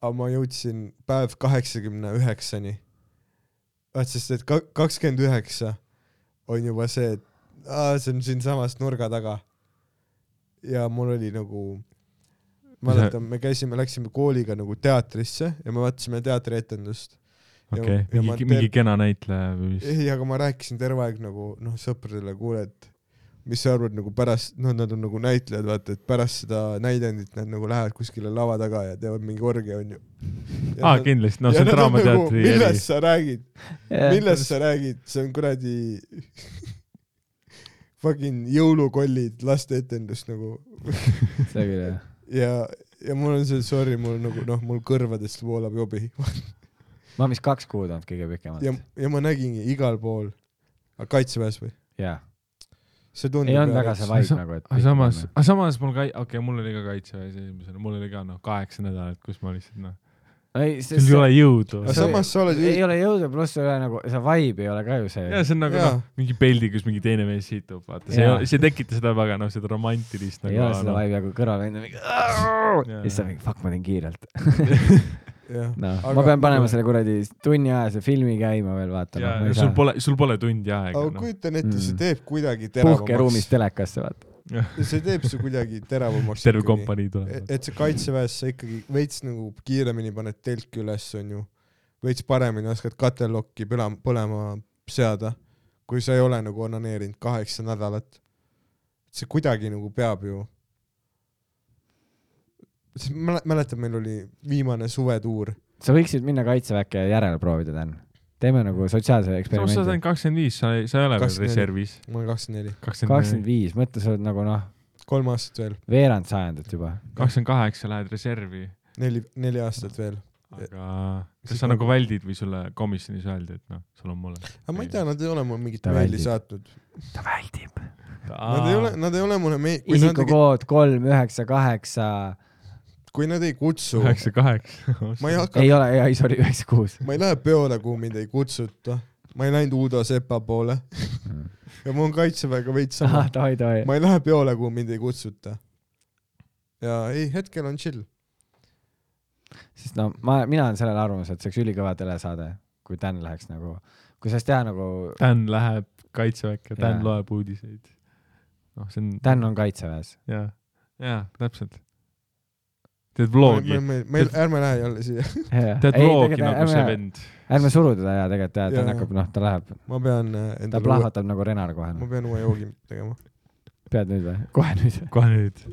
Speaker 3: aga ma jõudsin päev kaheksakümne üheksani . vaat sest , et ka- , kakskümmend üheksa on juba see , et aa, see on siinsamas nurga taga . ja mul oli nagu , mäletan , me käisime , läksime kooliga nagu teatrisse ja me vaatasime teatrietendust .
Speaker 5: okei
Speaker 3: ja
Speaker 5: okay. ,
Speaker 3: ma
Speaker 5: mingi ,
Speaker 3: teen- Eh,
Speaker 5: mingi kena näitleja või mis .
Speaker 3: ei , aga ma rääkisin terve aeg nagu noh , sõpradele , kuule , et mis sa arvad nagu pärast , noh , nad on nagu näitlejad , vaata , et pärast seda näidendit nad nagu lähevad kuskile lava taga ja teevad mingi orgia , onju .
Speaker 5: aa , kindlasti , noh , see on draamateatri eri .
Speaker 3: nagu, millest sa räägid , millest sa räägid , see on kuradi fucking jõulukollid lasteetendus nagu
Speaker 4: see küll jah .
Speaker 3: ja , ja mul on see , sorry , mul nagu noh , mul kõrvadest voolab jobi
Speaker 4: ma olen vist kaks kuud olnud kõige pikemalt
Speaker 3: ja , ja ma nägingi igal pool , kaitseväes või ?
Speaker 4: jaa .
Speaker 3: see tundub
Speaker 4: ei olnud
Speaker 3: jah,
Speaker 4: väga
Speaker 3: et-
Speaker 4: see
Speaker 5: Aga sa-
Speaker 4: vibe nagu , et .
Speaker 3: Ah,
Speaker 5: aga samas , aga samas mul ka , okei okay, , mul oli ka kaitseväes esimesena , mul oli ka noh , kaheksa nädalat , kus ma lihtsalt noh ,
Speaker 4: nagu- ei ,
Speaker 5: sul ei
Speaker 4: see ,
Speaker 5: ole jõudu .
Speaker 3: aga
Speaker 4: See-
Speaker 3: samas sa oled
Speaker 4: ei ole jõudu , pluss ei ole nagu , see vibe ei ole ka ju
Speaker 5: ja
Speaker 4: see .
Speaker 5: see on nagu
Speaker 3: Jaa.
Speaker 5: noh , mingi peldi , kus mingi teine mees situb , vaata , see ei
Speaker 4: Jaa.
Speaker 5: ole , see ei tekita seda väga noh , seda romantilist
Speaker 4: ei ole
Speaker 5: nagu .
Speaker 4: seda
Speaker 5: No,
Speaker 4: vibe'i , aga kõrval on mingi . ja siis sa mingi , fuck , ma teen kiirelt .
Speaker 3: jah ,
Speaker 4: noh ,
Speaker 3: Aga-
Speaker 4: ma pean panema selle kuradi tunni ajase filmi käima veel noh,
Speaker 5: ja
Speaker 4: vaatama .
Speaker 5: sul pole , sul pole tundi aega
Speaker 3: aga
Speaker 5: noh .
Speaker 3: kujutan ette , see
Speaker 4: Mm.
Speaker 3: teeb kuidagi
Speaker 4: puhkeruumis
Speaker 3: teravamaks ,
Speaker 4: telekasse vaata .
Speaker 3: see teeb su kuidagi teravamaks .
Speaker 5: terve . kompanii tuleb . noh.
Speaker 3: et sa kaitseväes sa ikkagi veits nagu kiiremini paned telki üles , onju , veits paremini oskad katellokki põla- , põlema seada , kui sa ei ole nagu onaneerinud kaheksa nädalat . see kuidagi nagu peab ju . mäletan , meil oli viimane suvetuur ,
Speaker 4: sa võiksid minna kaitseväkke järele proovida , Dan . teeme nagu sotsiaalse
Speaker 5: samas sa oled
Speaker 4: eksperimendi .
Speaker 5: ainult kakskümmend viis , sa ei , sa ei ole veel
Speaker 3: 24.
Speaker 5: reservis .
Speaker 3: ma olen kakskümmend neli ,
Speaker 4: kakskümmend viis , mõtle , sa oled nagu noh ,
Speaker 3: kolm aastat veel ,
Speaker 4: veerand sajandit juba .
Speaker 5: kakskümmend kaheksa lähed reservi ,
Speaker 3: neli , neli aastat veel .
Speaker 5: aga
Speaker 3: Siis
Speaker 5: kas sa
Speaker 3: ma-
Speaker 5: nagu väldid või sulle komisjonis öeldi , et noh , sul on mulle .
Speaker 3: aga ma ei tea , nad ei ole mulle mingit
Speaker 4: Ta
Speaker 3: meili
Speaker 4: väldib.
Speaker 3: saatnud .
Speaker 4: ta väldib .
Speaker 3: Nad ei ole , nad ei ole mulle mei- , kui nad ei ,
Speaker 4: isikukood kolm üheksa kaheksa ,
Speaker 3: kui nad ei kutsu ,
Speaker 5: üheksa ,
Speaker 3: ma
Speaker 5: kaheksa
Speaker 3: ei . hakka ,
Speaker 4: ei ole , ei sorry , üheksa kuus .
Speaker 3: ma ei lähe peole , kuhu mind ei kutsuta . ma ei läinud Uudo Sepa poole
Speaker 5: Mm.
Speaker 3: ja mul on kaitseväega veits sama
Speaker 5: Ah,
Speaker 4: ahah ,. davai , davai .
Speaker 3: ma ei lähe peole , kuhu mind ei kutsuta . ja ei , hetkel on chill .
Speaker 4: sest no ma , mina olen sellel arvamusel , et see oleks ülikõva telesaade , kui Dan läheks nagu , kui saaks teha nagu ,
Speaker 5: Dan läheb kaitseväkke , Dan
Speaker 4: Jaa.
Speaker 5: loeb uudiseid . noh , see on ,
Speaker 4: Dan on kaitseväes .
Speaker 5: jaa , jaa , täpselt . teed vlogi ,
Speaker 3: meil , ärme lähe jälle siia ,
Speaker 5: teed vlogi nagu see vend .
Speaker 4: ärme suru teda ja tegelikult jah , ta
Speaker 3: Jaa.
Speaker 4: hakkab , noh , ta läheb ,
Speaker 3: ma pean äh,
Speaker 4: ta
Speaker 3: endale uue ,
Speaker 4: plahvatab nagu Renar kohe
Speaker 3: ma
Speaker 4: no. .
Speaker 3: pean uue joogi tegema .
Speaker 4: pead nüüd või ? kohe nüüd või ?
Speaker 5: kohe nüüd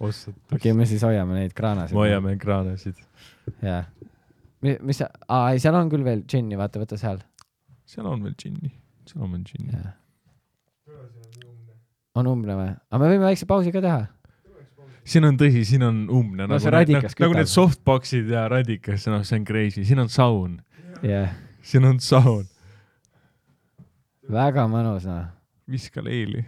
Speaker 5: ostad .
Speaker 4: okei okay, , me siis hoiame neid kraanasid .
Speaker 5: me . hoiame kraanasid .
Speaker 4: jaa . mis sa , aa ei , seal on küll veel džinni , vaata , võta seal .
Speaker 5: seal on veel džinni , seal on veel džinni .
Speaker 4: on umbne või ? aga me võime väikse pausi ka teha .
Speaker 5: siin on tõsi , siin on umbne
Speaker 4: No
Speaker 5: nagu
Speaker 4: see radikas
Speaker 5: need- nagu, nagu
Speaker 4: kütab.
Speaker 5: need softbox'id ja radikas , noh , see on crazy , siin on saun ,
Speaker 4: jah ,
Speaker 5: siin on saun ,
Speaker 4: väga mõnus noh .
Speaker 5: viska leili .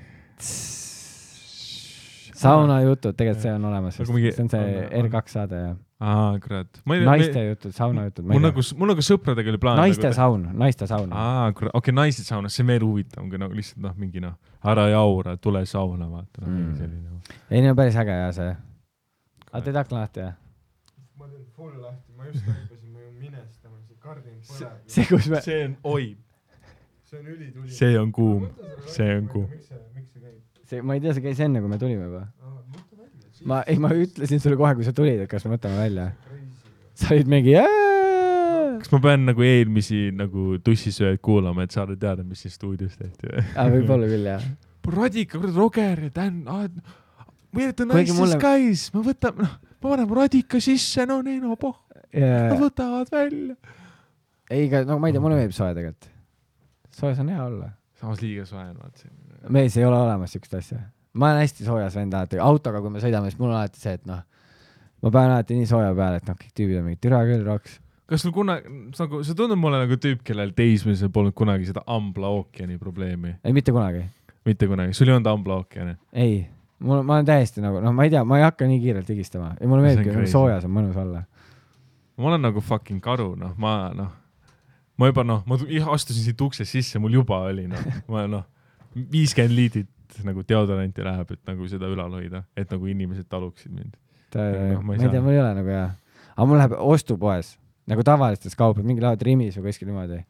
Speaker 4: sauna jutud , tegelikult see on olemas
Speaker 5: Aga
Speaker 4: vist ,
Speaker 5: mingi-
Speaker 4: see on see
Speaker 5: on- on-
Speaker 4: R2 saade jah .
Speaker 5: aa , kurat .
Speaker 4: naiste jutud , sauna jutud , ma
Speaker 5: mul
Speaker 4: ei
Speaker 5: nagu
Speaker 4: tea .,
Speaker 5: mul nagu sõpradega oli plaan . nagu-
Speaker 4: naiste saun , naiste saun .
Speaker 5: aa , kurat , okei okay, , naised saunas , see on veel huvitavam kui nagu lihtsalt noh , mingi noh , ära jaura , tule sauna , vaata noh, mingi
Speaker 4: Mm.
Speaker 5: selline.
Speaker 4: ei , no päris äge jah see . aga teed akna lahti jah ?
Speaker 3: ma teen full lahti , ma just taipasin , ma ju minestama , see kardin põleb .
Speaker 4: see , kus me ,
Speaker 5: see on , oi ,
Speaker 3: see on ülituli .
Speaker 5: see on kuum , see on kuum .
Speaker 3: miks see , miks see käib ?
Speaker 4: see , ma ei tea , see käis enne , kui me tulime juba . ma , ei , ma ütlesin sulle kohe , kui sa tulid , et kas me võtame välja . sa olid mingi .
Speaker 5: kas ma pean nagu eelmisi nagu tussisööjaid kuulama , et saada teada , mis siin stuudios tehti või ?
Speaker 4: aga võib-olla küll jah .
Speaker 5: Radika , kurat , Roger ja Dan , we are the
Speaker 4: Kuigi
Speaker 5: nicest mulle...
Speaker 4: mulle-
Speaker 5: guys , me võtame , noh , me paneme Radika sisse , no nii , no poh , nad
Speaker 4: ei ,
Speaker 5: võtavad välja .
Speaker 4: aga no ma ei tea , mulle meeldib soe tegelikult . soojas on hea olla .
Speaker 5: samas liiga soe on vaata selline .
Speaker 4: mees ei ole olemas siukest asja . ma olen hästi soojas vend alati , autoga , kui me sõidame , siis mul on alati see , et noh , ma panen alati nii sooja peale , et noh , kõik tüübid on mingi türa küll , roks .
Speaker 5: kas sul kunagi , nagu sa tundud mulle nagu tüüp , kellel teismelisel polnud kunagi seda ambla ookeani probleemi ,
Speaker 4: ei , mitte kunagi .
Speaker 5: mitte kunagi , sul ei olnud ambla ookeani ?
Speaker 4: ei , mul , ma olen täiesti nagu , noh , ma ei tea , ma ei hakka nii kiirelt higistama ja mulle
Speaker 5: See on
Speaker 4: meeldibki ,
Speaker 5: crazy.
Speaker 4: soojas on mõnus olla .
Speaker 5: ma olen nagu fucking karu , noh , ma noh , ma juba noh , ma tu- ih- astusin siit uksest sisse , mul juba oli noh , ma noh , viiskümmend liitrit nagu deodoranti läheb , et nagu seda ülal hoida , et nagu inimesed taluksid mind .
Speaker 4: ta ,
Speaker 5: Noh, ma
Speaker 4: ma
Speaker 5: ei
Speaker 4: ei tea ,
Speaker 5: saa.
Speaker 4: mul ei ole nagu hea . aga mul läheb ostupoes nagu tavalistes kaupades , mingi lähevad Rimis või kuskil niimoodi .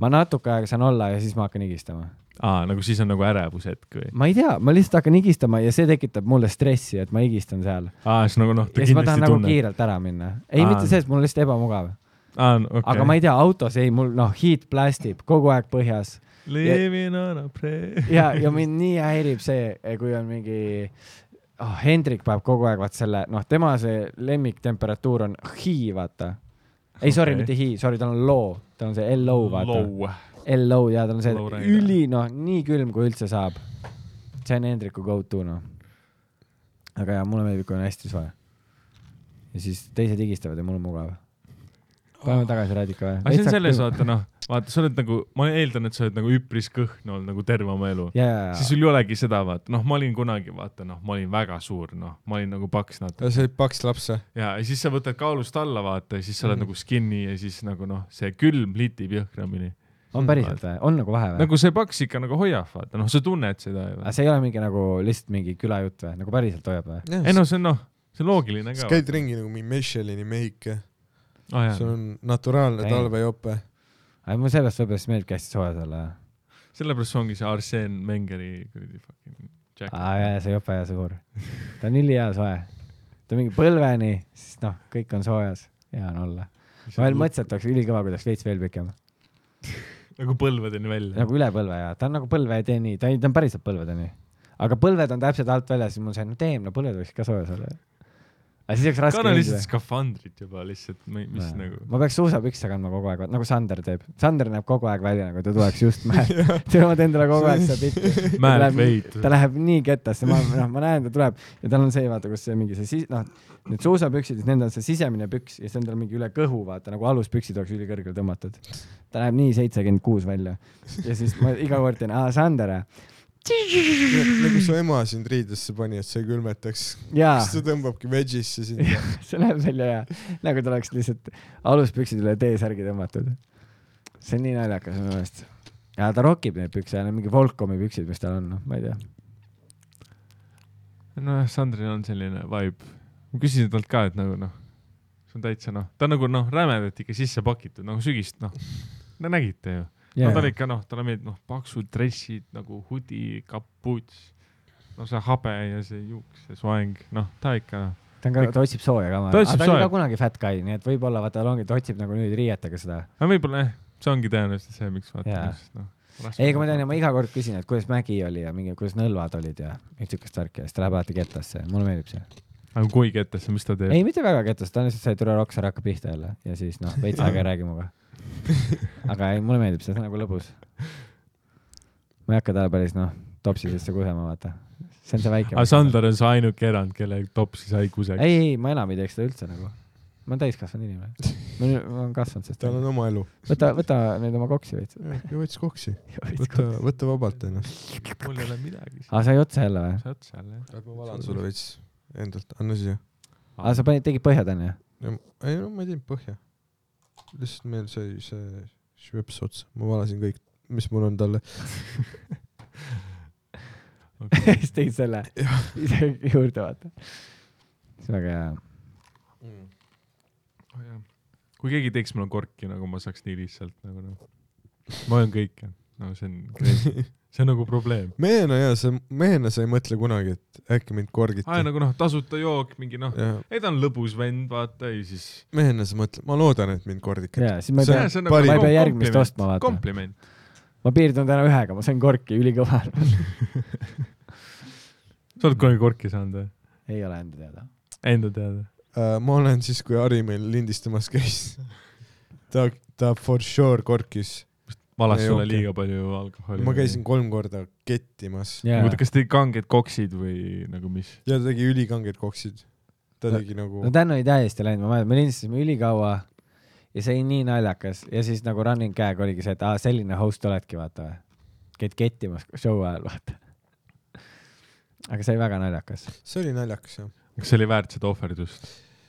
Speaker 4: ma natuke aega saan olla ja siis ma hakkan higistama .
Speaker 5: aa , nagu siis on nagu ärevushetk või ?
Speaker 4: ma ei tea , ma lihtsalt hakkan higistama ja see tekitab mulle stressi , et ma higistan seal .
Speaker 5: aa , siis nagu noh ,
Speaker 4: ja
Speaker 5: ta
Speaker 4: siis ma tahan
Speaker 5: kindlasti
Speaker 4: nagu
Speaker 5: tunneb .
Speaker 4: kiirelt ära minna . ei ,
Speaker 5: Aa.
Speaker 4: mitte see , et mul on lihtsalt ebamugav okay. ,
Speaker 5: aa , okei .
Speaker 4: aga ma ei tea , autos ei , mul noh , heat blastib kogu aeg põhjas
Speaker 5: Living on a prayer .
Speaker 4: ja , ja mind nii häirib see , kui on mingi oh, , Hendrik paneb kogu aeg vaat selle , noh , tema see lemmiktemperatuur on hi , vaata . ei , sorry okay. ,
Speaker 5: Okei.
Speaker 4: mitte hi , sorry , tal on loo , tal on see LO , vaata . LO ja tal on
Speaker 5: Low
Speaker 4: see
Speaker 5: range.
Speaker 4: üli , noh , nii külm , kui üldse saab . see on Hendriku go to , noh . aga jaa , mulle meeldib , kui on hästi soe . ja siis teised higistavad ja mul on mugav . paneme tagasi Radika või ?
Speaker 5: aga Ah, see on selles , vaata noh , vaata , sa oled nagu , ma eeldan , et sa oled nagu üpris kõhn olnud nagu terve oma elu .
Speaker 4: jaa , jaa ,
Speaker 5: siis
Speaker 4: jaa .
Speaker 5: sul ei olegi seda , vaata , noh , ma olin kunagi , vaata , noh , ma olin väga suur , noh , ma olin nagu paks natuke
Speaker 3: see oli paks laps või ?
Speaker 5: ja ja siis sa võtad kaalust alla , vaata , ja siis sa oled mm.
Speaker 4: Mhm.
Speaker 5: nagu skinny ja siis nagu noh , see külm litib jõhkramini .
Speaker 4: on päriselt või ? on nagu vahe või ?
Speaker 5: nagu see paks ikka nagu hoiab , vaata , noh , sa tunned seda ju
Speaker 4: aga . see ei ole mingi nagu lihtsalt mingi külajutt või , nagu päriselt hoiab või ?
Speaker 5: ei no see on noh , see on loogiline
Speaker 3: sa
Speaker 5: ka .
Speaker 3: käid ringi nagu mingi Michelini mehike ,
Speaker 5: Ah,
Speaker 3: sul
Speaker 5: jaa.
Speaker 3: on naturaalne
Speaker 4: Ei.
Speaker 3: talvejope .
Speaker 4: aga mul sellepärast võib-olla siis meeldibki hästi soojas olla .
Speaker 5: sellepärast ongi see Arsen Mengeri kuradi fucking jack .
Speaker 4: aa jaa , see jope hea suur . ta on ülihea soe . ta on mingi põlveni , siis noh , kõik on soojas , hea on olla . ma veel mõtlesin , et oleks ülikõva , kui ta oleks veits veel pikem .
Speaker 5: nagu põlvedeni välja nagu... .
Speaker 4: nagu üle põlve ja ta on nagu põlveteni , ta ei , ta on päriselt põlveteni . aga põlved on täpselt alt väljas , siis mul see , no teem , no põlved võiks ka soojas olla . aga siis oleks raske
Speaker 5: kanna lihtsalt . skafandrit juba lihtsalt , mis ja. nagu .
Speaker 4: ma peaks suusapükse kandma kogu aeg , nagu Sander teeb . Sander näeb kogu aeg välja , nagu ta tuleks just mäelt . tema teeb endale kogu aeg seda pilti .
Speaker 5: määrad veid .
Speaker 4: ta läheb nii kettasse , ma , noh , ma näen , ta tuleb ja tal on see , vaata , kus see mingi see si- , noh , need suusapüksid , siis nendel on see sisemine püks ja siis on tal mingi üle kõhu , vaata nagu aluspüksid oleks ülikõrgele tõmmatud . ta näeb nii seitsekümmend kuus välja ja siis ma iga kord teen , aa , Sander ,
Speaker 3: nagu su ema sind riidesse pani , et sa ei külmetaks .
Speaker 4: jaa
Speaker 3: siis ta tõmbabki vegisse sind .
Speaker 4: see näeb välja hea , nagu ta oleks lihtsalt aluspüksid üle T-särgi tõmmatud . see on nii naljakas minu meelest . ja ta rokib neid pükse , need mingi Volcomi püksid , mis tal on , noh , ma ei tea .
Speaker 5: nojah , Sandril on selline vibe . ma küsisin talt ka , et nagu noh , see on täitsa noh , ta on nagu noh , rämedalt ikka sisse pakitud nagu sügist noh . no nägite ju yeah. . no tal ikka noh , talle meeldib noh , paksud dressid nagu hudi , kapuuts , no see habe ja see juuks ja soeng , noh , ta ikka noh ,
Speaker 4: ta on ka , ta otsib sooja ka , ma
Speaker 5: Ta otsib
Speaker 4: arvan . ta oli
Speaker 5: sooja.
Speaker 4: ka kunagi fat guy , nii et võib-olla vaata , tal ongi , ta otsib nagu nüüd riietega seda .
Speaker 5: aga võib-olla jah , see ongi tõenäoliselt see , miks vaata
Speaker 4: Jaa.
Speaker 5: yeah. , noh .
Speaker 4: ei , aga ma tean ja ma iga kord küsin , et kuidas Mägi oli ja mingi , kuidas nõlvad olid ja mingit siukest värki ja siis ta läheb alati kettasse , mulle meeldib see .
Speaker 5: aga kui ketesse , mis ta teeb ?
Speaker 4: ei , mitte väga kettasse , ta on lihtsalt see tore rokksaar hakkab pihta jälle ja siis noh , veits aega ei räägi minuga . aga ei , mulle meeldib see , see on nagu lõbus . ma ei hakka talle päris noh , topsi sisse kusema , vaata . see on see väike .
Speaker 5: aga Sander on see ainuke erand , kelle topsi sai kusagil .
Speaker 4: ei , ei , ma enam ei teeks seda üldse nagu . ma olen täiskasvanud inimene . ma nüüd- ma olen kasvanud sellest .
Speaker 3: tal on oma elu .
Speaker 4: võta , võta nüüd oma koksi veits .
Speaker 3: ja võttis koksi . võta , võta vabalt ennast .
Speaker 5: mul ei ole midagi .
Speaker 4: aa , sai otsa jälle või ?
Speaker 5: sa oled seal jah ?
Speaker 3: ma valan sulle veits endalt , anna siia .
Speaker 4: aa , sa panid , tegid põhjad onju ?
Speaker 3: ei no ma ei teinud põhja . lihtsalt meil sai see šveps otsa , ma valasin kõik , mis mul on talle .
Speaker 4: siis tegid selle ise juurde vaata . see on väga hea .
Speaker 5: oh, . kui keegi teeks mulle korki , nagu ma saaks nii lihtsalt nagu noh , ma olen kõike , no see on , see on nagu probleem .
Speaker 3: mehena ja sa , mehena sa ei mõtle kunagi , et äkki mind
Speaker 5: aa ,
Speaker 3: korgiti .
Speaker 5: nagu noh , tasuta jook , mingi noh ,
Speaker 3: ja
Speaker 5: ei ta on lõbus vend , vaata ja siis .
Speaker 3: mehena sa mõtled , ma loodan , et mind korditi .
Speaker 4: ja siis ma ei pea ,
Speaker 3: parim-
Speaker 4: ma ei pea järgmist ostma vaata .
Speaker 5: nagu kompliment .
Speaker 4: ma piirdun täna ühega , ma sain korki ülikõva .
Speaker 5: sa oled kunagi korki saanud või ?
Speaker 4: ei ole enda teada .
Speaker 5: Enda teada .
Speaker 3: Äh, ma olen siis , kui Ari meil lindistamas käis . ta , ta for sure korkis .
Speaker 5: valas
Speaker 3: Ei,
Speaker 5: sulle
Speaker 3: okei.
Speaker 5: liiga palju alkoholi .
Speaker 3: ma käisin . kolm korda kettimas ja,
Speaker 5: oota ,
Speaker 4: no
Speaker 5: kas teil kanged koksid või nagu mis ?
Speaker 3: ja ta tegi ülikangeid koksid . ta
Speaker 4: No-
Speaker 3: tegi nagu ,
Speaker 4: Dan oli täiesti läinud , ma mäletan , me lindistasime ülikaua ja see oli nii naljakas ja siis nagu running gag oligi see , et aa , selline host oledki , vaata või . käid kettimas show ajal , vaata . aga see oli väga naljakas .
Speaker 3: see oli naljakas jah .
Speaker 5: kas see oli väärt seda ohverdust ,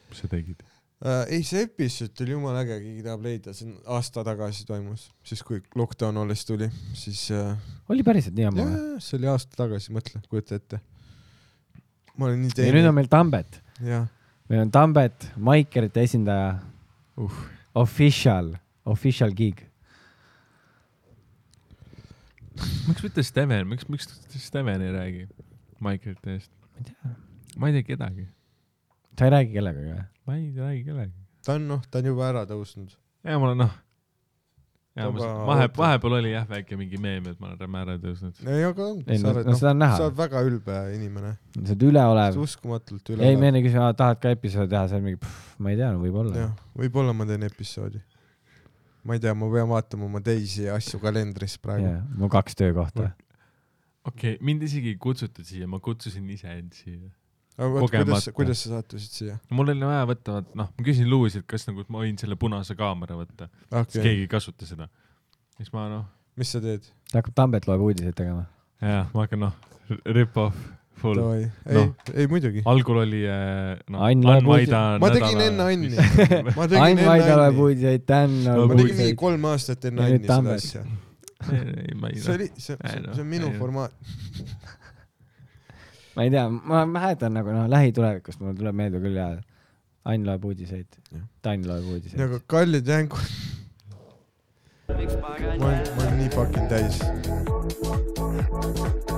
Speaker 5: mis sa tegid ?
Speaker 3: Äh, ei , see episood oli jumala äge , keegi tahab leida , see on aasta tagasi toimus , siis kui lockdown alles tuli , siis äh,
Speaker 4: oli päriselt nii ammu
Speaker 3: jah
Speaker 4: või ?,
Speaker 3: see oli aasta tagasi , mõtle , kujuta ette . ma olen nii
Speaker 4: ja nüüd on
Speaker 3: teinud ,
Speaker 4: meil Tambet .
Speaker 3: jah .
Speaker 4: meil on Tambet , Maikerite esindaja
Speaker 5: Uh. .
Speaker 4: Official , official gig .
Speaker 5: miks mitte Steven , miks , miks ta Steven ei räägi Michaelite eest ?
Speaker 4: Ma ei
Speaker 5: tea . ma ei tea kedagi ,
Speaker 4: sa ei räägi kellegagi või ?
Speaker 5: ma ei räägi kellegagi .
Speaker 3: ta on noh , ta on juba ära tõusnud .
Speaker 5: ja ma olen noh , ja ma
Speaker 3: Vaba
Speaker 5: saan , vahe ,
Speaker 3: ootab.
Speaker 5: vahepeal oli jah väike mingi meem , et ma olen ära tõusnud .
Speaker 3: ei , aga
Speaker 4: ei
Speaker 3: sa
Speaker 4: no,
Speaker 3: oled
Speaker 4: no
Speaker 3: noh ,
Speaker 4: seda on näha
Speaker 3: sa , oled väga ülbe inimene ,
Speaker 4: sa oled üleolev .
Speaker 3: uskumatult
Speaker 4: ei , me
Speaker 3: üle .
Speaker 4: enne küsisime , tahad ka episoodi teha , see on mingi , ma ei tea , no võib-olla
Speaker 3: jah ., võib-olla ma teen episoodi . ma ei tea , ma pean vaatama oma teisi asju kalendris praegu .
Speaker 4: mul kaks töökohta .
Speaker 5: okei okay, , mind isegi ei kutsutud siia , ma kutsusin iseend siia .
Speaker 3: aga vot kuidas
Speaker 5: Kogemata. ,
Speaker 3: kuidas sa sattusid siia ?
Speaker 5: mul oli vaja võtta , vaat noh , ma küsisin Luusilt , kas nagu ma võin selle punase kaamera võtta okay. , siis
Speaker 3: Ah, okei ,
Speaker 5: keegi ei kasuta seda . siis ma noh ,
Speaker 3: mis sa teed ?
Speaker 4: ta hakkab Tambet loeb uudiseid tegema .
Speaker 5: jah , ma hakkan noh , rip-off , full .
Speaker 3: davai , ei
Speaker 5: Noh. ,
Speaker 3: ei muidugi .
Speaker 5: algul oli eh, noh ,
Speaker 4: Ann
Speaker 5: Ann
Speaker 4: loeb
Speaker 5: Vaida .
Speaker 3: ma tegin enne Anni . ma tegin
Speaker 4: Ain
Speaker 3: enne
Speaker 4: Vaida loeb
Speaker 3: Anni .
Speaker 4: uudiseid , Dan
Speaker 5: Ma
Speaker 4: loeb
Speaker 3: ma tegin mingi
Speaker 4: uudiseid .
Speaker 3: kolm aastat enne
Speaker 4: Ja
Speaker 3: Anni
Speaker 4: nüüd
Speaker 3: seda
Speaker 4: Tambet.
Speaker 3: asja .
Speaker 5: ei , ma ei
Speaker 3: see oli , see ,
Speaker 5: Ei
Speaker 3: see
Speaker 5: noh,
Speaker 3: see on minu
Speaker 5: ei noh.
Speaker 3: formaat .
Speaker 4: ma ei tea , ma mäletan nagu noh , lähitulevikust mul tuleb meelde küll ja Ain loeb uudiseid
Speaker 3: Jah. ,
Speaker 4: Dan loeb uudiseid
Speaker 3: aga . Nagu kallid jänkud ,
Speaker 1: miks ma
Speaker 3: ma olen , ma olen nii fucking täis .